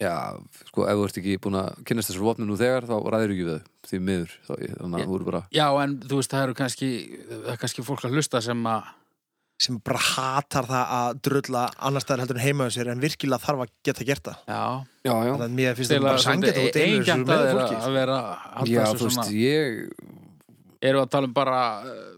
[SPEAKER 4] Já, sko, ef þú ert ekki búin að kynast þessu vopni nú þegar, þá ræðir ekki við þau, því miður, þá, þannig að þú eru bara
[SPEAKER 2] Já, en þú veist, það eru kannski, það er kannski fólk að hlusta sem að
[SPEAKER 3] sem bara hatar það að drulla annar staðar heldur en heima hjá sér en virkilega þarf að geta gert það
[SPEAKER 2] Já,
[SPEAKER 4] Já, já,
[SPEAKER 3] þannig að mér finnst þetta
[SPEAKER 2] stela
[SPEAKER 3] bara sangja og deilur þessu
[SPEAKER 2] eigingjarnt að
[SPEAKER 3] með
[SPEAKER 2] þeirra
[SPEAKER 3] fólki
[SPEAKER 2] að vera að halda
[SPEAKER 4] já þú
[SPEAKER 2] þessu
[SPEAKER 4] veist,
[SPEAKER 2] svona
[SPEAKER 4] ég
[SPEAKER 2] eru að tala um bara uh,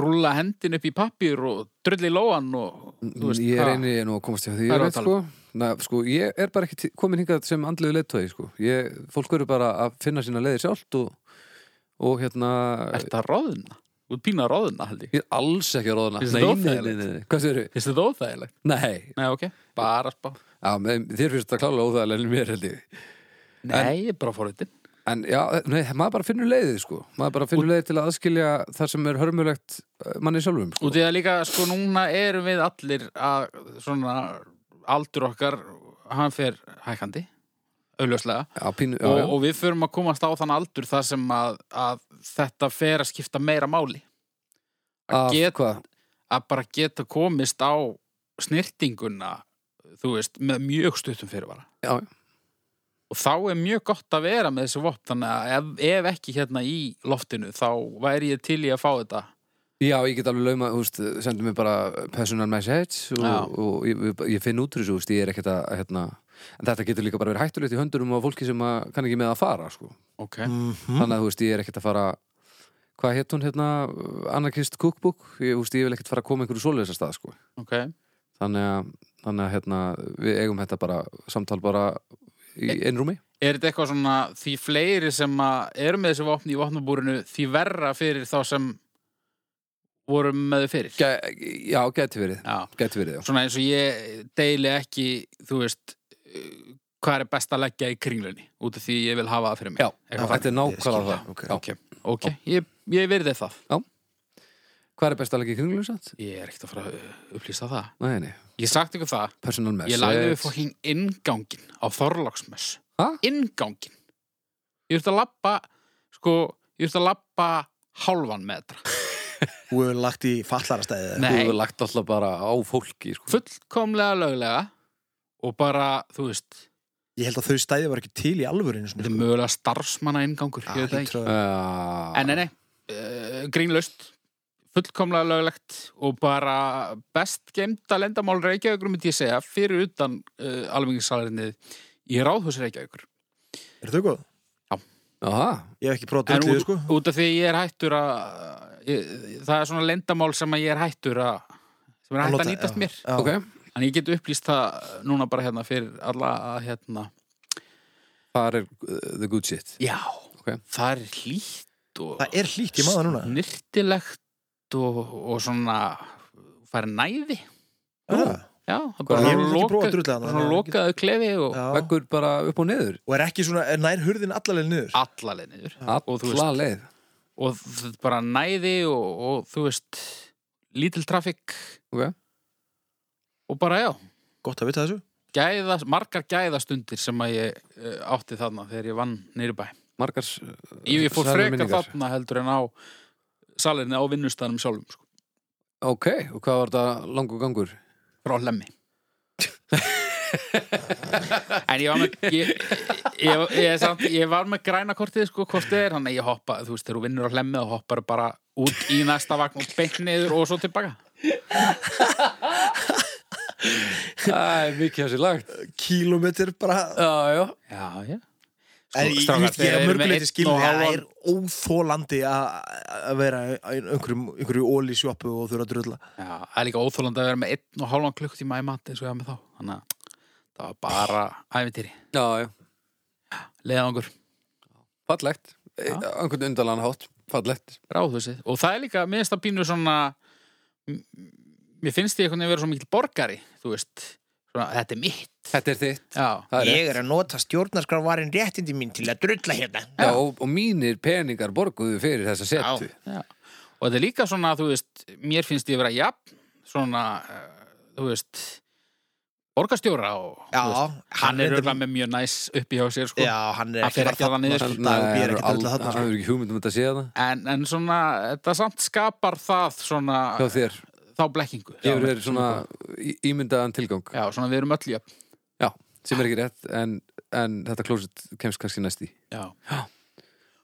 [SPEAKER 2] rúlla hendin upp í pappír og drulli í lóan og þú veist,
[SPEAKER 4] ég
[SPEAKER 2] ha,
[SPEAKER 4] reyni nú að komast hjá því
[SPEAKER 2] Hvað
[SPEAKER 4] ég
[SPEAKER 2] erum
[SPEAKER 4] veit,
[SPEAKER 2] við að
[SPEAKER 4] sko, na, sko, ég er bara ekki til- komin hingað sem andlegu leittói sko. ég, fólk eru bara að finna sína leiðir sjálft og, og hérna
[SPEAKER 2] ert að ráðuna? Þú ert pínu að ráðuna, held ég.
[SPEAKER 4] ég er alls ekki að róðna
[SPEAKER 2] Finnst
[SPEAKER 4] nei,
[SPEAKER 2] þetta
[SPEAKER 4] nei, nei, nei, nei, hvað séru?
[SPEAKER 2] Finnst þetta óþægilegt?
[SPEAKER 4] Nei,
[SPEAKER 2] Nei, ok, bara spá.
[SPEAKER 4] já, með, þér finnst þetta klálega óþægilega en mér held ég
[SPEAKER 2] Nei, ég er bara fórhundin.
[SPEAKER 4] en já, nei, maður bara finnur leiðið sko maður bara finnur leiðið til að aðskilja það sem er hörmulegt eh, manni sjálfum sko.
[SPEAKER 2] Út í það líka, sko, núna erum við allir að, svona, aldur okkar, hann fer hækandi, auðljóslega,
[SPEAKER 4] já, pínu, já,
[SPEAKER 2] og,
[SPEAKER 4] já.
[SPEAKER 2] og við förum að komast á þann aldur þar sem að, að þetta fer að skipta meira máli.
[SPEAKER 4] Að
[SPEAKER 2] get-
[SPEAKER 4] hvað?
[SPEAKER 2] Að bara geta komist á snirtinguna, þú veist, með mjög stuttum fyrirvara.
[SPEAKER 4] já,
[SPEAKER 2] og þá er mjög gott að vera með þessi vopn þannig að ef, ef ekki hérna í loftinu þá væri ég til í að fá þetta
[SPEAKER 4] Já, ég get alveg lauma, þú veist, sendu mér bara personal message og,
[SPEAKER 2] Já.
[SPEAKER 4] og ég, ég finn út úr þessu, þú veist, ég er ekkert að, hérna, en þetta getur líka bara verið hættulegt í höndunum á fólki sem að, kann ekki með að fara, sko.
[SPEAKER 2] ok,
[SPEAKER 3] Mhm.
[SPEAKER 4] Þannig að, þú veist, ég er ekkert að fara, hvað hétt hún, hérna, Anarchist Cookbook, ég, þú veist, ég vil ekkert fara að koma einhverju svoleiðis að stað, sko.
[SPEAKER 2] ok
[SPEAKER 4] Þannig að, þannig að, hérna, við eigum þetta bara, samtal bara í einrúmi.
[SPEAKER 2] er þetta eitthvað svona því fleiri sem að eru með þessi vopn í vopnabúrinu því verra fyrir þá sem voru með þau fyrir
[SPEAKER 4] Gæ, já, gæti verið,
[SPEAKER 2] já,
[SPEAKER 4] gæti verið, já.
[SPEAKER 2] svona eins og ég deili ekki þú veist eh, hvað er best að leggja í kringlunni út af því ég vil hafa það fyrir mig
[SPEAKER 4] Já,
[SPEAKER 2] Eitthvað
[SPEAKER 4] þetta er nákvæmlega
[SPEAKER 3] skil,
[SPEAKER 4] það.
[SPEAKER 3] ok.
[SPEAKER 4] Já.
[SPEAKER 2] ok, ok, ég, ég virði það
[SPEAKER 4] Hvað er best að leggja í kringlum, satt?
[SPEAKER 2] ég er ekkert að fara að upplýsa það
[SPEAKER 4] Nei, nei,
[SPEAKER 2] ég sagt ykkur það
[SPEAKER 4] personal message.
[SPEAKER 2] Ég lagði við fokkin inngangin á Þorláksmess.
[SPEAKER 4] Ha?
[SPEAKER 2] Inngangin. Ég þurfti að lappa, sko, ég þurfti að lappa hálfan metra.
[SPEAKER 3] Þú hefur lagt í fallarastæði
[SPEAKER 2] Nei.
[SPEAKER 4] Þú hefur lagt alltaf bara á fólki sko.
[SPEAKER 2] Fullkomlega löglega og bara, þú veist,
[SPEAKER 3] Ég held að þau stæði var ekki til í alvörinu
[SPEAKER 2] þetta er mögulega Ah,
[SPEAKER 4] Ah,
[SPEAKER 2] starfsmanna inngangur, ég veit það ekki.
[SPEAKER 3] Þetta
[SPEAKER 4] uh,
[SPEAKER 2] En nei, nei, uh, Eh, grínlaust, fullkomlega löglegt og bara best geimta lendamál Reykjavíkur myndi ég segja fyrir utan uh, almenningssalarinnið í Ráðhús Reykjavíkur
[SPEAKER 3] Er þau góð?
[SPEAKER 4] Aha,
[SPEAKER 3] Ég hef ekki prófað
[SPEAKER 2] En
[SPEAKER 3] að
[SPEAKER 2] út,
[SPEAKER 3] drýðu sko
[SPEAKER 2] út af því ég er hættur að ég, það er svona lendamál sem að ég er hættur að sem er
[SPEAKER 3] Að
[SPEAKER 2] hægt
[SPEAKER 3] nota,
[SPEAKER 2] að nýtast
[SPEAKER 3] já.
[SPEAKER 2] mér
[SPEAKER 3] Já.
[SPEAKER 4] ok
[SPEAKER 2] en ég get upplýst það núna bara hérna fyrir alla að hérna
[SPEAKER 4] Það er uh, the good shit
[SPEAKER 2] já,
[SPEAKER 4] Ok.
[SPEAKER 2] það er hlýtt og
[SPEAKER 3] Það er hlýtt í maður núna
[SPEAKER 2] snirtilegt og, og svona færi næði
[SPEAKER 3] Já.
[SPEAKER 2] já, það er
[SPEAKER 4] Hvað,
[SPEAKER 2] bara
[SPEAKER 3] ég hef ekki
[SPEAKER 2] loka-
[SPEAKER 3] prófað drulla
[SPEAKER 2] svona
[SPEAKER 3] þarna, þannig að ég get-
[SPEAKER 2] lokaðu klefi og
[SPEAKER 3] Já.
[SPEAKER 4] Veggur bara upp og niður
[SPEAKER 3] Og er ekki svona, er nær hurðin allaleg niður
[SPEAKER 2] alla leið niður Og þú veist-
[SPEAKER 4] Alla leið
[SPEAKER 2] og þ- bara næði og, og þú veist lítil traffic
[SPEAKER 4] Ok.
[SPEAKER 2] og bara já
[SPEAKER 3] Gott að vita þessu
[SPEAKER 2] gæða, margar gæðastundir sem að ég uh, átti þarna þegar ég vann nýri bæ
[SPEAKER 4] Margar
[SPEAKER 2] ég, ég fór
[SPEAKER 4] særar
[SPEAKER 2] frekar
[SPEAKER 4] minningar.
[SPEAKER 2] þarna heldur en á salinni á vinnustanum sjálfum sko,
[SPEAKER 4] Ok, og hvað var þetta langur gangur?
[SPEAKER 2] frá lemmi en ég var með ég, ég, ég, samt, ég var með græna kortið sko hvort þið er, þannig að ég hoppa þú veist, þegar þú vinnur á lemmi og hoppar bara út í næsta vagn og beint niður og svo tilbaka
[SPEAKER 4] Það er mikið þessi lagt
[SPEAKER 3] Kílómetr bara
[SPEAKER 4] Já, já
[SPEAKER 2] já, já
[SPEAKER 3] En ég, ég, ég er mörguleiti skilni Það er óþólandi að vera í einhverjum, einhverju óli sjoppu og þurfa að drulla
[SPEAKER 2] Já, það er líka óþólandi að vera með einn og hálfan klukktíma í mat eins og ég var með þá þannig að það var bara æfintýri,
[SPEAKER 4] Já, já,
[SPEAKER 2] leiðangur
[SPEAKER 4] fallegt Eh, á Einhvern undanlan hátt, fallegt
[SPEAKER 2] ráðhúsið og það er líka, mér finnst það pínu svona m- mér finnst ég einhvern veginn vera svo mikil borgari þú veist, svona, þetta er mitt
[SPEAKER 4] Þetta er þitt
[SPEAKER 2] Já,
[SPEAKER 4] Það er rétt.
[SPEAKER 3] að nota stjórnarskrafvarin réttindi mín til að drulla hérna
[SPEAKER 4] Já, og, og mínir peningar borguðu fyrir þessa setu
[SPEAKER 2] já. og þetta er líka svona, þú veist mér finnst ég vera jafn svona, uh, þú veist borgarstjóra og
[SPEAKER 3] Já,
[SPEAKER 2] þú veist, hann er
[SPEAKER 3] reyndar-
[SPEAKER 2] örugglega með mjög næs uppi hjá sér sko.
[SPEAKER 3] Já, hann er
[SPEAKER 2] Hann fer
[SPEAKER 3] ekki
[SPEAKER 2] ekki þarna niður.
[SPEAKER 3] Þannig að ég er ekki að drulla
[SPEAKER 4] Það
[SPEAKER 3] þarna sko.
[SPEAKER 4] hefur ekki hugmyndum að þetta sé það
[SPEAKER 2] en, en svona, þetta samt skapar það svona,
[SPEAKER 4] Hjá þér,
[SPEAKER 2] þá blekkingu
[SPEAKER 4] hefur þér svona í- ímyndaðan tilgang
[SPEAKER 2] Já, svona við erum öll jöfn
[SPEAKER 4] Já, sem er ekki rétt en, en þetta klósit kemst kannski næst í
[SPEAKER 2] Já.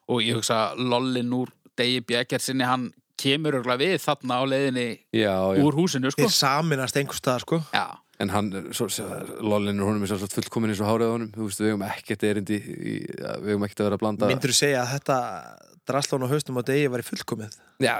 [SPEAKER 2] Og ég hugsa að Lollin úr Degi Bjækjarsinni, hann kemur örgulega við þarna á leiðinni
[SPEAKER 4] Já, já
[SPEAKER 2] úr húsinu, sko.
[SPEAKER 3] Þeir saminast einhvers staðar sko
[SPEAKER 2] Já,
[SPEAKER 4] En hann, er svo, svo, Lollin og honum er svolítið fullkomin eins og hárið á honum Þú veist, við eigum ekkert erindi í, að- Við eigum ekkert að vera að blanda
[SPEAKER 3] Myndur þú segja að þetta draslón á haustum á degi var í fullkomið
[SPEAKER 4] Já,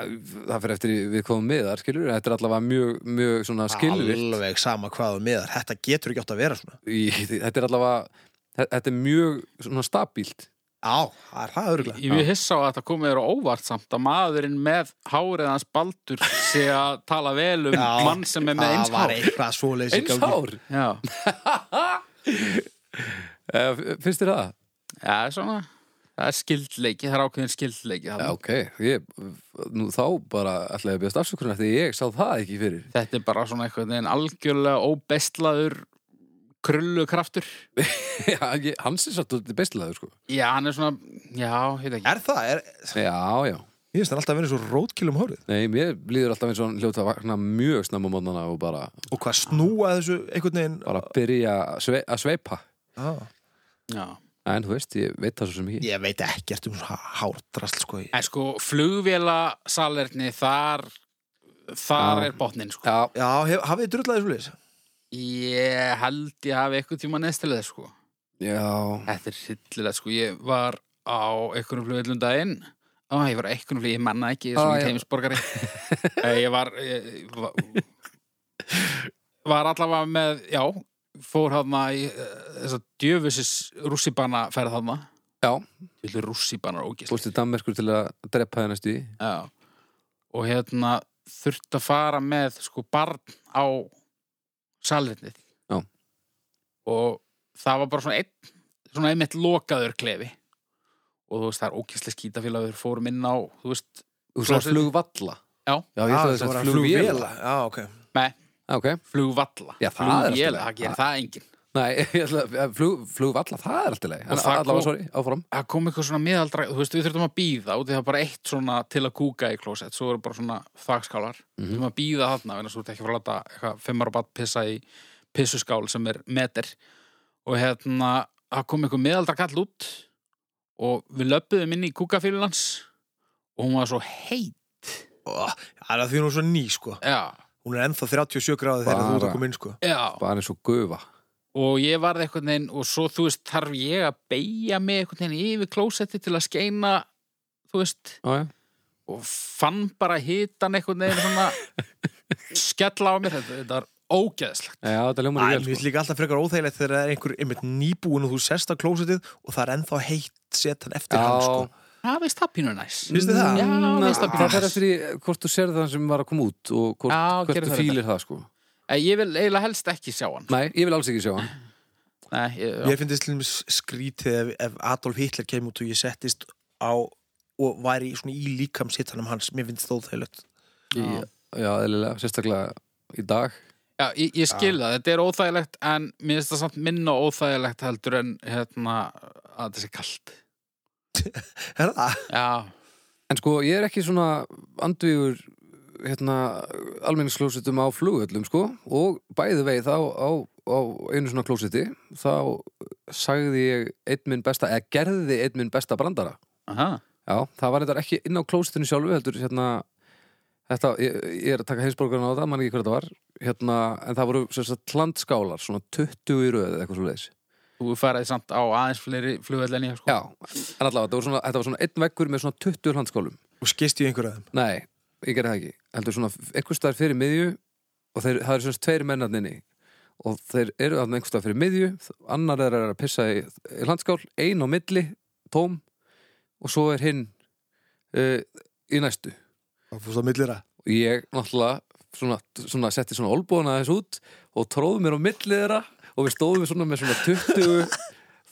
[SPEAKER 4] það fyrir eftir við komum með þar, skilur Þetta er allavega mjög, mjög svona skilvirt
[SPEAKER 3] Alveg sama hvað um miðar Þetta getur ekki átt að vera svona
[SPEAKER 4] í, Þetta er allavega, þe- þetta er mjög svona stabílt
[SPEAKER 3] Já, það er það örgulega
[SPEAKER 2] ég við hissa á að þetta komið þér á óvart samt að maðurinn með hárið hans baldur sé að tala vel um
[SPEAKER 3] Já,
[SPEAKER 2] mann sem er með eins
[SPEAKER 3] Það
[SPEAKER 2] hár.
[SPEAKER 3] var eitthvað svoleiðs í
[SPEAKER 4] Eins
[SPEAKER 3] gangi.
[SPEAKER 4] hár,
[SPEAKER 2] Já,
[SPEAKER 4] Eh, finnst þér það?
[SPEAKER 2] ja, svona, það er skildleiki, það er ákveðin skildleiki.
[SPEAKER 4] Já,
[SPEAKER 2] þarna.
[SPEAKER 4] ok, ég, nú þá bara ætla ég að beðast afsökunar því ég sá það ekki fyrir
[SPEAKER 2] Þetta er bara svona eitthvað en algjörlega óbestlaður krullukraftur.
[SPEAKER 4] Já, ég, hans er satt út í bestilaður, sko
[SPEAKER 2] Já, hann er svona, já, heit ekki.
[SPEAKER 3] Er það? Er,
[SPEAKER 4] Já, já,
[SPEAKER 3] ég finnst það alltaf að vera svo rótkilum hárið
[SPEAKER 4] nei, mér líður alltaf eins og hann hljóta að vakna mjög snemma mótnana og bara,
[SPEAKER 3] Og hvað snúa þessu einhvern veginn
[SPEAKER 4] bara byrja að sve, að sveipa
[SPEAKER 3] ah.
[SPEAKER 2] Já.
[SPEAKER 4] En þú veist, ég veit það svo sem ekki
[SPEAKER 3] Ég veit ekkert um hárdrasl sko ég-
[SPEAKER 2] En sko, flugvela salerni, þar, þar
[SPEAKER 4] Já.
[SPEAKER 2] er botnin, sko.
[SPEAKER 4] Já,
[SPEAKER 3] Já, hef, hafið þið drullaðið svoleiðis?
[SPEAKER 2] Ég held ég hafi eitthvað tíma neðstilega, sko.
[SPEAKER 4] já,
[SPEAKER 2] Þetta er hillilega, sko. Ég var á einhvernum flugvellum daginn. Á, ég var á einhvernum flugvellum, ég manna ekki, ég er
[SPEAKER 4] Á,
[SPEAKER 2] svona
[SPEAKER 4] já.
[SPEAKER 2] teimsborgari. ég var, ég, var, var allavega með, já, fór hafna í eh, þessa djöfusis rússibana ferð hafna.
[SPEAKER 4] já
[SPEAKER 2] Þetta er rússibanar ógist.
[SPEAKER 4] Fórstu Danmerkur til að drepa það næstu í
[SPEAKER 2] Já. Og hérna þurfti að fara með sko barn á salernið.
[SPEAKER 4] Já.
[SPEAKER 2] Og það var bara svona einn, svona einmitt lokaður klefi. Og þú veist, það er ókýrslega skítafélag við fórum inn á, þú veist,
[SPEAKER 4] Þú svo
[SPEAKER 2] Klósettið.
[SPEAKER 4] flugvalla
[SPEAKER 2] Já.
[SPEAKER 4] já ég ætla
[SPEAKER 3] þetta
[SPEAKER 4] þess
[SPEAKER 3] var
[SPEAKER 4] að
[SPEAKER 3] að
[SPEAKER 4] flugvila
[SPEAKER 3] Já, ok
[SPEAKER 2] með
[SPEAKER 4] Ok,
[SPEAKER 2] flugvalla.
[SPEAKER 4] Já, það er allt í
[SPEAKER 2] Flugvél,
[SPEAKER 4] lagi.
[SPEAKER 2] Það gerir það enginn.
[SPEAKER 4] nei, ég ætla að flug, flugvalla, það er alltaf leið
[SPEAKER 2] Og það
[SPEAKER 4] Allavega,
[SPEAKER 2] kom-
[SPEAKER 4] sorry, áfram
[SPEAKER 2] Það kom eitthvað svona miðaldra, þú veist, við þurftum að býða og það var bara eitt svona til að kúka í klósett, svo eru bara svona þakskálar. Við þurftum að býða þarna, en þú ert ekki að fara að láta eitthvað fimmar og bat pissa í pissuskál sem er meter. Og hérna, það kom eitthvað miðaldra kall út og við löppuðum inn í kúkafílun hans og hún var svo heit.
[SPEAKER 3] oh, Það er að því hún er svo ný sko
[SPEAKER 2] já,
[SPEAKER 3] Hún er ennþá 37 gráði þegar þú ert
[SPEAKER 4] Bara.
[SPEAKER 3] að koma inn sko
[SPEAKER 2] já
[SPEAKER 4] bara eins og gufa
[SPEAKER 2] og ég varð einhvern veginn og svo þú veist þarf ég að beigja mig einhvern veginn yfir klósetti til að skeina þú veist
[SPEAKER 4] já, já.
[SPEAKER 2] og fann bara hitan einhvern veginn svona skella á mér þetta, þetta var ógeðslegt
[SPEAKER 4] Já,
[SPEAKER 3] Æ,
[SPEAKER 4] þetta ljómar
[SPEAKER 3] mér
[SPEAKER 4] ég vel
[SPEAKER 3] finnst
[SPEAKER 4] sko.
[SPEAKER 3] líka alltaf frekar óþægilegt þegar það er einhver einmitt nýbúin og þú sest á klósitið og það er ennþá heitt setan eftir hann sko
[SPEAKER 4] Já,
[SPEAKER 2] það veist það pínu næs
[SPEAKER 3] Finnst þið það?
[SPEAKER 2] Já,
[SPEAKER 4] Mm,
[SPEAKER 2] veist það
[SPEAKER 4] það
[SPEAKER 2] pínu
[SPEAKER 4] fer
[SPEAKER 2] næs
[SPEAKER 4] eftir í hvort þú sérði það sem var að koma út og hvort,
[SPEAKER 2] Já,
[SPEAKER 4] hvort
[SPEAKER 2] gerum
[SPEAKER 4] þú
[SPEAKER 2] það
[SPEAKER 4] fýlir það sko
[SPEAKER 2] Eh, ég vil eiginlega helst ekki sjá hann
[SPEAKER 4] Nei, ég vil alls ekki sjá hann
[SPEAKER 2] Nei, ég, já.
[SPEAKER 3] Ég finnst til dæmis skrítið ef, ef Adolf Hitler kemur út og ég settist á og væri svona í líkamshittanum hans mér finnst það óþægilegt
[SPEAKER 4] Já, já eðlilega, sérstaklega í dag
[SPEAKER 2] Já, ég, ég skil það, þetta er óþægilegt en mér finnst það samt minna óþægilegt heldur en hérna að þetta sé kalt
[SPEAKER 3] Er það?
[SPEAKER 2] Já,
[SPEAKER 4] En sko, ég er ekki svona andvígur hérna, almenningsklósitum á flugöllum sko og bæði veið á, á, á einu svona klósiti þá sagði ég einn minn besta eða gerði einn minn besta brandara
[SPEAKER 2] aha,
[SPEAKER 4] Já, það var þetta ekki inn á klósitinu sjálfu heldur hérna þetta, ég, ég er að taka heimsborgarna á það, mann ekki hvað þetta var hérna, en það voru sem sagt landskálar, svona 20 í röð eða eitthvað svo leiðis.
[SPEAKER 2] þú faraði samt á aðeins fleiri flugvöld en ég sko
[SPEAKER 4] Já, en allavega, þetta, voru svona, þetta var svona einn vekkur með svona 20 landskálum.
[SPEAKER 3] Og skist ég einhverja þeim?
[SPEAKER 4] Nei, ég gerði það ekki, heldur svona einhvers staðar fyrir miðju og þeir, það eru svona tveir mennarninni og þeir eru þarna einhvers staðar fyrir miðju annar er að pissa í, í landskál ein á milli, tóm og svo er hinn uh, í næstu
[SPEAKER 3] Og fórst á millira
[SPEAKER 4] og ég náttúrulega svona, svona setti svona olbúana þess út og tróði mér á milli þeirra og við stóðum svona með svona 20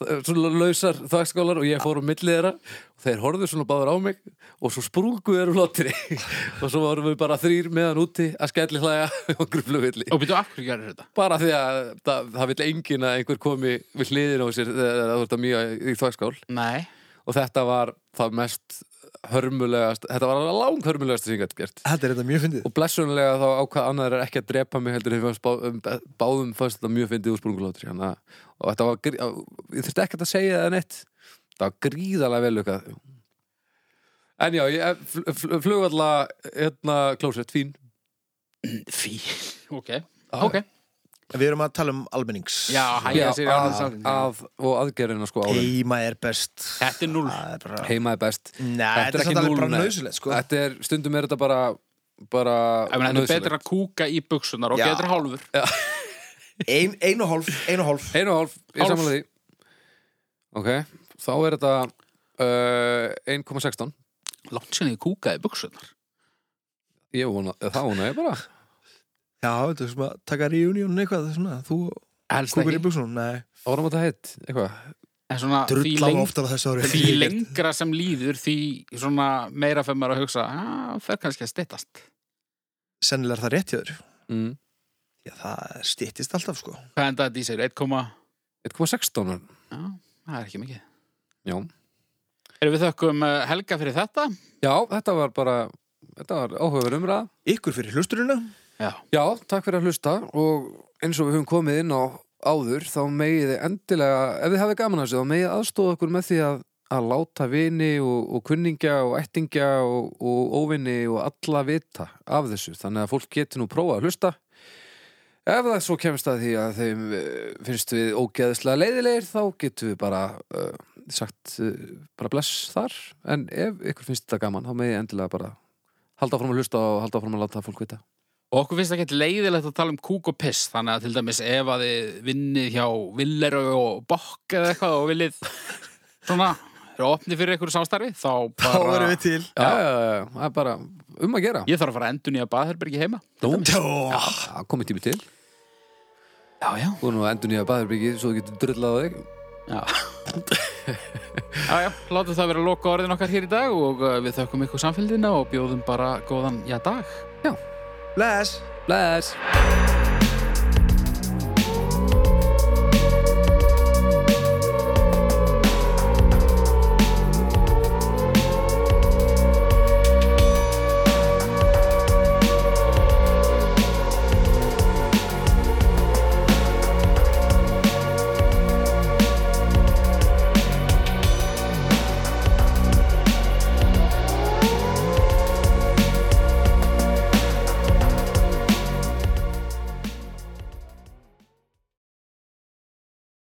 [SPEAKER 4] svona lausar þakskálar og ég fór á milli þeirra og þeir horfðu svona báður á mig og svo sprungu þeir úr hlátri og svo varum við bara þrýr meðan úti að skelli hlæja og gruflu villi
[SPEAKER 2] Og byrju, af hverju gerir þetta?
[SPEAKER 4] bara því að það, það vil engin að einhver komi við hliðin á sér þegar það voru að mýja í þakskál
[SPEAKER 2] Nei
[SPEAKER 4] og þetta var það mest hörmulegast þetta var lang hörmulegast sem ég gætt gert
[SPEAKER 3] Þetta er þetta mjög fyndið
[SPEAKER 4] og blessunlega þá ákvað annar er ekki að drepa mig heldur hefur bá, um, báðum fannst þetta mjög fyndið úr sprungulátri hana, og þetta var, grí- á- ég þurfti ekkert að segja það neitt það var gríðalega vel aukað en já, ég fl, fl, flugvalla hérna, klósett, fín
[SPEAKER 2] Fí Ok, ok
[SPEAKER 3] En Við erum að tala um almennings
[SPEAKER 2] Já, hæ,
[SPEAKER 4] Já,
[SPEAKER 2] ég sér
[SPEAKER 4] að,
[SPEAKER 2] alveg saman
[SPEAKER 4] að, og aðgerðina sko áður
[SPEAKER 3] Heima er best
[SPEAKER 2] Þetta er núll
[SPEAKER 3] Það er bara
[SPEAKER 4] heima er best
[SPEAKER 3] Nei, þetta er samt alveg bara nöðsulegt sko
[SPEAKER 4] þetta er, stundum er þetta bara bara
[SPEAKER 2] Ég meina, Þetta er betra
[SPEAKER 4] nauðsynlegt
[SPEAKER 2] að kúka í buksunar og
[SPEAKER 3] Já.
[SPEAKER 2] betra hálfur
[SPEAKER 3] Ein, Ein og hálf, ein og hálf
[SPEAKER 4] Einu og hálf, ég
[SPEAKER 2] Hálf.
[SPEAKER 4] samanlega því Ok, þá er þetta uh, 1,16
[SPEAKER 2] Látt sinni ég kúkaði í buksunar
[SPEAKER 4] Ég vona, eða það vona ég bara
[SPEAKER 3] Já, þetta er svona taka reunion eitthvað svona, Þú
[SPEAKER 2] Helst
[SPEAKER 3] kúkur í
[SPEAKER 2] ekki
[SPEAKER 3] buksunum, nei
[SPEAKER 4] Árum að það heitt, eitthvað
[SPEAKER 2] En svona því,
[SPEAKER 3] Drull á
[SPEAKER 2] leng,
[SPEAKER 3] oft af þessu ári
[SPEAKER 2] því lengra sem líður því svona meira fyrir maður að hugsa að fer kannski að styttast
[SPEAKER 3] Sennilega er það rétt hjá þér
[SPEAKER 4] mm.
[SPEAKER 3] Já, það styttist alltaf sko
[SPEAKER 2] Hvað endaði þetta í sér? 1,
[SPEAKER 4] 1,16 var-
[SPEAKER 2] já, það er ekki mikið
[SPEAKER 4] Já.
[SPEAKER 2] Erum við þökkum eh, Helga fyrir þetta?
[SPEAKER 4] Já, þetta var bara Þetta var áhugaverð umræða
[SPEAKER 3] Ykkur fyrir hlusturina
[SPEAKER 2] Já
[SPEAKER 4] Já, takk fyrir að hlusta og eins og við höfum komið inn á áður þá megið þið endilega, ef þið hafið gaman að þessu þá megið aðstóða okkur með því að, að láta vini og, og kunningja og ættingja og, og óvini og alla vita af þessu þannig að fólk geti nú prófað að hlusta Ef það svo kemst að því að þeim eh, finnst við ógeðslega leiðilegir þá getum við bara uh, sagt uh, bara bless þar en ef ykkur finnst þetta gaman þá megið endilega bara halda áfram að hlusta og halda áfram að láta fólk vita
[SPEAKER 2] Og okkur finnst ekki leiðilegt að tala um kúk og piss þannig að til dæmis ef að þið vinnið hjá Viller og Bokk eða eitthvað og viljið svona eru opni fyrir einhverju samstarfi þá
[SPEAKER 3] Þá
[SPEAKER 2] bara
[SPEAKER 3] erum við til
[SPEAKER 4] já, já, já, já, það er bara um að gera
[SPEAKER 2] ég þarf að fara að endur nýja baðherbergi heima
[SPEAKER 3] Jó,
[SPEAKER 4] Það komið tími til
[SPEAKER 2] Já, já
[SPEAKER 4] Þú er nú að endur nýja baðherbyggi svo þú getur drullað á þig
[SPEAKER 2] Já, já, já látum það vera loka orðin okkar hér í dag og uh, við þökkum ykkur samfélgina og bjóðum bara góðan já dag
[SPEAKER 3] Bless
[SPEAKER 4] Bless